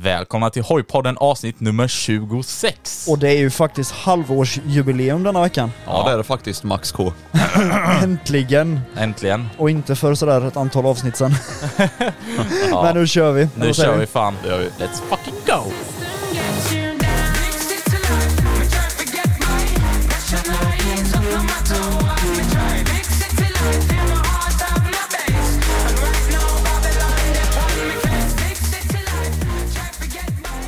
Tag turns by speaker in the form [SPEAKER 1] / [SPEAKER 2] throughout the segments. [SPEAKER 1] Välkomna till Hojpodden avsnitt nummer 26.
[SPEAKER 2] Och det är ju faktiskt halvårsjubileum denna veckan.
[SPEAKER 3] Ja, det är det faktiskt, Max K.
[SPEAKER 2] Äntligen!
[SPEAKER 1] Äntligen.
[SPEAKER 2] Och inte för sådär ett antal avsnitt sen.
[SPEAKER 1] Ja.
[SPEAKER 2] Men nu kör vi.
[SPEAKER 1] Nu
[SPEAKER 2] Vad säger
[SPEAKER 1] kör
[SPEAKER 2] du?
[SPEAKER 1] vi fan. Let's fucking go!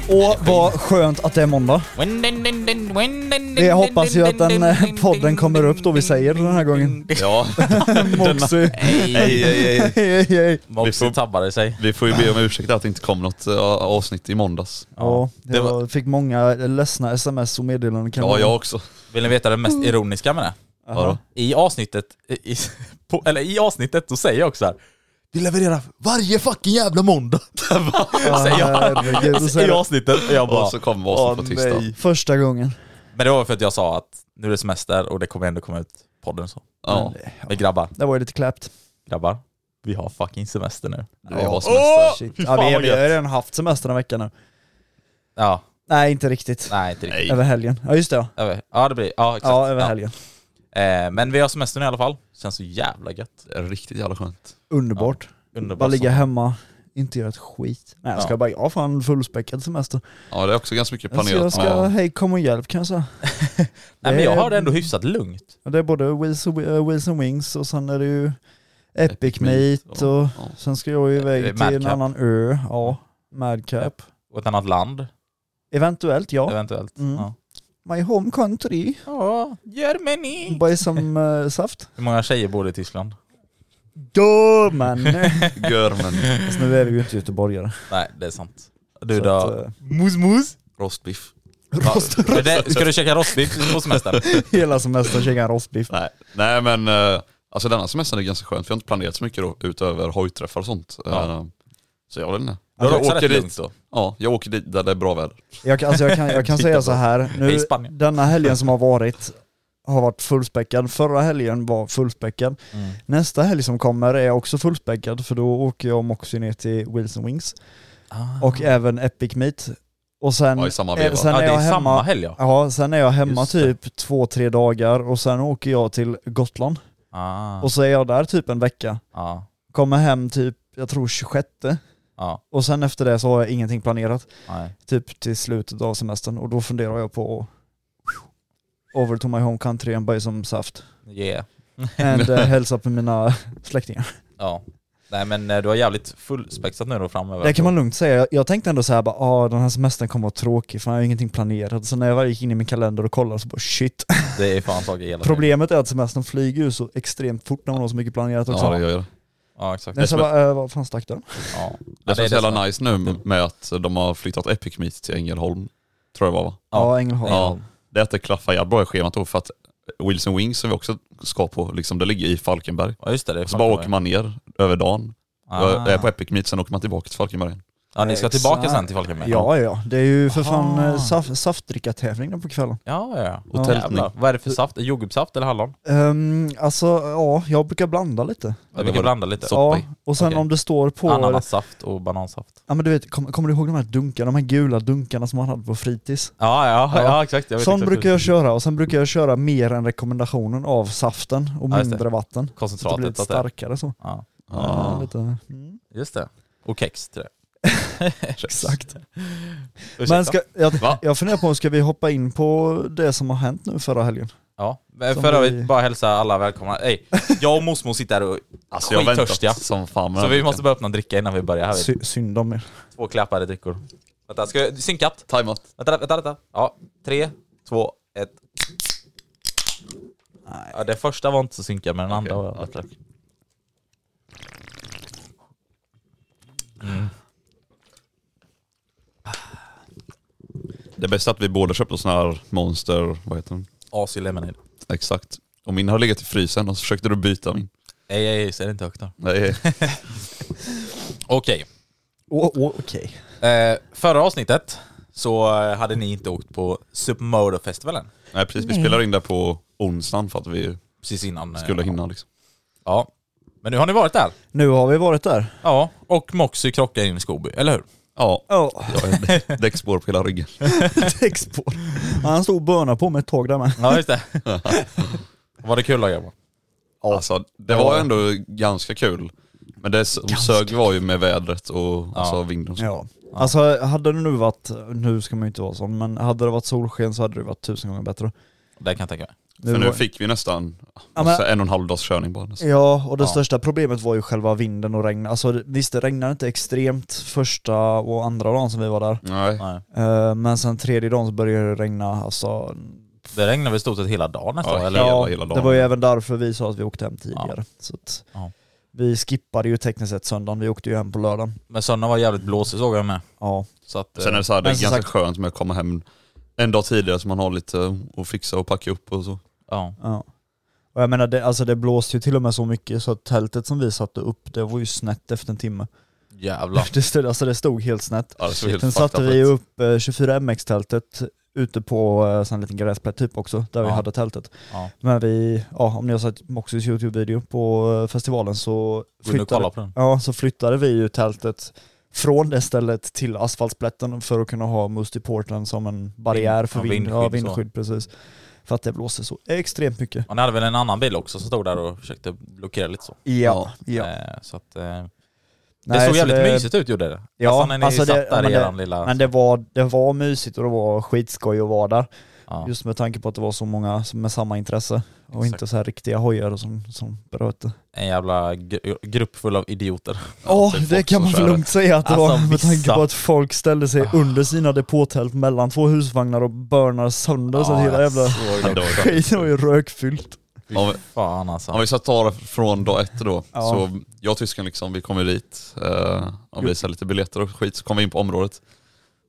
[SPEAKER 2] Och vad skönt att det är måndag. Jag hoppas ju att den eh, podden kommer upp då vi säger den här gången.
[SPEAKER 3] Ja,
[SPEAKER 2] Moxie.
[SPEAKER 3] ej, ej, ej.
[SPEAKER 2] Hej, hej, hej.
[SPEAKER 1] Moxie tabbade sig.
[SPEAKER 3] Vi får ju be om ursäkt att det inte kom något eh, avsnitt i måndags.
[SPEAKER 2] Ja,
[SPEAKER 3] Det
[SPEAKER 2] jag
[SPEAKER 3] var-
[SPEAKER 2] fick många ledsna sms och meddelanden kan
[SPEAKER 3] Ja, jag också.
[SPEAKER 1] Vill ni veta det
[SPEAKER 2] Mm.
[SPEAKER 1] mest ironiska med det?
[SPEAKER 3] Vadå?
[SPEAKER 1] I avsnittet, i, i- på, eller i avsnittet, då säger jag också här. Vi levererar varje fucking jävla måndag. säger jag.
[SPEAKER 2] herregud, du
[SPEAKER 1] Alltså,
[SPEAKER 2] säger
[SPEAKER 1] I
[SPEAKER 2] det.
[SPEAKER 1] avsnittet, och jag bara,
[SPEAKER 3] Och så kom avsnitt på
[SPEAKER 1] "Åh,
[SPEAKER 3] tisdag."
[SPEAKER 1] nej.
[SPEAKER 2] Första gången.
[SPEAKER 1] Men det var för att jag sa att nu är det semester och det kommer ändå komma ut podden och så. Mm.
[SPEAKER 3] Ja,
[SPEAKER 1] Men grabbar,
[SPEAKER 2] Det var ju lite klappt.
[SPEAKER 1] grabbar. Vi har fucking semester nu.
[SPEAKER 3] vi har semester.
[SPEAKER 2] Shit.
[SPEAKER 1] fan
[SPEAKER 2] Ja, vi,
[SPEAKER 1] vad
[SPEAKER 2] vi har ju redan haft semester den här veckan nu.
[SPEAKER 1] Ja,
[SPEAKER 2] Nej, inte riktigt.
[SPEAKER 1] nej inte riktigt.
[SPEAKER 3] Nej.
[SPEAKER 2] Över helgen. Ja, just det ja.
[SPEAKER 1] Över. Ja det blir, ja exakt.
[SPEAKER 2] Ja, över helgen.
[SPEAKER 1] Eh, men vi har semester nu i alla fall. Känns så jävla gött.
[SPEAKER 3] Det är riktigt jävla skönt.
[SPEAKER 2] Underbart.
[SPEAKER 1] Underbart.
[SPEAKER 2] Bara ligga
[SPEAKER 1] som-
[SPEAKER 2] hemma, inte göra ett skit. Nej jag ska
[SPEAKER 1] Ja.
[SPEAKER 2] bara, jag har fan fullspäckad semester.
[SPEAKER 3] Ja, det är också ganska mycket
[SPEAKER 2] Alltså,
[SPEAKER 3] planerat
[SPEAKER 2] jag ska,
[SPEAKER 3] med.
[SPEAKER 2] hej kom och hjälp kan jag säga.
[SPEAKER 1] Nej men jag har det ändå hyfsat lugnt.
[SPEAKER 2] Det är både Wheels, och- eh, Wheels and Wings och sen är det ju Epic,
[SPEAKER 3] Epic Meet
[SPEAKER 2] Meet och
[SPEAKER 3] ja.
[SPEAKER 2] sen ska jag ju iväg
[SPEAKER 1] Eh,
[SPEAKER 2] till en
[SPEAKER 1] Madcap.
[SPEAKER 2] annan ö. Ja, Madcap.
[SPEAKER 1] Och ett annat land,
[SPEAKER 2] Eventuellt ja.
[SPEAKER 1] eventuellt.
[SPEAKER 2] Mm.
[SPEAKER 1] Ja.
[SPEAKER 2] My home country.
[SPEAKER 1] ja, Germany!
[SPEAKER 2] Bara som eh, saft.
[SPEAKER 1] Hur många tjejer bor i Tyskland?
[SPEAKER 2] Då man!
[SPEAKER 3] Gör men
[SPEAKER 2] Fast nu är du ju inte göteborgare.
[SPEAKER 1] Nej, det är sant. Du
[SPEAKER 2] Så att,
[SPEAKER 1] då?
[SPEAKER 2] eh,
[SPEAKER 1] Mus mus?
[SPEAKER 3] rostbiff.
[SPEAKER 1] Ska du käka rostbiff på semestern?
[SPEAKER 2] hela semestern käkar rostbiff.
[SPEAKER 3] Nej. nej, men eh, alltså denna semestern är ganska skönt. Vi har inte planerat så mycket då, utöver hojträffar och sånt.
[SPEAKER 1] Ja.
[SPEAKER 3] Eh, Så jag vet inte.
[SPEAKER 1] Då är det
[SPEAKER 3] Jag
[SPEAKER 1] också
[SPEAKER 3] åker
[SPEAKER 1] rätt
[SPEAKER 3] dit.
[SPEAKER 1] lugnt då.
[SPEAKER 3] Ja, jag åker dit där det är bra väder.
[SPEAKER 2] Jag, kan- alltså jag kan, jag kan säga så här,
[SPEAKER 1] Hej,
[SPEAKER 2] nu,
[SPEAKER 1] Spanien.
[SPEAKER 2] denna helgen som har varit har varit fullspäckad. Förra helgen var fullspäckad.
[SPEAKER 1] Mm.
[SPEAKER 2] Nästa helg som kommer är också fullspäckad för då åker jag och Moxie ner till Wilson Wings
[SPEAKER 1] Ah.
[SPEAKER 2] och även Epic Meet. Och sen,
[SPEAKER 3] Ja, i samma
[SPEAKER 2] eh,
[SPEAKER 3] veva.
[SPEAKER 2] sen
[SPEAKER 1] ja,
[SPEAKER 2] är
[SPEAKER 1] det
[SPEAKER 2] jag
[SPEAKER 1] är samma
[SPEAKER 2] hemma,
[SPEAKER 1] helg ja.
[SPEAKER 2] ja, sen är jag hemma
[SPEAKER 1] Just det.
[SPEAKER 2] typ två, tre dagar och sen åker jag till Gotland.
[SPEAKER 1] Ah,
[SPEAKER 2] Och så är jag där typ en vecka.
[SPEAKER 1] ja,
[SPEAKER 2] Kommer hem typ, jag tror 26
[SPEAKER 1] ja,
[SPEAKER 2] och sen efter det så har jag ingenting planerat.
[SPEAKER 1] ah. nej.
[SPEAKER 2] Typ till slutet av semestern och då funderar jag på over to my home country and buy some saft.
[SPEAKER 1] Yeah.
[SPEAKER 2] And uh, hälsa på mina släktingar.
[SPEAKER 1] Ja. Nej men eh, du har jävligt fullspexat nu då framöver.
[SPEAKER 2] Det kan man lugnt säga. Jag, jag tänkte ändå såhär bara, ah, den här semestern kommer vara tråkig för jag har ingenting planerat. Så när jag väl gick in i min kalender och kollade så bara shit.
[SPEAKER 1] Det är fan saker hela tiden.
[SPEAKER 2] Problemet är att semestern flyger ju så extremt fort när man har så mycket planerat också.
[SPEAKER 3] Ja, det
[SPEAKER 2] Ja,
[SPEAKER 3] gör det.
[SPEAKER 1] Ja exakt.
[SPEAKER 2] jag så bara, eh, vad fan stack den?
[SPEAKER 1] Ja.
[SPEAKER 3] Det
[SPEAKER 1] Ja,
[SPEAKER 3] känns
[SPEAKER 1] det som
[SPEAKER 3] jävla
[SPEAKER 1] är-
[SPEAKER 3] nice nu
[SPEAKER 2] Mm.
[SPEAKER 3] med att de har flyttat Epic Meet till Ängelholm. Tror jag det var va?
[SPEAKER 2] Ja, Ängelholm.
[SPEAKER 3] Ja, det är att det klaffar jävligt bra i schemat då för att Wilson Wings som vi också ska på, liksom, det ligger i Falkenberg.
[SPEAKER 1] Ja just det, det är
[SPEAKER 3] Så bara åker man ner över dagen,
[SPEAKER 1] Ah.
[SPEAKER 3] Jag är på Epic Meet, sen åker man tillbaka till Falkenberg.
[SPEAKER 1] Ja, ni ska
[SPEAKER 2] Exakt.
[SPEAKER 1] tillbaka sen till Falkenberg?
[SPEAKER 2] Ja, ja. Det är ju för fan
[SPEAKER 1] Ah.
[SPEAKER 2] eh, saf- saftdrickartävling då på kvällen.
[SPEAKER 1] Ja, ja, ja.
[SPEAKER 3] Och tältning.
[SPEAKER 1] Jävlar. Vad är det för saft? Jordgubbssaft eller hallon?
[SPEAKER 2] Ehm, alltså, ja, jag brukar blanda lite.
[SPEAKER 1] Jag brukar
[SPEAKER 3] var-
[SPEAKER 1] blanda lite.
[SPEAKER 3] Så- Soppa i.
[SPEAKER 2] Ja, och sen
[SPEAKER 1] Okej.
[SPEAKER 2] om det står på...
[SPEAKER 1] Ananassaft och banansaft.
[SPEAKER 2] Ja men du vet, kom, kommer du ihåg de här dunkarna, de här gula dunkarna som man hade på fritids?
[SPEAKER 1] Ja, ja, ja,
[SPEAKER 2] Ja.
[SPEAKER 1] exakt. Jag vet
[SPEAKER 2] Sån
[SPEAKER 1] exakt
[SPEAKER 2] brukar
[SPEAKER 1] hur-
[SPEAKER 2] jag köra och sen brukar jag köra mer än rekommendationen av saften och
[SPEAKER 1] Ja, just det.
[SPEAKER 2] mindre vatten. Så att det blir
[SPEAKER 1] Koncentratet.
[SPEAKER 2] lite
[SPEAKER 1] att det- Ah.
[SPEAKER 2] starkare så.
[SPEAKER 1] Ja,
[SPEAKER 2] Ja, lite. Mm.
[SPEAKER 1] just det. Och kex till det.
[SPEAKER 2] Exakt.
[SPEAKER 1] Ursäkta.
[SPEAKER 2] Men ska, jag,
[SPEAKER 1] Va?
[SPEAKER 2] jag funderar på, ska vi hoppa in på det som har hänt nu förra helgen?
[SPEAKER 1] Ja, Eh,
[SPEAKER 2] Som
[SPEAKER 1] för övrigt,
[SPEAKER 2] vi-
[SPEAKER 1] bara hälsa alla välkomna. Ey, jag och mosmor sitter här och
[SPEAKER 3] Alltså jag har
[SPEAKER 1] Skittörstiga.
[SPEAKER 3] väntat som fan med
[SPEAKER 1] Så
[SPEAKER 3] den här
[SPEAKER 1] vi måste
[SPEAKER 3] veckan.
[SPEAKER 1] börja öppna en dricka innan vi börjar här. Vet.
[SPEAKER 2] Sy, synd om er.
[SPEAKER 1] du. Två klappade drickor. Vänta, ska jag... Synkat!
[SPEAKER 3] Time-out.
[SPEAKER 1] Vänta, vänta, vänta. Ja, tre, två, ett. Ja, det första var inte så synkad men den andra var
[SPEAKER 3] Ja, tack. Det bästa är att vi båda köpte sån här monster, vad heter den?
[SPEAKER 1] Asi Lemonade.
[SPEAKER 3] Exakt. Och min har legat i frysen och så försökte du byta min.
[SPEAKER 1] Ej, ej, ej, säg det inte högt då.
[SPEAKER 3] Nej.
[SPEAKER 1] Okej.
[SPEAKER 2] Åh, åh, Okej.
[SPEAKER 1] Eh, förra avsnittet så eh, hade ni inte åkt på Supermodo-festivalen.
[SPEAKER 3] Nej precis, vi spelar in där på onsdagen för att vi
[SPEAKER 1] Precis innan. eh,
[SPEAKER 3] skulle hinna liksom.
[SPEAKER 1] Ja. Men nu har ni varit där.
[SPEAKER 2] Nu har vi varit där.
[SPEAKER 1] Ja, och Moxie krockade in i Skoby, eller hur?
[SPEAKER 3] Ja,
[SPEAKER 2] Ja,
[SPEAKER 3] jag har däckspår på hela ryggen.
[SPEAKER 2] däckspår. Ja, Han stod och bönade på mig ett tag där med.
[SPEAKER 1] Ja, just det. Var det kul då grabbar?
[SPEAKER 3] Alltså det var ändå ganska kul. Men det som sög var ju med vädret och alltså, vinden och så.
[SPEAKER 2] Ja. Alltså hade det nu varit, nu ska man ju inte vara sån, men hade det varit solsken så hade det varit tusen gånger bättre.
[SPEAKER 1] Det kan jag tänka mig.
[SPEAKER 2] Nu
[SPEAKER 3] För nu
[SPEAKER 2] var-
[SPEAKER 3] fick vi nästan
[SPEAKER 2] Ja,
[SPEAKER 3] alltså,
[SPEAKER 2] men,
[SPEAKER 3] en och en halv dags körning bara. nästan.
[SPEAKER 2] ja, och det
[SPEAKER 1] Ja.
[SPEAKER 2] största problemet var ju själva vinden och regnet. Alltså det- visst, det regnade inte extremt första och andra dagen som vi var där.
[SPEAKER 3] Nej.
[SPEAKER 1] Nej.
[SPEAKER 2] Eh, Men sen tredje dagen så började det regna, alltså...
[SPEAKER 1] Det regnade väl i stort sett hela dagen nästan?
[SPEAKER 3] Ja,
[SPEAKER 1] Alltså, eller?
[SPEAKER 3] hela- hela dagen.
[SPEAKER 2] det var ju även därför vi sa att vi åkte hem tidigare. Så att
[SPEAKER 1] Ja.
[SPEAKER 2] Vi skippade ju tekniskt sett söndagen, vi åkte ju hem på lördagen.
[SPEAKER 1] Men söndagen var jävligt blåsig såg jag med.
[SPEAKER 2] Ja.
[SPEAKER 1] Så att, eh,
[SPEAKER 3] Sen är det så här, det är
[SPEAKER 2] Men som
[SPEAKER 3] ganska
[SPEAKER 2] sagt-
[SPEAKER 3] skönt med att komma hem en dag tidigare så man har lite att fixa och packa upp och så.
[SPEAKER 1] ja.
[SPEAKER 2] Ja. Och jag menar, det, alltså det blåste ju till och med så mycket så att tältet som vi satte upp, det var ju snett efter en timme.
[SPEAKER 1] Jävlar.
[SPEAKER 2] Det stod, alltså det stod helt snett.
[SPEAKER 3] Ja, det såg helt
[SPEAKER 2] Sen
[SPEAKER 3] fucked
[SPEAKER 2] satte
[SPEAKER 3] up
[SPEAKER 2] vi ju
[SPEAKER 3] ut.
[SPEAKER 2] upp eh, 24MX-tältet ute på eh, sån liten gräsplätt typ också, där vi
[SPEAKER 1] Ja.
[SPEAKER 2] hade tältet.
[SPEAKER 1] Ja.
[SPEAKER 2] Men vi, ja, om ni har sett Moxys YouTube-video på eh, festivalen så
[SPEAKER 1] Vill du kolla
[SPEAKER 2] flyttade,
[SPEAKER 1] på den?
[SPEAKER 2] ja, så flyttade vi ju tältet från det stället till asfaltsplätten för att kunna ha Musty Portland som en barriär för
[SPEAKER 1] ja,
[SPEAKER 2] vind,
[SPEAKER 1] vindskydd
[SPEAKER 2] ja,
[SPEAKER 1] så.
[SPEAKER 2] vindskydd precis. För att det blåste så extremt mycket.
[SPEAKER 1] Och ni hade väl en annan bil också som stod där och försökte blockera lite så.
[SPEAKER 2] Ja, ja.
[SPEAKER 1] Eh, så att, eh, det
[SPEAKER 2] Nej,
[SPEAKER 1] såg
[SPEAKER 2] så
[SPEAKER 1] jävligt
[SPEAKER 2] det-
[SPEAKER 1] mysigt ut gjorde det.
[SPEAKER 2] Ja,
[SPEAKER 1] alltså när ni
[SPEAKER 2] alltså
[SPEAKER 1] satt
[SPEAKER 2] det-
[SPEAKER 1] där
[SPEAKER 2] men
[SPEAKER 1] i
[SPEAKER 2] det-
[SPEAKER 1] eran lilla...
[SPEAKER 2] Men det var, det var mysigt och det var skitskoj att vara där.
[SPEAKER 1] ja.
[SPEAKER 2] Just med tanke på att det var så många som- med samma intresse och
[SPEAKER 1] Exakt.
[SPEAKER 2] inte så här riktiga hojar som, som bröt det.
[SPEAKER 1] En jävla gr- grupp full av idioter.
[SPEAKER 2] Ja,
[SPEAKER 1] typ
[SPEAKER 3] det är
[SPEAKER 2] det
[SPEAKER 3] folk
[SPEAKER 2] kan
[SPEAKER 3] som
[SPEAKER 2] man
[SPEAKER 3] kör.
[SPEAKER 2] väl lugnt säga att det
[SPEAKER 1] Alltså,
[SPEAKER 2] var med tanke
[SPEAKER 1] vissa. Ah.
[SPEAKER 2] på att folk ställde sig under sina depåtält mellan två husvagnar och börnar sönder så att hela
[SPEAKER 1] Ah, jag
[SPEAKER 2] jävla
[SPEAKER 1] såg
[SPEAKER 3] Ja,
[SPEAKER 1] det.
[SPEAKER 3] det var-
[SPEAKER 2] skiten var ju rökfyllt.
[SPEAKER 3] Om,
[SPEAKER 1] Fan alltså.
[SPEAKER 3] om vi ska ta det från dag ett då.
[SPEAKER 2] Ja.
[SPEAKER 3] Så jag och tysken liksom, vi kom ju dit eh, och visade lite biljetter och skit så kom vi in på området.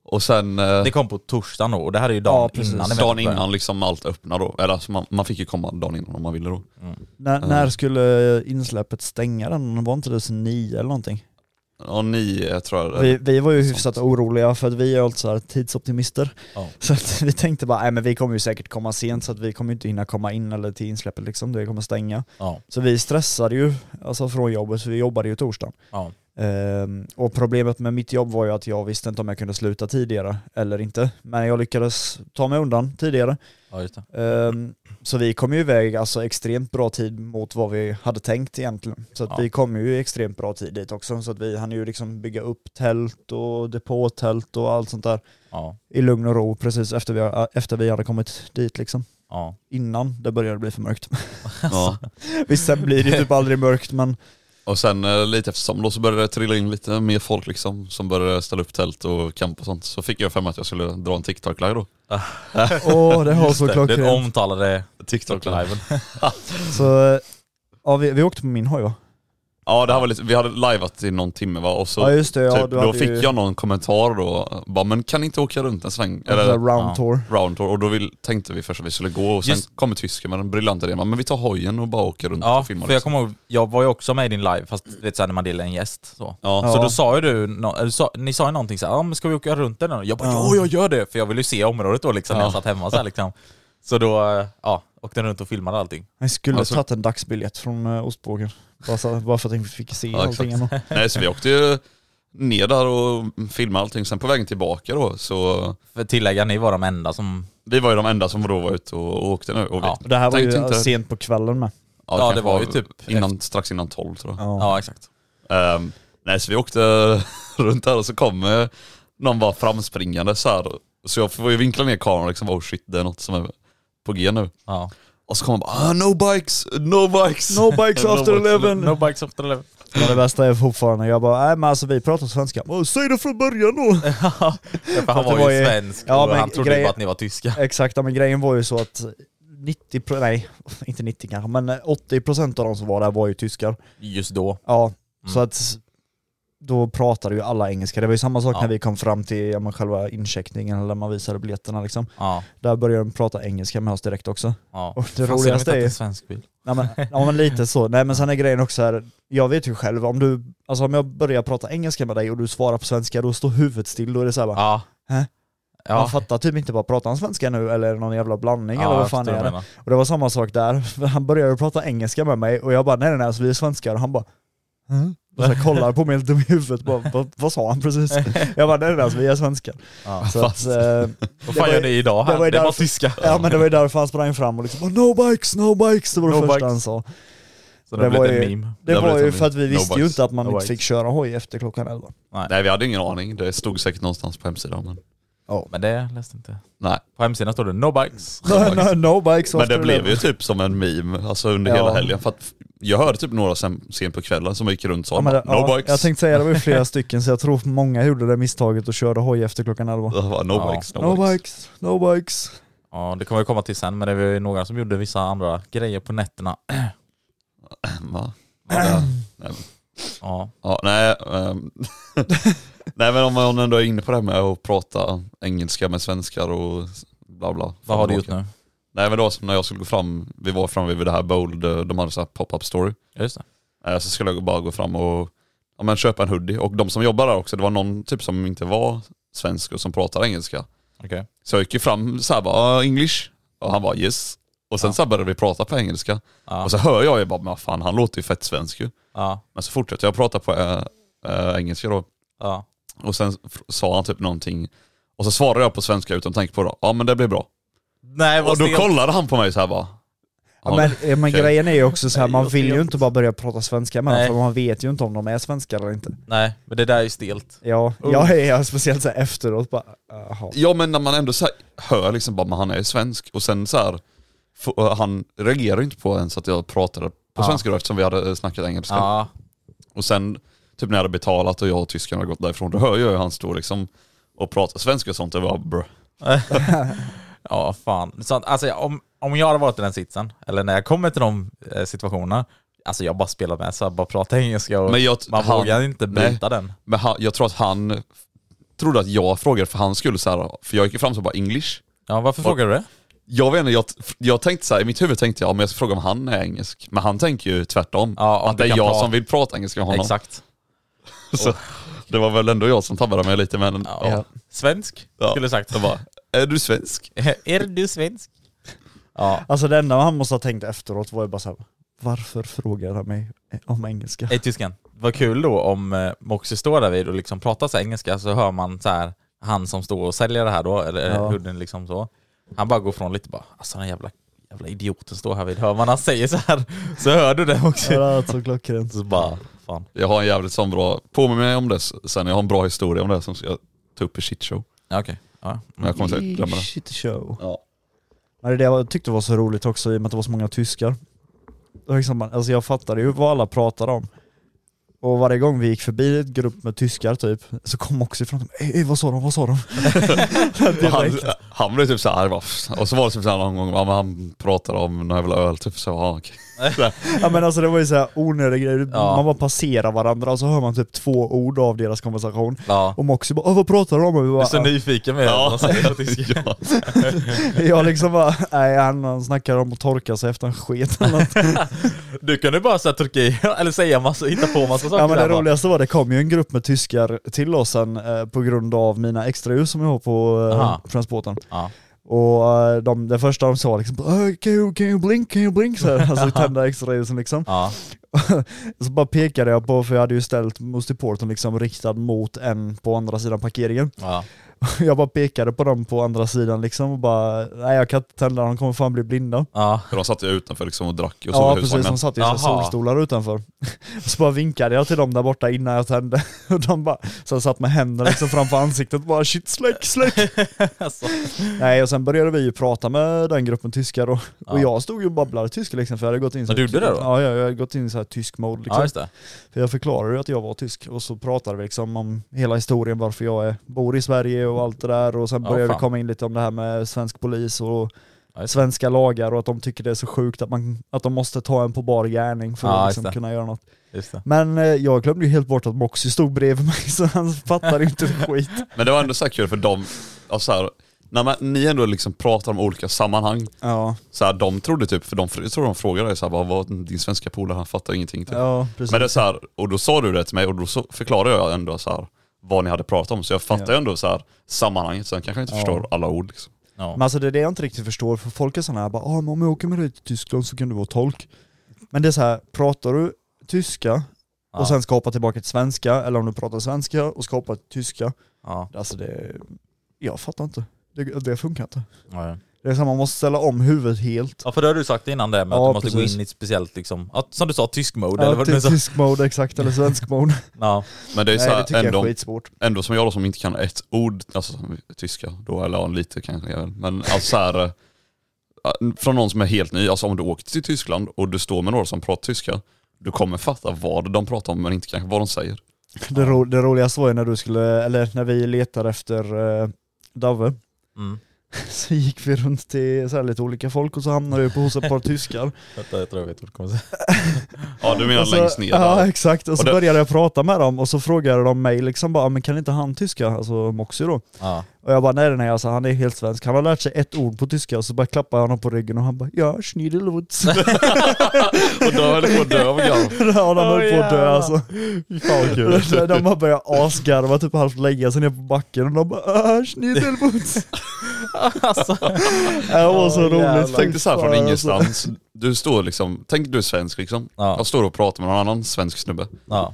[SPEAKER 3] Och sen eh,
[SPEAKER 1] Det kom på torsdagen då och det här är ju dagen
[SPEAKER 2] Ja, precis.
[SPEAKER 1] innan.
[SPEAKER 3] dagen
[SPEAKER 1] eventet börjar.
[SPEAKER 3] innan liksom allt öppnade då. Eller alltså, man, man fick ju komma dagen innan om man ville då.
[SPEAKER 2] När,
[SPEAKER 1] Ah.
[SPEAKER 3] Ja.
[SPEAKER 2] när skulle eh, insläppet stänga den? Var inte det så nio eller någonting?
[SPEAKER 3] Ja nio tror jag det
[SPEAKER 2] Vi, vi var ju hyfsat oroliga för att vi är alltså här tidsoptimister.
[SPEAKER 1] Ja.
[SPEAKER 2] Så att vi tänkte bara, nej men vi kommer ju säkert komma sent så att vi kommer ju inte hinna komma in eller till insläppet liksom, det kommer stänga.
[SPEAKER 1] Ja,
[SPEAKER 2] Så vi stressade ju alltså från jobbet, för vi jobbade ju torsdagen.
[SPEAKER 1] ja.
[SPEAKER 2] Ehm, och problemet med mitt jobb var ju att jag visste inte om jag kunde sluta tidigare eller inte. Men jag lyckades ta mig undan tidigare.
[SPEAKER 1] ja just det.
[SPEAKER 2] Ehm, så vi kom ju iväg alltså extremt bra tid mot vad vi hade tänkt egentligen. Så att
[SPEAKER 1] Ja.
[SPEAKER 2] vi kom ju i extremt bra tid dit också. Så att vi hann ju liksom bygga upp tält och depåtält och allt sånt där
[SPEAKER 1] Ja,
[SPEAKER 2] i lugn och ro precis efter vi, efter vi hade kommit dit liksom.
[SPEAKER 1] ja.
[SPEAKER 2] Innan det började bli för mörkt.
[SPEAKER 3] Ja.
[SPEAKER 2] Visst sen blir det ju typ aldrig mörkt men
[SPEAKER 3] Och sen eh, lite eftersom då så började det trilla in lite mer folk liksom som började ställa upp tält och camp och sånt. Så fick jag för mig att jag skulle dra en TikTok-live då.
[SPEAKER 2] Åh, det var
[SPEAKER 1] Just
[SPEAKER 2] så
[SPEAKER 1] det, Den
[SPEAKER 2] klockrent.
[SPEAKER 1] omtalade
[SPEAKER 3] TikTok-live?
[SPEAKER 1] liven.
[SPEAKER 2] eh, Så, ja, vi, vi åkte på min hoj va?
[SPEAKER 3] Ja det här var lite, vi hade liveat i någon timme va och så
[SPEAKER 2] Ja, just det, ja,
[SPEAKER 3] typ,
[SPEAKER 2] du
[SPEAKER 3] då
[SPEAKER 2] hade
[SPEAKER 3] fick
[SPEAKER 2] ju-
[SPEAKER 3] jag någon kommentar då, bara men kan ni inte åka runt en sväng?
[SPEAKER 2] En sån där round tour.
[SPEAKER 3] round tour. Och då vill, tänkte vi först att vi skulle gå och sen
[SPEAKER 1] Just-
[SPEAKER 3] kommer tysken med en briljant idé, men vi tar hojen och bara åker runt
[SPEAKER 1] Ja,
[SPEAKER 3] och filmar.
[SPEAKER 1] för jag
[SPEAKER 3] liksom.
[SPEAKER 1] kommer ihåg, jag var ju också med i din live, fast du vet såhär när man delar en gäst så.
[SPEAKER 3] Ja.
[SPEAKER 1] Så
[SPEAKER 2] Ja.
[SPEAKER 1] då sa ju du, nå- eller sa, ni sa ju någonting såhär, ja men ska vi åka runt den då? Jag bara, ja jag gör det, för jag ville ju se området då liksom när jag
[SPEAKER 3] Ja.
[SPEAKER 1] satt hemma såhär liksom. Så då, eh, ja, åkte runt och filmade allting.
[SPEAKER 2] Jag skulle
[SPEAKER 3] Alltså-
[SPEAKER 2] tagit en dagsbiljett från eh, Ostbågen. Bara, så, bara för att jag fick se
[SPEAKER 3] Ja,
[SPEAKER 2] allting ändå.
[SPEAKER 3] Nej så vi åkte ju ner där och filmade allting, sen på vägen tillbaka då så
[SPEAKER 1] För att tillägga, ni var de enda som,
[SPEAKER 3] vi var ju de enda som då var ute och, och åkte nu. Och vi,
[SPEAKER 1] Ja.
[SPEAKER 2] Det här var ju alltså,
[SPEAKER 3] Tänkte inte-
[SPEAKER 2] sent på kvällen med.
[SPEAKER 1] Ja, det
[SPEAKER 3] kanske
[SPEAKER 1] var ju typ
[SPEAKER 3] innan, strax innan tolv tror jag.
[SPEAKER 1] ja exakt.
[SPEAKER 3] Ehm, nej, så vi åkte runt här och så kom eh, någon bara framspringande så här. Så jag får ju vinkla ner kameran liksom, oh shit det är något som är på G nu.
[SPEAKER 1] Ja.
[SPEAKER 3] Och så kommer bara, ah, no bikes, no bikes.
[SPEAKER 2] No bikes after eleven!
[SPEAKER 1] No bikes after eleven.
[SPEAKER 2] Men det bästa är fortfarande, jag bara nej men alltså vi pratar svenska. "Åh, Säg det från början då!
[SPEAKER 1] Ja, för han
[SPEAKER 2] det
[SPEAKER 1] var,
[SPEAKER 2] var
[SPEAKER 1] ju
[SPEAKER 2] ju-
[SPEAKER 1] svensk
[SPEAKER 2] Ja,
[SPEAKER 1] och
[SPEAKER 2] men
[SPEAKER 1] han trodde ju
[SPEAKER 2] grej-
[SPEAKER 1] bara att ni var tyska.
[SPEAKER 2] Exakt, ja, men grejen var ju så att 90, pro- nej inte 90 kanske, men 80% av de som var där var ju tyskar.
[SPEAKER 1] Just då.
[SPEAKER 2] Ja,
[SPEAKER 1] Mm.
[SPEAKER 2] så att då pratade ju alla engelska. Det var ju samma sak
[SPEAKER 1] Ja.
[SPEAKER 2] när vi kom fram till ja, men själva incheckningen eller när man visade biljetterna liksom.
[SPEAKER 1] Ja.
[SPEAKER 2] Där började de prata engelska med oss direkt också.
[SPEAKER 1] ja.
[SPEAKER 2] Och
[SPEAKER 1] Fan, ser
[SPEAKER 2] det
[SPEAKER 1] de inte
[SPEAKER 2] roligaste
[SPEAKER 1] att
[SPEAKER 2] är
[SPEAKER 1] det en svensk bil.
[SPEAKER 2] Nej men, ja, men lite så. Nej men sen är grejen också här, jag vet ju själv om du, alltså om jag börjar prata engelska med dig och du svarar på svenska, då står huvudet still, då är det såhär bara,
[SPEAKER 1] Ja.
[SPEAKER 2] Hä?
[SPEAKER 1] Ja.
[SPEAKER 2] man fattar typ inte bara, pratar han svenska nu eller är det någon jävla blandning eller
[SPEAKER 1] jag
[SPEAKER 2] vad fan
[SPEAKER 1] förstår
[SPEAKER 2] är
[SPEAKER 1] vad du
[SPEAKER 2] det?
[SPEAKER 1] menar.
[SPEAKER 2] Och det var samma sak där, för han började prata engelska med mig och jag bara nej nej nej, alltså, vi är svenskar och han bara "Mm?" och så här kollar på mig lite med huvudet, bara, vad, vad sa han precis? Jag bara nej nej nej, alltså, vi är svenskar.
[SPEAKER 1] Ja.
[SPEAKER 2] Så att, eh,
[SPEAKER 1] Vad
[SPEAKER 2] Det
[SPEAKER 1] fan
[SPEAKER 2] var
[SPEAKER 1] gör
[SPEAKER 2] ju-
[SPEAKER 1] ni idag
[SPEAKER 2] det var
[SPEAKER 1] här?
[SPEAKER 2] ju
[SPEAKER 1] Det var
[SPEAKER 2] därför-
[SPEAKER 1] tyska.
[SPEAKER 2] ja men det var ju därför han sprang fram och liksom bara, no bikes, no bikes, det var det
[SPEAKER 1] No
[SPEAKER 2] första
[SPEAKER 1] bikes.
[SPEAKER 2] han sa.
[SPEAKER 1] Så det,
[SPEAKER 2] det
[SPEAKER 1] blev
[SPEAKER 2] var
[SPEAKER 1] en
[SPEAKER 2] ju-
[SPEAKER 1] meme.
[SPEAKER 2] Det
[SPEAKER 3] Där
[SPEAKER 2] var
[SPEAKER 3] berättar
[SPEAKER 2] ju
[SPEAKER 3] vi.
[SPEAKER 2] för att vi
[SPEAKER 3] No
[SPEAKER 2] visste ju
[SPEAKER 3] bikes.
[SPEAKER 2] inte att man
[SPEAKER 1] No
[SPEAKER 2] inte
[SPEAKER 1] bikes.
[SPEAKER 2] fick köra hoj efter klockan 11.
[SPEAKER 3] Nej vi hade ingen aning, det stod säkert någonstans på hemsidan men
[SPEAKER 1] Men det läste inte.
[SPEAKER 3] nej.
[SPEAKER 1] På hemsidan står det no bikes.
[SPEAKER 2] No, no, no bikes
[SPEAKER 3] Men det
[SPEAKER 2] after
[SPEAKER 3] blev
[SPEAKER 2] 11.
[SPEAKER 3] ju typ som en meme alltså under
[SPEAKER 2] Ja.
[SPEAKER 3] hela helgen. För att jag hörde typ några sen, sent på kvällen som gick runt och sa,
[SPEAKER 2] Ja, men det,
[SPEAKER 3] no
[SPEAKER 2] ja,
[SPEAKER 3] bikes.
[SPEAKER 2] jag tänkte säga det var ju flera stycken så jag tror många gjorde det misstaget och körde hoj efter klockan 11.
[SPEAKER 3] Jag bara, no
[SPEAKER 1] Ja.
[SPEAKER 3] bikes, no,
[SPEAKER 2] No
[SPEAKER 3] bikes.
[SPEAKER 2] bikes, no bikes.
[SPEAKER 1] Ja, det kommer vi komma till sen, men det var ju några som gjorde vissa andra grejer på nätterna.
[SPEAKER 3] Va? Ja, nej,
[SPEAKER 1] Ja,
[SPEAKER 3] Ja, nej, ehm, nej men om man ändå är inne på det här med att prata engelska med svenskar och bla bla.
[SPEAKER 1] vad har du gjort nu?
[SPEAKER 3] Nej men det var som när jag skulle gå fram, vi var framme vid det här Bold, eh, de hade så här pop-up story.
[SPEAKER 1] Ja, just det.
[SPEAKER 3] Eh, Så skulle jag bara gå fram och ja, men köpa en hoodie. Och de som jobbar där också, det var någon typ som inte var svensk och som pratade engelska.
[SPEAKER 1] Okej.
[SPEAKER 3] Så jag gick ju fram så här bara, "Ah, English? Och han bara yes. Och sen så här började vi prata på engelska.
[SPEAKER 1] Ja.
[SPEAKER 3] Och så hör jag ju bara, men vad fan han låter ju fett svensk ju.
[SPEAKER 1] Ja,
[SPEAKER 3] Men så fortsätter jag prata på eh, eh, engelska då.
[SPEAKER 1] ja.
[SPEAKER 3] Och sen f- sa han typ någonting. Och så svarade jag på svenska utan tanke på det. Ja men det blir bra.
[SPEAKER 1] Nej,
[SPEAKER 3] Och då kollade han på mig så här bara.
[SPEAKER 2] Ja, men eh, men
[SPEAKER 3] okej.
[SPEAKER 2] grejen är ju också så här, man
[SPEAKER 1] jag
[SPEAKER 2] vill ju
[SPEAKER 1] vet.
[SPEAKER 2] inte bara börja prata svenska med
[SPEAKER 1] Nej.
[SPEAKER 2] dem för man vet ju inte om de är svenskar eller inte.
[SPEAKER 1] Nej, men det där är ju stelt.
[SPEAKER 2] Ja, jag är jag speciellt så här efteråt bara, jaha.
[SPEAKER 3] Ja men när man ändå så här, hör liksom bara, men han är ju svensk. Och sen så här, f- och han reagerade inte på ens att jag pratade på svenska då eftersom vi hade eh, snackat engelska.
[SPEAKER 1] Ja,
[SPEAKER 3] Och sen typ när jag hade betalat och jag och tysken hade gått därifrån, då hör jag hur han står liksom och pratar svenska och sånt. Det var bra.
[SPEAKER 1] ja fan. Så, att, alltså, om, om jag hade varit i den sitsen, eller när jag kommer till de eh, situationerna, alltså jag bara spelar med, så jag bara pratar engelska och
[SPEAKER 3] Men jag-
[SPEAKER 1] man
[SPEAKER 3] han-
[SPEAKER 1] vågar inte
[SPEAKER 3] nej.
[SPEAKER 1] bryta den.
[SPEAKER 3] Men han, jag tror att han trodde att jag frågade för han skulle så här, för jag gick ju fram så bara english.
[SPEAKER 1] Ja, varför frågar du det?
[SPEAKER 3] Jag vet inte, jag, jag tänkte så här, i mitt huvud tänkte jag om jag ska fråga om han är engelsk. Men han tänker ju tvärtom.
[SPEAKER 1] Ja, om
[SPEAKER 3] att
[SPEAKER 1] du
[SPEAKER 3] det är
[SPEAKER 1] kan
[SPEAKER 3] jag
[SPEAKER 1] prata.
[SPEAKER 3] som vill prata engelska med honom.
[SPEAKER 1] Exakt.
[SPEAKER 3] Så, det var väl ändå jag som tabbade mig lite men
[SPEAKER 1] Ja.
[SPEAKER 3] ja.
[SPEAKER 1] Svensk,
[SPEAKER 3] Ja.
[SPEAKER 1] skulle jag sagt.
[SPEAKER 3] Jag bara, är du svensk?
[SPEAKER 1] är du svensk? Ja.
[SPEAKER 2] Alltså det enda han måste ha tänkt efteråt var ju bara så här, varför frågar han mig om engelska?
[SPEAKER 1] Hej tysken. Vad kul då om eh, Moxie står där vid och liksom pratar så här engelska så hör man så här han som står och säljer det här då, eller
[SPEAKER 2] Ja.
[SPEAKER 1] huden liksom så. Han bara går från lite bara, alltså den jävla, jävla idioten står här vid. Hör man han säger så här så hör du det också.
[SPEAKER 2] Ja, det är så klockrent.
[SPEAKER 1] Så bara, fan.
[SPEAKER 3] Jag har en jävligt sån bra, påminn mig om det s- sen, jag har en bra historia om det som jag ta upp i shitshow.
[SPEAKER 1] Ja, okej. Ja.
[SPEAKER 3] Men jag kommer säkert glömma det.
[SPEAKER 2] Shit show.
[SPEAKER 3] Ja.
[SPEAKER 2] Men det är det jag tyckte var så roligt också i och med att det var så många tyskar. Och liksom, alltså jag fattade ju vad alla pratade om. Och varje gång vi gick förbi ett grupp med tyskar typ, så kom också ifrån dem "Ey, ey, vad sa de, vad sa de?
[SPEAKER 3] Och Han, Han blev typ såhär, bara, "Pff." och så var det typ såhär någon gång, ja, men han pratade om någon jävla öl typ, så jag bara, "Ja, okej.
[SPEAKER 2] Ja men alltså det var ju såhär onödig grej,
[SPEAKER 1] Ja.
[SPEAKER 2] man bara passerar varandra och så hör man typ två ord av deras konversation.
[SPEAKER 1] Ja.
[SPEAKER 2] Och Moxie bara "Åh, vad pratar de om? Och vi
[SPEAKER 1] Jag är så
[SPEAKER 2] bara,
[SPEAKER 1] nyfiken med vad
[SPEAKER 3] Ja.
[SPEAKER 1] de säger på tyska.
[SPEAKER 3] ja.
[SPEAKER 2] jag liksom bara, nej han, han snackar om att torka sig efter en sket eller något.
[SPEAKER 1] Du kunde bara säga Turkiet, eller säga massa, hitta på massa saker.
[SPEAKER 2] Ja men det
[SPEAKER 1] där, va?
[SPEAKER 2] roligaste var det kom ju en grupp med tyskar till oss sen eh, på grund av mina extrahus som jag har på
[SPEAKER 1] Aha.
[SPEAKER 2] eh, transporten.
[SPEAKER 1] Ja.
[SPEAKER 2] Och eh, de, det första de sa liksom "Åh, can you, can you blink, can you blink? Så här, alltså tända extraljusen liksom.
[SPEAKER 1] Ja.
[SPEAKER 2] Så bara pekade jag på, för jag hade ju ställt Moostie Porton liksom riktad mot en på andra sidan parkeringen.
[SPEAKER 1] Ja.
[SPEAKER 2] Jag bara pekade på dem på andra sidan liksom och bara nej jag kan inte tända, de kommer fan bli blinda.
[SPEAKER 1] Ja.
[SPEAKER 3] För de satt ju utanför liksom och drack och
[SPEAKER 2] Ja
[SPEAKER 3] såg
[SPEAKER 2] precis, de
[SPEAKER 3] husvagnen.
[SPEAKER 2] satt ju i
[SPEAKER 1] Jaha.
[SPEAKER 2] solstolar utanför. Så bara vinkade jag till dem där borta innan jag tände. Och de bara, så jag satt med händerna liksom framför ansiktet och bara shit släck släck.
[SPEAKER 1] Alltså.
[SPEAKER 2] Nej och sen började vi ju prata med den gruppen tyskar och, och
[SPEAKER 1] Ja.
[SPEAKER 2] jag stod ju och babblade tyska liksom för jag hade gått in så
[SPEAKER 1] Ja, du gjorde det då?
[SPEAKER 2] Ja jag, jag hade gått in i så här tysk mode liksom.
[SPEAKER 1] ja, just det.
[SPEAKER 2] För jag förklarade ju att jag var tysk och så pratade vi liksom om hela historien varför jag är, bor i Sverige och allt det där och sen
[SPEAKER 1] Ja,
[SPEAKER 2] började det
[SPEAKER 1] fan.
[SPEAKER 2] komma in lite om det här med svensk polis och
[SPEAKER 1] Ja, just det.
[SPEAKER 2] svenska lagar och att de tycker det är så sjukt att, man, att de måste ta en på bar gärning för
[SPEAKER 1] Ja,
[SPEAKER 2] att
[SPEAKER 1] just
[SPEAKER 2] liksom
[SPEAKER 1] det.
[SPEAKER 2] kunna göra något.
[SPEAKER 1] Just det.
[SPEAKER 2] Men eh, jag glömde ju helt bort att Moxie stod bredvid mig så han fattade inte ett skit.
[SPEAKER 3] Men det var ändå så här kul för de, ja, så här, när man, ni ändå liksom pratar om olika sammanhang,
[SPEAKER 2] Ja,
[SPEAKER 3] så här, de trodde typ, för de, jag tror de frågade dig så här, bara, vad, din svenska polare han fattar ingenting. Typ.
[SPEAKER 2] ja precis.
[SPEAKER 3] Men det är så här, och då sa du det till mig och då så förklarade jag ändå så här, vad ni hade pratat om. Så jag fattar
[SPEAKER 2] Ja.
[SPEAKER 3] ändå så här, sammanhanget, sen kanske jag inte
[SPEAKER 2] Ja.
[SPEAKER 3] förstår alla ord. Liksom.
[SPEAKER 2] Men
[SPEAKER 1] Ja.
[SPEAKER 2] alltså det är det jag inte riktigt förstår, för folk är sådana här bara ah, men om jag åker med dig till Tyskland så kan du vara tolk. Men det är så här, pratar du tyska
[SPEAKER 1] Ja.
[SPEAKER 2] och sen ska hoppa tillbaka till svenska, eller om du pratar svenska och ska hoppa till tyska.
[SPEAKER 1] Ja.
[SPEAKER 2] Alltså det, jag fattar inte. Det, det funkar inte.
[SPEAKER 1] Ja.
[SPEAKER 2] Det är så här, man måste ställa om huvudet helt.
[SPEAKER 1] Ja för det har du sagt innan det med
[SPEAKER 2] Ja,
[SPEAKER 1] att du måste
[SPEAKER 2] precis.
[SPEAKER 1] gå in i ett speciellt liksom, att, som du sa, tysk mode eller
[SPEAKER 2] Ja,
[SPEAKER 1] vad du nu
[SPEAKER 2] till
[SPEAKER 1] sa.
[SPEAKER 2] tysk mode exakt, eller svensk mode.
[SPEAKER 1] Ja.
[SPEAKER 3] Men det är
[SPEAKER 2] Nej
[SPEAKER 3] så
[SPEAKER 2] det
[SPEAKER 3] här,
[SPEAKER 2] tycker jag
[SPEAKER 3] ändå,
[SPEAKER 2] är skitsvårt.
[SPEAKER 3] ändå som jag då som inte kan ett ord, alltså som tyska då, eller ja, lite kanske även. Men alltså så här, eh, från någon som är helt ny, alltså om du åker till Tyskland och du står med några som pratar tyska, du kommer fatta vad de pratar om men inte kanske vad de säger.
[SPEAKER 2] Det, ro, det roligaste var ju när du skulle, eller när vi letade efter eh, Dave,
[SPEAKER 1] Mm.
[SPEAKER 2] så gick vi runt till så här lite olika folk och så hamnade vi på hos ett par tyskar.
[SPEAKER 1] Vänta, jag tror jag vet vad du kommer säga.
[SPEAKER 3] Ja du menar
[SPEAKER 2] Och så-
[SPEAKER 3] längst ner
[SPEAKER 2] Alltså, Ja
[SPEAKER 3] där.
[SPEAKER 2] exakt, och så
[SPEAKER 3] Och det-
[SPEAKER 2] började jag prata med dem och så frågade de mig liksom bara, men kan inte han tyska? Alltså Moxie då.
[SPEAKER 1] Ja.
[SPEAKER 2] Och jag bara nej nej alltså han är helt svensk, han har lärt sig ett ord på tyska och så bara klappar jag honom på ryggen och han bara ja schnidelwutz.
[SPEAKER 3] Och då höll jag på att dö av garv.
[SPEAKER 2] ja han höll på att dö
[SPEAKER 1] jävlar.
[SPEAKER 2] alltså. De- de bara började asgarva typ halvt lägga sig ner på backen och de bara "Ah, schnidelwutz.
[SPEAKER 1] Alltså,
[SPEAKER 2] Det var så
[SPEAKER 1] Åh, jävlar.
[SPEAKER 2] roligt. fy
[SPEAKER 3] Tänk dig såhär från
[SPEAKER 2] fan, alltså.
[SPEAKER 3] ingenstans, du står liksom, tänk du är svensk liksom.
[SPEAKER 1] Ja.
[SPEAKER 3] Jag står och pratar med någon annan svensk snubbe.
[SPEAKER 1] ja.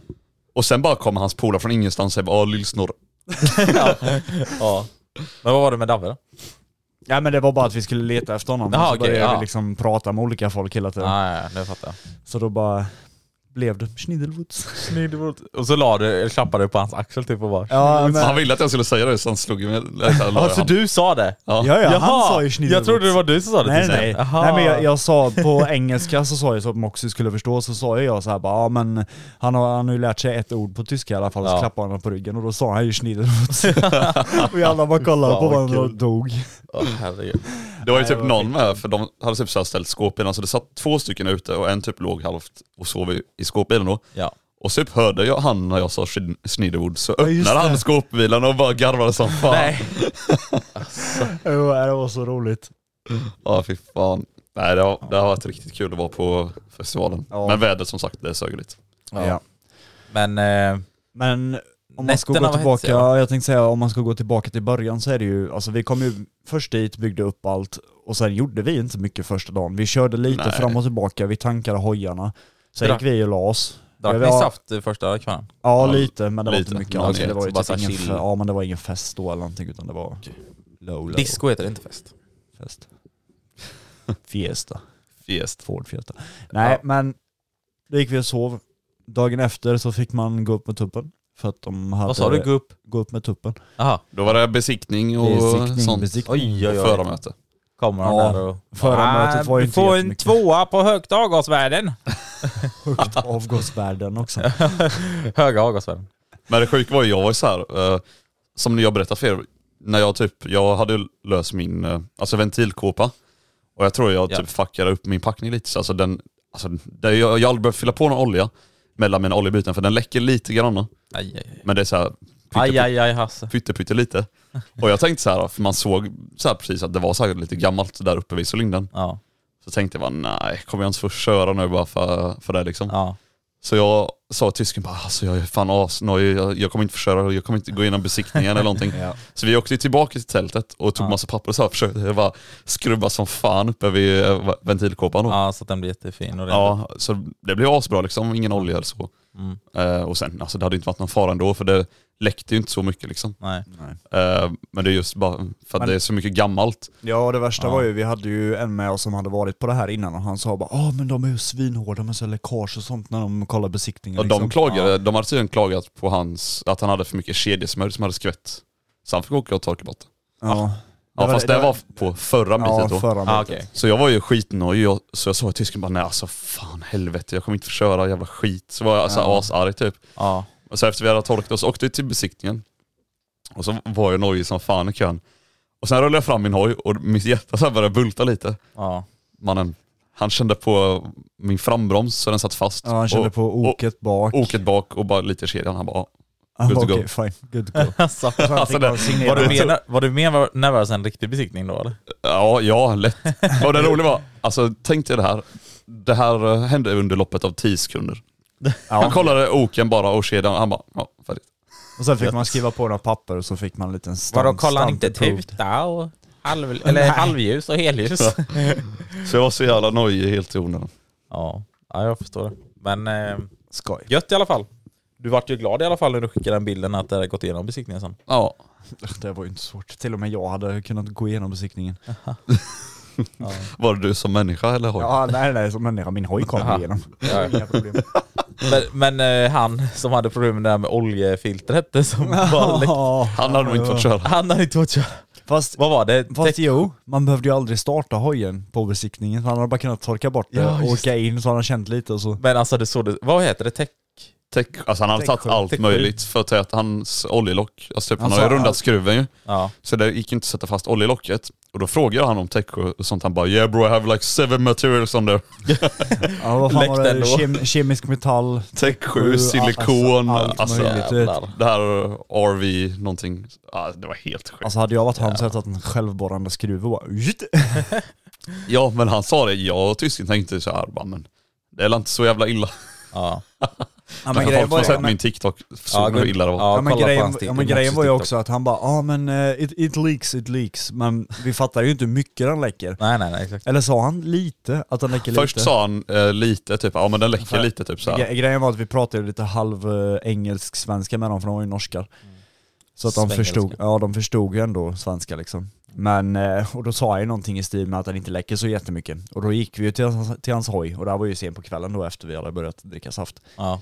[SPEAKER 3] Och sen bara kommer hans polare från ingenstans och säger bara "Ah, lill-snorre.
[SPEAKER 1] ja. Men vad var det med Dabbe då?
[SPEAKER 2] Ja men det var bara att vi skulle leta efter honom
[SPEAKER 1] Jaha,
[SPEAKER 2] och så
[SPEAKER 1] okej,
[SPEAKER 2] började
[SPEAKER 1] ja.
[SPEAKER 2] vi liksom prata med olika folk hela tiden.
[SPEAKER 1] Ja, ja, ja, nu fattar jag.
[SPEAKER 2] Så då bara blev det schnidelwutz.
[SPEAKER 1] Och så la du, eller klappade du på hans axel typ och bara
[SPEAKER 2] Ja, men-
[SPEAKER 3] Han ville att jag skulle säga det så han slog mig. eller så här, la
[SPEAKER 1] Ja,
[SPEAKER 3] jag
[SPEAKER 1] för
[SPEAKER 3] hand.
[SPEAKER 1] du sa det?
[SPEAKER 3] Ja.
[SPEAKER 2] Ja, ja, han
[SPEAKER 1] Jaha,
[SPEAKER 2] sa ju
[SPEAKER 1] Jag trodde det var du som sa det
[SPEAKER 2] Nej
[SPEAKER 1] till
[SPEAKER 2] nej,
[SPEAKER 1] exempel. Jaha.
[SPEAKER 2] nej men jag, jag sa på engelska så sa jag så att Moxie skulle förstå, så sa jag så här bara ja men han har, han har ju lärt sig ett ord på tyska i alla fall,
[SPEAKER 1] Ja.
[SPEAKER 2] så klappade han honom på ryggen och då sa han ju schnidelwutz. och alla bara kollade
[SPEAKER 1] Fan,
[SPEAKER 2] på
[SPEAKER 1] vad
[SPEAKER 2] varandra och
[SPEAKER 1] kul.
[SPEAKER 2] dog.
[SPEAKER 1] Åh, herregud.
[SPEAKER 3] Det var ju typ någon med, för de hade typ så här ställt skåpbilen, så det satt två stycken ute och en typ låg halvt och sov i, i skåpbilen då.
[SPEAKER 1] Ja.
[SPEAKER 3] Och så typ hörde jag han när jag sa Schn- Schniderwood, så
[SPEAKER 2] just
[SPEAKER 3] öppnade
[SPEAKER 2] det.
[SPEAKER 3] han skåpbilen och bara garvade som fan.
[SPEAKER 1] Nej.
[SPEAKER 2] Jo, det var så roligt.
[SPEAKER 3] Ja fy fan. Nej det har, det har varit riktigt kul att vara på festivalen.
[SPEAKER 2] Ja.
[SPEAKER 3] Men vädret som sagt, det sög lite.
[SPEAKER 1] Ja. Men, eh,
[SPEAKER 2] Men om man ska
[SPEAKER 1] Nätterna
[SPEAKER 2] gå
[SPEAKER 1] var
[SPEAKER 2] tillbaka,
[SPEAKER 1] hetsiga,
[SPEAKER 2] jag tänkte säga om man ska gå tillbaka till början så är det ju, alltså vi kom ju först dit, byggde upp allt och sen gjorde vi inte mycket första dagen. Vi körde lite
[SPEAKER 3] Nej.
[SPEAKER 2] fram och tillbaka, vi tankade hojarna. Sen
[SPEAKER 1] Drack-
[SPEAKER 2] gick vi och la oss.
[SPEAKER 1] drack
[SPEAKER 2] Ja,
[SPEAKER 1] ni
[SPEAKER 2] vi har-
[SPEAKER 1] saft första kvällen?
[SPEAKER 2] Ja,
[SPEAKER 3] Ja,
[SPEAKER 2] lite, men det var
[SPEAKER 3] lite.
[SPEAKER 2] inte mycket.
[SPEAKER 3] Ja,
[SPEAKER 2] Alltså,
[SPEAKER 3] det
[SPEAKER 2] det var ju
[SPEAKER 1] bara
[SPEAKER 2] typ
[SPEAKER 1] så här
[SPEAKER 2] ingen,
[SPEAKER 1] chill.
[SPEAKER 2] fe- ja, men det var ingen fest då eller någonting utan det var low, low
[SPEAKER 1] Disco heter det inte fest.
[SPEAKER 2] fest. Fiesta,
[SPEAKER 3] Fiest.
[SPEAKER 2] Ford Fiesta. Nej
[SPEAKER 1] Ja.
[SPEAKER 2] men då gick vi och sov. Dagen efter så fick man gå upp med tuppen. För att de hade...
[SPEAKER 1] Vad sa du? Gå upp?
[SPEAKER 2] Gå upp med tuppen.
[SPEAKER 1] Jaha.
[SPEAKER 3] Då var det besiktning och
[SPEAKER 2] Besiktning,
[SPEAKER 3] sånt.
[SPEAKER 2] besiktning.
[SPEAKER 1] Oj, oj, oj.
[SPEAKER 3] Förarmöte.
[SPEAKER 1] Kommer han
[SPEAKER 2] Ja,
[SPEAKER 1] där och...
[SPEAKER 2] förarmötet typ var ju
[SPEAKER 1] du
[SPEAKER 2] inte
[SPEAKER 1] får en
[SPEAKER 2] jättemycket.
[SPEAKER 1] tvåa på högt avgasvärden.
[SPEAKER 2] Högt avgasvärden också.
[SPEAKER 1] Höga avgasvärden.
[SPEAKER 3] Men det sjuka var ju, jag var ju så här, eh, som jag berättade för er, när jag typ, jag hade ju löst min, eh, alltså ventilkåpa. Och jag tror jag
[SPEAKER 1] Ja.
[SPEAKER 3] typ fuckade upp min packning lite. Så alltså den, alltså, det, jag, jag har aldrig behövt fylla på någon olja mellan mina oljebyten för den läcker lite grann.
[SPEAKER 1] Aj, aj, aj.
[SPEAKER 3] Men det är såhär
[SPEAKER 1] Aj, aj, aj, Hasse.
[SPEAKER 3] pytte lite. Och jag tänkte så här, för man såg så här precis att det var säkert lite gammalt där uppe vid cylindern.
[SPEAKER 1] Ja,
[SPEAKER 3] Så tänkte jag bara, nej, kommer jag inte få köra nu bara för, för det liksom.
[SPEAKER 1] ja.
[SPEAKER 3] Så jag sa till tysken bara, alltså jag är fan asnojig, jag, jag kommer inte få köra, jag kommer inte gå igenom besiktningen eller någonting. Så vi åkte tillbaka till tältet och tog
[SPEAKER 1] Ja.
[SPEAKER 3] massa papper och så här, försökte bara skrubba som fan uppe vid eh, ventilkåpan då. Ja.
[SPEAKER 1] ja så att den blir jättefin och ren.
[SPEAKER 3] så det blev asbra liksom, ingen olja eller så.
[SPEAKER 1] Mm.
[SPEAKER 3] Eh, och sen, alltså det hade inte varit någon fara ändå för det läckte ju inte så mycket liksom.
[SPEAKER 1] Nej.
[SPEAKER 3] Eh, men det är just bara för att
[SPEAKER 2] Men-
[SPEAKER 3] det är så mycket gammalt.
[SPEAKER 2] Ja och det värsta
[SPEAKER 1] Ja.
[SPEAKER 2] var ju, vi hade ju en med oss som hade varit på det här innan och han sa bara ah men de är ju svinhårda med så här läckage och sånt när de kollar besiktningen
[SPEAKER 3] Och de
[SPEAKER 2] liksom.
[SPEAKER 3] klagade, de hade tydligen klagat på hans, att han hade för mycket kedjesmörj som hade skvätt. Så han fick åka och torka bort det.
[SPEAKER 2] Ja,
[SPEAKER 3] Ja
[SPEAKER 2] Det var-
[SPEAKER 3] fast
[SPEAKER 2] det
[SPEAKER 3] det,
[SPEAKER 2] var-
[SPEAKER 3] var på förra
[SPEAKER 2] ja
[SPEAKER 3] bitet då.
[SPEAKER 2] förra
[SPEAKER 1] Ah,
[SPEAKER 2] mötet.
[SPEAKER 1] okej.
[SPEAKER 3] Så jag var ju skitnojig, jag- så jag sa till tysken bara nej alltså fan helvete jag kommer inte få köra jävla skit. Så var jag alltså
[SPEAKER 2] Ja.
[SPEAKER 3] asarg typ.
[SPEAKER 1] Ja.
[SPEAKER 3] Och så efter vi hade torkat oss åkte vi till besiktningen. Och så var jag nojig som fan i kön. Och sen rullade jag fram min hoj och mitt hjärta så här började bulta lite.
[SPEAKER 1] Ja.
[SPEAKER 3] Mannen, han kände på min frambroms så den satt fast.
[SPEAKER 2] Ja han kände
[SPEAKER 3] och,
[SPEAKER 2] på oket bak.
[SPEAKER 3] Oket bak och bara lite i kedjan. Han bara,
[SPEAKER 2] Ah,
[SPEAKER 3] good to
[SPEAKER 2] Okej
[SPEAKER 3] go.
[SPEAKER 2] fine, good to go.
[SPEAKER 1] Alltså,
[SPEAKER 3] alltså, det,
[SPEAKER 1] var, du mer, ner- var du mer nervös än riktig besiktning då eller?
[SPEAKER 3] Ja, ja, lätt. Och det roliga var, alltså tänk dig det här. Det här eh, hände under loppet av 10 sekunder. Han kollade oken bara och kedjan, han bara, ja färdigt.
[SPEAKER 2] Och sen fick man skriva på några papper och så fick man en liten stamp.
[SPEAKER 1] Vadå, kollar han
[SPEAKER 2] stamp
[SPEAKER 1] inte
[SPEAKER 2] approved.
[SPEAKER 1] tuta och halv, eller halvljus och helljus? Ja.
[SPEAKER 3] Så jag var så jävla nojig helt i onödan.
[SPEAKER 1] ja. jag förstår det. Men eh,
[SPEAKER 2] Skoj.
[SPEAKER 1] gött i alla fall. Du vart ju glad i alla fall när du skickade den bilden att det hade gått igenom besiktningen sen.
[SPEAKER 3] Ja,
[SPEAKER 2] Det var ju inte svårt. Till och med jag hade kunnat gå igenom besiktningen.
[SPEAKER 3] var det du som människa eller hoj?
[SPEAKER 2] Ja, nej nej, som människa. Min hoj kom igenom. Inga problem.
[SPEAKER 1] Men, men eh, han som hade problem med det här med oljefiltret som bara läckte.
[SPEAKER 3] Han hade nog inte fått köra.
[SPEAKER 1] Han hade inte fått köra.
[SPEAKER 2] Fast,
[SPEAKER 1] Vad var det?
[SPEAKER 2] fast
[SPEAKER 1] Täck-
[SPEAKER 2] jo, man behövde ju aldrig starta hojen på besiktningen. Han hade bara kunnat torka bort det
[SPEAKER 3] Ja,
[SPEAKER 2] och
[SPEAKER 3] just
[SPEAKER 2] åka in så hade han känt lite och så.
[SPEAKER 1] Men alltså det såg det, vad heter det? Täck?
[SPEAKER 3] Täck, alltså han hade tagit
[SPEAKER 2] Täckskydd,
[SPEAKER 3] allt
[SPEAKER 1] täckskydd.
[SPEAKER 3] möjligt för att täta hans oljelock. Alltså typ, han
[SPEAKER 2] Alltså,
[SPEAKER 3] har ju rundat
[SPEAKER 2] allt.
[SPEAKER 3] skruven ju.
[SPEAKER 1] Ja.
[SPEAKER 3] Så det gick inte att sätta fast olja i locket. Och då frågade han om täckskydd och sånt. Han bara yeah bro I have like seven materials on there.
[SPEAKER 2] Ja, vad fan
[SPEAKER 1] Läckte
[SPEAKER 2] var det?
[SPEAKER 1] ändå.
[SPEAKER 2] Kem, kemisk metall.
[SPEAKER 3] Täckskydd, silikon,
[SPEAKER 2] Alltså, allt
[SPEAKER 3] alltså,
[SPEAKER 2] möjligt.
[SPEAKER 1] Jävlar.
[SPEAKER 3] Det här RV någonting, ah, det var helt sjukt.
[SPEAKER 2] Alltså hade jag varit han så hade jag tagit en självborrande skruv och bara...
[SPEAKER 3] Ja men han sa det, jag och tysken tänkte så här, bara, men det är väl inte så jävla illa.
[SPEAKER 1] Ja.
[SPEAKER 2] Ja,
[SPEAKER 3] Men folk som har sett min TikTok
[SPEAKER 1] Ja,
[SPEAKER 3] såg hur
[SPEAKER 1] gud.
[SPEAKER 3] illa det var.
[SPEAKER 1] Ja.
[SPEAKER 2] Ja, men
[SPEAKER 1] kolla på
[SPEAKER 2] grejen,
[SPEAKER 1] hans TikTok.
[SPEAKER 2] ja, men grejen var ju
[SPEAKER 1] TikTok.
[SPEAKER 2] också att han bara ja men eh, it, it leaks, it leaks. Men vi fattar ju inte hur mycket den läcker.
[SPEAKER 1] Nej nej nej exakt.
[SPEAKER 2] Eller sa han lite? Att den läcker
[SPEAKER 3] Först
[SPEAKER 2] lite?
[SPEAKER 3] sa han eh, lite typ, ja men den läcker lite typ så här.
[SPEAKER 2] Gre- Grejen var att vi pratade lite halv eh, engelsk-svenska med dem för de var ju norskar. Så att de
[SPEAKER 1] Svengelska.
[SPEAKER 2] förstod, ja, de förstod ju ändå svenska liksom. Men, eh, och då sa jag ju någonting i stil med att den inte läcker så jättemycket. Och då gick vi ju till hans, till hans hoj, och det här var ju sen på kvällen då efter vi hade börjat dricka saft.
[SPEAKER 1] Ja.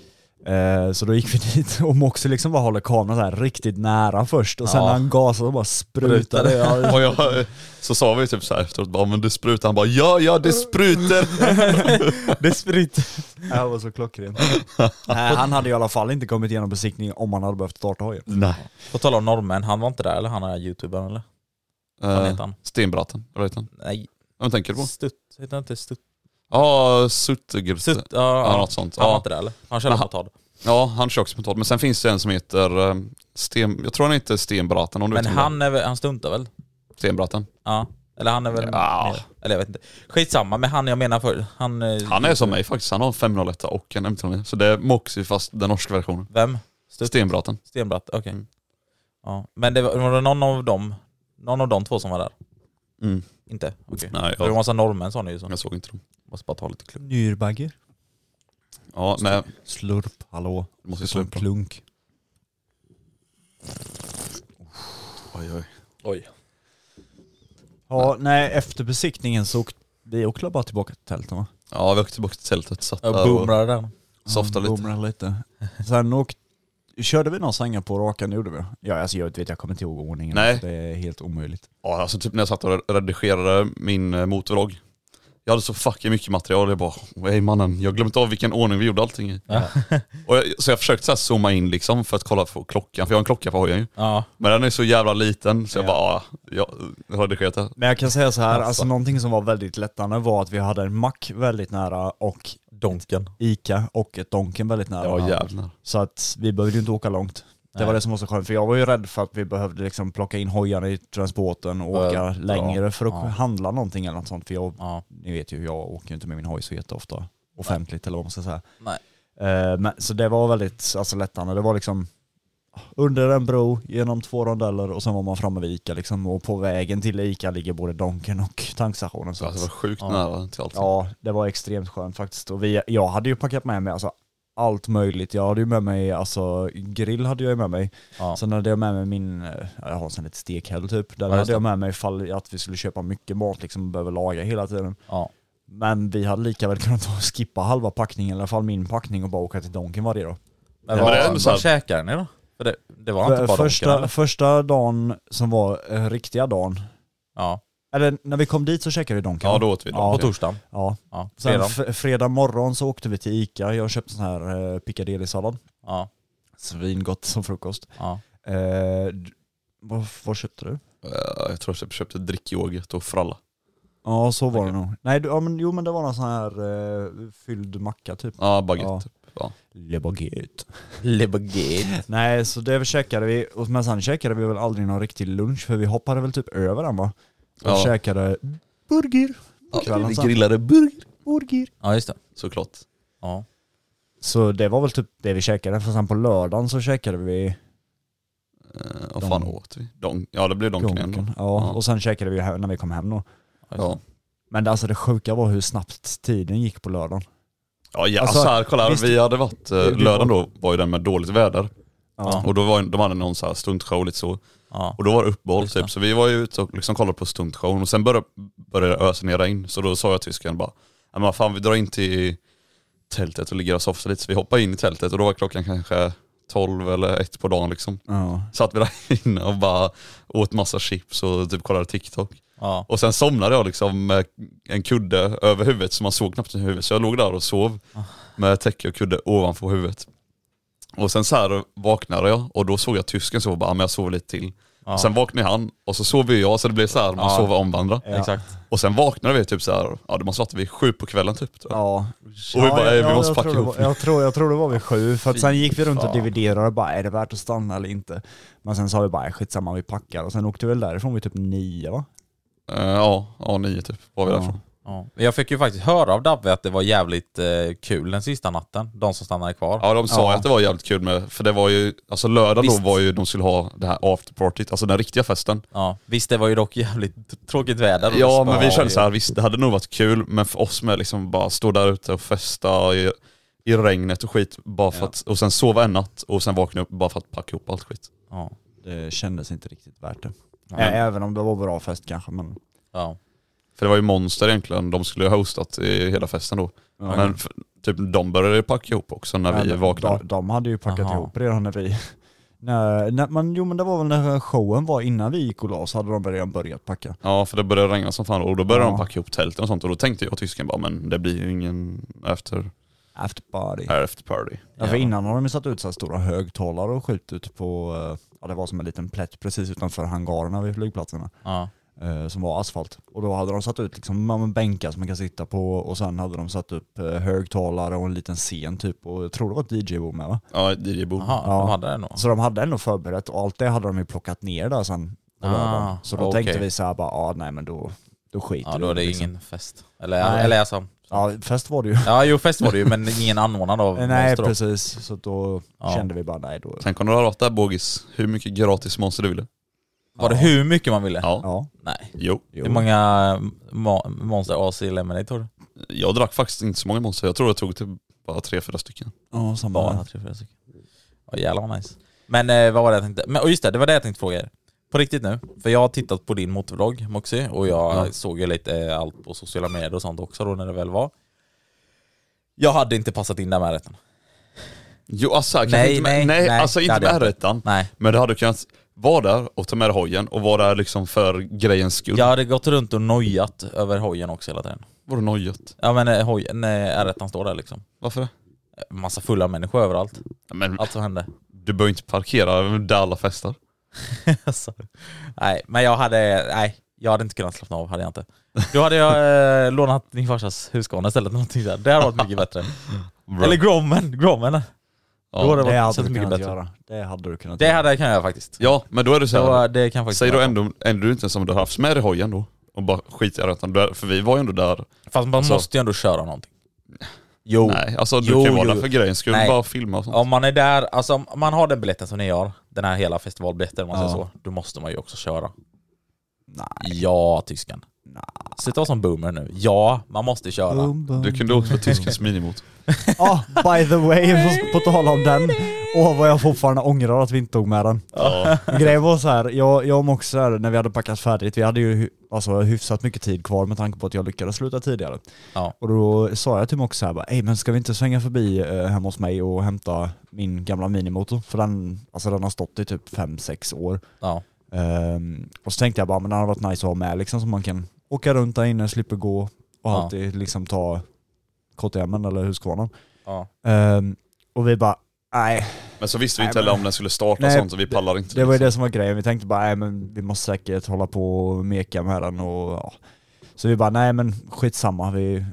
[SPEAKER 2] Eh, så då gick vi dit och Moxie liksom bara håller kameran så här riktigt nära först och sen
[SPEAKER 1] Ja.
[SPEAKER 2] när han gasade och bara sprutade. Ja,
[SPEAKER 3] Och jag, eh, så sa vi typ så här efteråt, bara, men det sprutar. Han bara, ja ja det sprutar.
[SPEAKER 1] Det spritt.
[SPEAKER 2] det var så klockrent. Nej, han hade ju i alla fall inte kommit igenom besiktningen om han hade behövt starta hojen.
[SPEAKER 3] Nej.
[SPEAKER 1] På tal om norrmän, han var inte där eller han är youtubern eller? Vad
[SPEAKER 3] Uh,
[SPEAKER 1] heter han?
[SPEAKER 3] Stenbratten, vad heter han?
[SPEAKER 1] Nej,
[SPEAKER 3] Vem tänker du på?
[SPEAKER 1] Stutt. Heter han inte Stutt?
[SPEAKER 3] Ja, Suttegrutte.
[SPEAKER 1] Stutt? Ja,
[SPEAKER 3] Ja,
[SPEAKER 1] ja.
[SPEAKER 3] något sånt.
[SPEAKER 1] Han var
[SPEAKER 3] Ja.
[SPEAKER 1] inte där eller? Han körde
[SPEAKER 3] Aha.
[SPEAKER 1] motard.
[SPEAKER 3] ja, han kör också mentalt. Men sen finns det en som heter, eh, Sten, jag tror han heter Stenbratten om du
[SPEAKER 1] Men
[SPEAKER 3] vet vem det är.
[SPEAKER 1] han, är, väl- han stuntar väl?
[SPEAKER 3] Stenbratten.
[SPEAKER 1] Ja. Eller han är väl...
[SPEAKER 3] Ja.
[SPEAKER 1] Eller jag vet inte. Skitsamma, men han jag menar för han... eh,
[SPEAKER 3] Han är som mig faktiskt, han har en 501 och en M309. Så det är Moxie fast den norska versionen.
[SPEAKER 1] Vem? Stutt?
[SPEAKER 3] Stenbraten.
[SPEAKER 1] Stenbratt, okej.
[SPEAKER 3] Mm.
[SPEAKER 1] Ja. Men det var, var det någon av dem, någon av de två som var där?
[SPEAKER 3] Mm.
[SPEAKER 1] Inte? Okej.
[SPEAKER 3] Nej,
[SPEAKER 1] Det var en
[SPEAKER 3] jag,
[SPEAKER 1] massa norrmän sa ni ju så.
[SPEAKER 3] jag såg inte dem.
[SPEAKER 1] Måste bara ta lite klubb.
[SPEAKER 2] Nyrbagge.
[SPEAKER 3] Ja, nej,
[SPEAKER 2] Slurp, hallå.
[SPEAKER 3] det måste ju
[SPEAKER 2] Som
[SPEAKER 3] sluta.
[SPEAKER 2] klunk.
[SPEAKER 3] Oj, oj.
[SPEAKER 1] Oj.
[SPEAKER 2] Ja, nej, efter besiktningen så åkte vi åkte bara tillbaka till tälten
[SPEAKER 1] Mm.
[SPEAKER 2] va?
[SPEAKER 3] Ja, vi åkte tillbaka till tältet, satt
[SPEAKER 1] Jag
[SPEAKER 3] där och
[SPEAKER 1] boomrade den.
[SPEAKER 3] softade lite.
[SPEAKER 2] Boomrade lite. Sen åkte, körde vi några svängar på rakan, det gjorde vi. Ja, alltså jag vet, jag kommer inte ihåg ordningen.
[SPEAKER 3] Nej.
[SPEAKER 2] Det är helt omöjligt.
[SPEAKER 3] Ja, alltså typ när jag satt och redigerade min eh, motorvlogg. Jag hade så fucking mycket material, jag bara hej mannen, jag har glömt av vilken ordning vi gjorde allting i. Och jag, så jag försökte så här zooma in liksom för att kolla på klockan, för jag har en klocka på hojen ju.
[SPEAKER 1] Ja.
[SPEAKER 3] Men den är så jävla liten så jag bara, ah, jag jag har redigerat det.
[SPEAKER 2] Men jag kan säga så här, alltså.
[SPEAKER 1] Alltså.
[SPEAKER 2] någonting som var väldigt lättande var att vi hade en mack väldigt nära och
[SPEAKER 1] Donken.
[SPEAKER 2] Ica och ett Donken väldigt nära.
[SPEAKER 3] Ja jävlar.
[SPEAKER 2] Så att vi behövde ju inte åka långt. Det var
[SPEAKER 1] Nej.
[SPEAKER 2] det som var så skönt, för jag var ju rädd för att vi behövde liksom plocka in hojarna i transporten och
[SPEAKER 1] Ja,
[SPEAKER 2] åka
[SPEAKER 1] ja.
[SPEAKER 2] längre för att
[SPEAKER 1] Ja.
[SPEAKER 2] handla någonting eller något sånt. För jag,
[SPEAKER 1] Ja.
[SPEAKER 2] ni vet ju, jag åker ju inte med min hoj så jätteofta offentligt eller vad man ska säga.
[SPEAKER 1] Nej.
[SPEAKER 2] Eh, men, så det var väldigt alltså, lättande. Det var liksom under en bro, genom två rondeller och sen var man framme vid Ica liksom. Och på vägen till Ica ligger både Donken och tankstationen. Så
[SPEAKER 3] Så alltså, det var
[SPEAKER 2] att,
[SPEAKER 3] sjukt
[SPEAKER 1] Ja.
[SPEAKER 3] nära till allting.
[SPEAKER 2] ja, det var extremt skönt faktiskt. Och vi, jag hade ju packat med mig alltså, allt möjligt. Jag hade ju med mig, alltså grill hade jag ju med mig.
[SPEAKER 1] Ja.
[SPEAKER 2] Sen hade jag med mig min, eh, jag har en sån liten stekhäll typ. Den
[SPEAKER 1] Ja, just
[SPEAKER 2] hade jag
[SPEAKER 1] det.
[SPEAKER 2] med mig ifall att vi skulle köpa mycket mat liksom och behöver laga hela tiden.
[SPEAKER 1] Ja.
[SPEAKER 2] Men vi hade lika väl kunnat ta och skippa halva packningen, i alla fall min packning och bara åka till Donken varje dag.
[SPEAKER 1] Men
[SPEAKER 2] Ja,
[SPEAKER 1] vad,
[SPEAKER 3] men det är ändå så här-
[SPEAKER 1] vad käkar ni då? För det, det var inte bara Donken?
[SPEAKER 2] första,
[SPEAKER 1] eller?
[SPEAKER 2] första dagen som var eh, riktiga dagen,
[SPEAKER 1] Ja.
[SPEAKER 2] eller när vi kom dit så käkade vi Donken.
[SPEAKER 3] Ja då åt vi
[SPEAKER 2] Ja.
[SPEAKER 1] På
[SPEAKER 3] det.
[SPEAKER 1] torsdagen?
[SPEAKER 2] ja.
[SPEAKER 1] Ja.
[SPEAKER 2] Sen
[SPEAKER 1] Fredagen?
[SPEAKER 2] f- fredag morgon så åkte vi till Ica, jag köpte sån här eh, piccadilly-sallad.
[SPEAKER 1] Ja.
[SPEAKER 2] Svingott som frukost.
[SPEAKER 1] ja.
[SPEAKER 2] Eh, d- vad, vad köpte du?
[SPEAKER 3] Eh, Jag tror jag köpte drickyoghurt och fralla.
[SPEAKER 2] Ja så var
[SPEAKER 3] Okej.
[SPEAKER 2] det nog. Nej du, ja, men, jo men det var någon sån här eh, fylld macka typ.
[SPEAKER 3] Ja baguette.
[SPEAKER 2] Ja.
[SPEAKER 3] typ. Ja.
[SPEAKER 2] Le baguette.
[SPEAKER 1] Le baguette.
[SPEAKER 2] Nej så det käkade vi, och, men sen käkade vi väl aldrig någon riktig lunch för vi hoppade väl typ över den va? Och
[SPEAKER 3] Ja.
[SPEAKER 2] käkade burger.
[SPEAKER 3] Ja,
[SPEAKER 2] Kvällen
[SPEAKER 3] vi
[SPEAKER 2] sen.
[SPEAKER 3] grillade burgare.
[SPEAKER 2] Burger.
[SPEAKER 1] Ja just det.
[SPEAKER 3] Såklart.
[SPEAKER 1] Ja.
[SPEAKER 2] Så det var väl typ det vi käkade, för sen på lördagen så käkade vi
[SPEAKER 3] Eh, Vad fan
[SPEAKER 2] Donk.
[SPEAKER 3] åt vi? Donk. Ja det blev donken igen.
[SPEAKER 2] donken.
[SPEAKER 3] då.
[SPEAKER 2] Ja, och sen käkade vi he- när vi kom hem då.
[SPEAKER 1] Ja, just
[SPEAKER 3] Ja.
[SPEAKER 1] det.
[SPEAKER 2] Men det, alltså det sjuka var hur snabbt tiden gick på lördagen.
[SPEAKER 3] Ja, ja
[SPEAKER 2] Alltså,
[SPEAKER 3] så här, kolla här,
[SPEAKER 2] visst-
[SPEAKER 3] vi hade varit, eh,
[SPEAKER 2] Det- det-
[SPEAKER 3] lördagen då var ju den med dåligt väder
[SPEAKER 1] Ja.
[SPEAKER 2] Alltså,
[SPEAKER 3] och då var, ju- de hade någon så här stuntshow lite så
[SPEAKER 1] Ja.
[SPEAKER 3] och då var det uppehåll
[SPEAKER 1] Just det.
[SPEAKER 3] typ så vi var ju ute och liksom kollade på stuntshowen och sen började, började det ösa ner regn så då sa jag till tysken bara, "Ja, men vad fan vi drar in till tältet och ligger och softar lite så vi hoppar in i tältet och då var klockan kanske 12 eller 1 på dagen liksom.
[SPEAKER 2] Ja.
[SPEAKER 3] Satt vi där inne och bara åt massa chips och typ kollade TikTok.
[SPEAKER 1] Ja.
[SPEAKER 3] Och sen somnade jag liksom med en kudde över huvudet så man såg knappt huvudet. Så jag låg där och sov
[SPEAKER 1] Ah.
[SPEAKER 3] med täcke och kudde ovanför huvudet. Och sen så här vaknade jag och då såg jag tysken sova, bara, "Ah, men jag sover lite till.
[SPEAKER 1] Ja.
[SPEAKER 3] Sen vaknade han och så sov ju jag så det blev så här, man
[SPEAKER 1] Ja.
[SPEAKER 3] sover om varandra.
[SPEAKER 1] Exakt.
[SPEAKER 3] Och sen vaknade vi typ så här, ja det måste varit vid sju på kvällen typ. Då.
[SPEAKER 2] Ja.
[SPEAKER 3] Och vi bara, "Eh, vi
[SPEAKER 2] jag-
[SPEAKER 3] måste
[SPEAKER 2] jag,
[SPEAKER 3] packa
[SPEAKER 2] tror det
[SPEAKER 3] ihop
[SPEAKER 2] var, jag, tror, jag tror det var vid sju, för att sen gick vi runt och
[SPEAKER 1] fan.
[SPEAKER 2] dividerade och bara är det värt att stanna eller inte? Men sen sa vi bara "Äh, skitsamma vi packar och sen åkte vi väl därifrån vid typ nio va?
[SPEAKER 3] Eh, Ja, ja nio typ var vi
[SPEAKER 2] Ja.
[SPEAKER 3] därifrån.
[SPEAKER 1] Ja. Jag fick ju faktiskt höra av Dabbe att det var jävligt eh, kul den sista natten, de som stannade kvar.
[SPEAKER 3] Ja de sa
[SPEAKER 2] Ja.
[SPEAKER 3] ju att det var jävligt kul med, för det var ju, alltså lördagen
[SPEAKER 1] Visst.
[SPEAKER 3] då var ju de skulle ha det här afterpartyt, alltså den riktiga festen.
[SPEAKER 1] Ja. Visst det var ju dock jävligt t- tråkigt väder. och
[SPEAKER 3] Ja
[SPEAKER 1] det
[SPEAKER 3] men
[SPEAKER 1] spöade
[SPEAKER 3] vi kände
[SPEAKER 1] ju.
[SPEAKER 3] så här, visst det hade nog varit kul men för oss med liksom bara stå där ute och festa i, i regnet och skit bara för
[SPEAKER 1] Ja.
[SPEAKER 3] att, och sen sova en natt och sen vakna upp bara för att packa ihop allt skit.
[SPEAKER 1] Ja.
[SPEAKER 2] Det kändes inte riktigt värt det.
[SPEAKER 1] Ja.
[SPEAKER 2] Ä- Även om det var bra fest kanske men...
[SPEAKER 1] Ja.
[SPEAKER 3] För det var ju Monster egentligen, de skulle ju ha hostat i hela festen då. Men f- typ de började ju packa ihop också när vi
[SPEAKER 2] Men
[SPEAKER 3] vaknade.
[SPEAKER 2] De, de hade ju packat
[SPEAKER 1] Aha.
[SPEAKER 2] ihop redan när vi... Nej, nej, men jo men det var väl när showen var innan vi gick och la oss hade de redan börjat packa.
[SPEAKER 3] Ja för det började regna som fan och då började
[SPEAKER 2] Ja.
[SPEAKER 3] de packa ihop tälten och sånt och då tänkte jag och tysken bara men det blir ju ingen after,
[SPEAKER 2] After party.
[SPEAKER 3] after party.
[SPEAKER 2] Ja, för innan har de ju satt ut så här stora högtalare och skjutit ut på, eh, ja det var som en liten plätt precis utanför hangarerna vid flygplatserna,
[SPEAKER 1] Ja.
[SPEAKER 2] eh, som var asfalt. Och då hade de satt ut liksom ja, men bänkar som man kan sitta på och sen hade de satt upp eh, högtalare och en liten scen typ och jag tror det var ett DJ-boom med va?
[SPEAKER 3] Ja DJ-bord.
[SPEAKER 1] Jaha,
[SPEAKER 2] Ja.
[SPEAKER 1] de hade det nog.
[SPEAKER 2] Så de hade ändå förberett och allt det hade de ju plockat ner där sen på
[SPEAKER 1] Ah,
[SPEAKER 2] lördagen. Så då
[SPEAKER 1] okej.
[SPEAKER 2] tänkte vi så här bara, ah, nej men då, då skiter
[SPEAKER 1] Ja
[SPEAKER 2] vi
[SPEAKER 1] då är det
[SPEAKER 2] liksom.
[SPEAKER 1] ingen fest. Eller,
[SPEAKER 2] Nej.
[SPEAKER 1] eller alltså,
[SPEAKER 2] Ja fest var det ju.
[SPEAKER 1] ja jo fest var det ju men ingen anordnad av
[SPEAKER 2] nej
[SPEAKER 1] Monster då.
[SPEAKER 2] precis, så då
[SPEAKER 1] Ja.
[SPEAKER 2] kände vi bara nej då.
[SPEAKER 3] Tänk om du hade varit där Bogis, hur mycket gratis monster du ville?
[SPEAKER 1] Var det hur mycket man ville?
[SPEAKER 3] Ja.
[SPEAKER 2] Ja.
[SPEAKER 1] Nej.
[SPEAKER 3] Jo.
[SPEAKER 1] Hur många ma- Monster AC Lemonade tror du?
[SPEAKER 3] Jag drack faktiskt inte så många monster, jag tror jag tog typ bara tre, fyra stycken.
[SPEAKER 2] Ja, samma
[SPEAKER 1] Bara
[SPEAKER 2] här.
[SPEAKER 1] tre, fyra stycken. Ja jävlar vad nice. Men eh, vad var det jag tänkte? Men, och just det, det var det jag tänkte fråga er. På riktigt nu, för jag har tittat på din motorvlogg Moxie och jag
[SPEAKER 3] Ja.
[SPEAKER 1] såg ju lite eh, allt på sociala medier och sånt också då när det väl var. Jag hade inte passat in där med rätten.
[SPEAKER 3] Jo alltså, kanske
[SPEAKER 1] Nej,
[SPEAKER 3] inte med,
[SPEAKER 1] nej,
[SPEAKER 3] nej,
[SPEAKER 1] nej,
[SPEAKER 3] alltså
[SPEAKER 1] det
[SPEAKER 3] inte
[SPEAKER 1] hade jag
[SPEAKER 3] med
[SPEAKER 1] inte.
[SPEAKER 3] rättan.
[SPEAKER 1] Nej.
[SPEAKER 3] Men det hade kunnat, Var där och ta med dig hojen och var där liksom för grejens skull.
[SPEAKER 1] Jag hade gått runt och nojat över hojen också hela tiden.
[SPEAKER 3] Var det nojigt?
[SPEAKER 1] Ja men eh, hojen, nej, R1 står där liksom.
[SPEAKER 3] Varför det?
[SPEAKER 1] Massa fulla människor överallt.
[SPEAKER 3] Ja, Men
[SPEAKER 1] Allt som hände.
[SPEAKER 3] du behöver inte parkera där alla festar.
[SPEAKER 1] Alltså, nej, men jag hade, nej, jag hade inte kunnat slappna av, hade jag inte. Då hade jag eh, lånat din farsas Husqvarna istället, någonting sådär. Det hade varit mycket bättre. Eller Grommen, Grommen. Då hade det
[SPEAKER 2] Det
[SPEAKER 1] varit
[SPEAKER 2] hade
[SPEAKER 1] känts
[SPEAKER 2] du
[SPEAKER 1] mycket
[SPEAKER 2] kunnat
[SPEAKER 1] bättre.
[SPEAKER 2] göra. Det hade du kunnat
[SPEAKER 1] Det hade jag kunnat göra faktiskt.
[SPEAKER 3] Ja, men då är det så
[SPEAKER 1] Det,
[SPEAKER 3] här.
[SPEAKER 1] var, det kan jag faktiskt
[SPEAKER 3] Säg då
[SPEAKER 1] göra.
[SPEAKER 3] ändå, ändå inte ens om du har haft med dig hojen då och bara skit i rötan. Du är- För vi var ju ändå där.
[SPEAKER 1] Fast man
[SPEAKER 3] Alltså-
[SPEAKER 1] måste ju ändå köra någonting. Jo.
[SPEAKER 3] Nej, alltså du kan
[SPEAKER 1] Jo,
[SPEAKER 3] ju vara
[SPEAKER 1] jo.
[SPEAKER 3] där för grejens skull.
[SPEAKER 1] Nej.
[SPEAKER 3] Bara filma och sånt.
[SPEAKER 1] Om man är där, alltså om man har den biljetten som ni har, den här hela festivalbiljetten om man säger
[SPEAKER 2] Ja.
[SPEAKER 1] så, då måste man ju också köra. Nej. Ja, tysken. Sluta vara som boomer nu. Ja, man måste köra.
[SPEAKER 3] Du kunde åkt för tyskens minimot.
[SPEAKER 2] Ah, by the way, på- på tal om den. Åh vad jag fortfarande ångrar att vi inte tog med den.
[SPEAKER 3] Ja.
[SPEAKER 2] Grejen var så här, jag, jag och Mox så här, när vi hade packat färdigt, vi hade ju hy- alltså, hyfsat mycket tid kvar med tanke på att jag lyckades sluta tidigare.
[SPEAKER 1] Ja.
[SPEAKER 2] Och då sa jag till Mox så här, bara, "Ey, men ska vi inte svänga förbi eh, hemma hos mig och hämta min gamla minimotor? För den, alltså, den har stått i typ 5-6 år.
[SPEAKER 1] Ja.
[SPEAKER 2] Ehm, och så tänkte jag bara, men det hade varit nice att ha med liksom så man kan åka runt där inne, slipper gå och
[SPEAKER 1] Ja.
[SPEAKER 2] alltid liksom ta KTM eller Husqvarna.
[SPEAKER 1] Ja.
[SPEAKER 2] Ehm, och vi bara, nej,
[SPEAKER 3] Men så visste vi
[SPEAKER 2] Nej,
[SPEAKER 3] inte heller om den skulle starta och
[SPEAKER 2] Nej,
[SPEAKER 3] sånt, så vi pallar inte. liksom.
[SPEAKER 2] det var ju
[SPEAKER 1] liksom.
[SPEAKER 2] det som var grejen. Vi tänkte bara, nej men vi måste säkert hålla på och meka med den och ja. Så vi bara, nej men skitsamma, vi,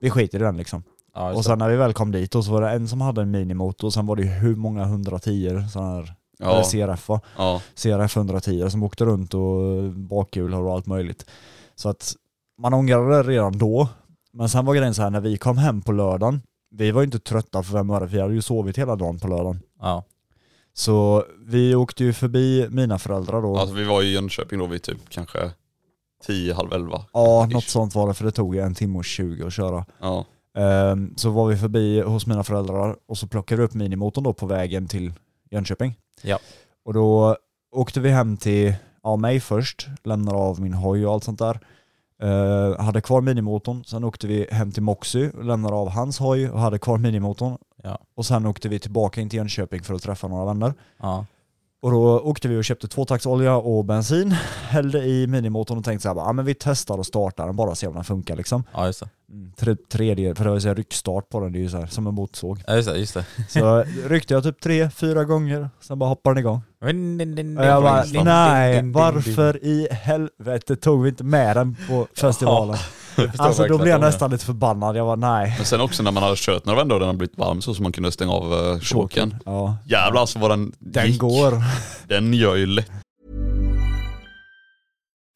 [SPEAKER 2] vi skiter i den liksom.
[SPEAKER 1] Ja, just
[SPEAKER 2] Och sen när vi väl kom dit och så var det en som hade en minimotor och sen var det ju hur många 110 sådana här, eller
[SPEAKER 3] Ja,
[SPEAKER 2] CRF va?
[SPEAKER 3] ja.
[SPEAKER 2] CRF 110 som åkte runt och bakhjul och allt möjligt. Så att man ångrade det redan då. Men sen var grejen så här när vi kom hem på lördagen, vi var ju inte trötta för vem öre, för vi hade ju sovit hela dagen på lördagen.
[SPEAKER 1] ja.
[SPEAKER 2] Så vi åkte ju förbi mina föräldrar då.
[SPEAKER 3] Alltså, vi var i Jönköping då vid typ kanske 10, halv 11.
[SPEAKER 2] ja,
[SPEAKER 3] ish.
[SPEAKER 2] något sånt var det för det tog ju en timme och 20 att köra.
[SPEAKER 3] Ja.
[SPEAKER 2] Ehm, så var vi förbi hos mina föräldrar och så plockade vi upp minimotorn då på vägen till Jönköping.
[SPEAKER 1] Ja.
[SPEAKER 2] Och då åkte vi hem till ja, mig först, lämnade av min hoj och allt sånt där. Eh, hade kvar minimotorn, sen åkte vi hem till Moxy, lämnade av hans hoj och hade kvar minimotorn.
[SPEAKER 1] Ja.
[SPEAKER 2] Och sen åkte vi tillbaka in till Jönköping för att träffa några vänner.
[SPEAKER 1] Ja.
[SPEAKER 2] Och då åkte vi och köpte tvåtaktsolja och bensin, hällde i minimotorn och tänkte så här, bara, ah, men vi testar och startar den bara och ser om den funkar liksom
[SPEAKER 1] ja, just det.
[SPEAKER 2] tre, tredje, för det var ju så här ryckstart på den, det är ju så här, som en motorsåg.
[SPEAKER 1] Ja, just det, just det.
[SPEAKER 2] Så ryckte jag typ tre, fyra gånger, sen bara hoppade den igång. Och jag
[SPEAKER 1] Jag
[SPEAKER 2] bara, nej, varför i helvete tog vi inte med den på festivalen? Alltså då blev jag nästan lite förbannad, jag var nej.
[SPEAKER 3] Men sen också när man hade kört några vändor och den hade blivit varm så, så man kunde stänga av uh, choken.
[SPEAKER 2] Ja.
[SPEAKER 3] Jävlar alltså vad den
[SPEAKER 2] Den
[SPEAKER 3] gick.
[SPEAKER 2] går.
[SPEAKER 3] Den gör ju lätt.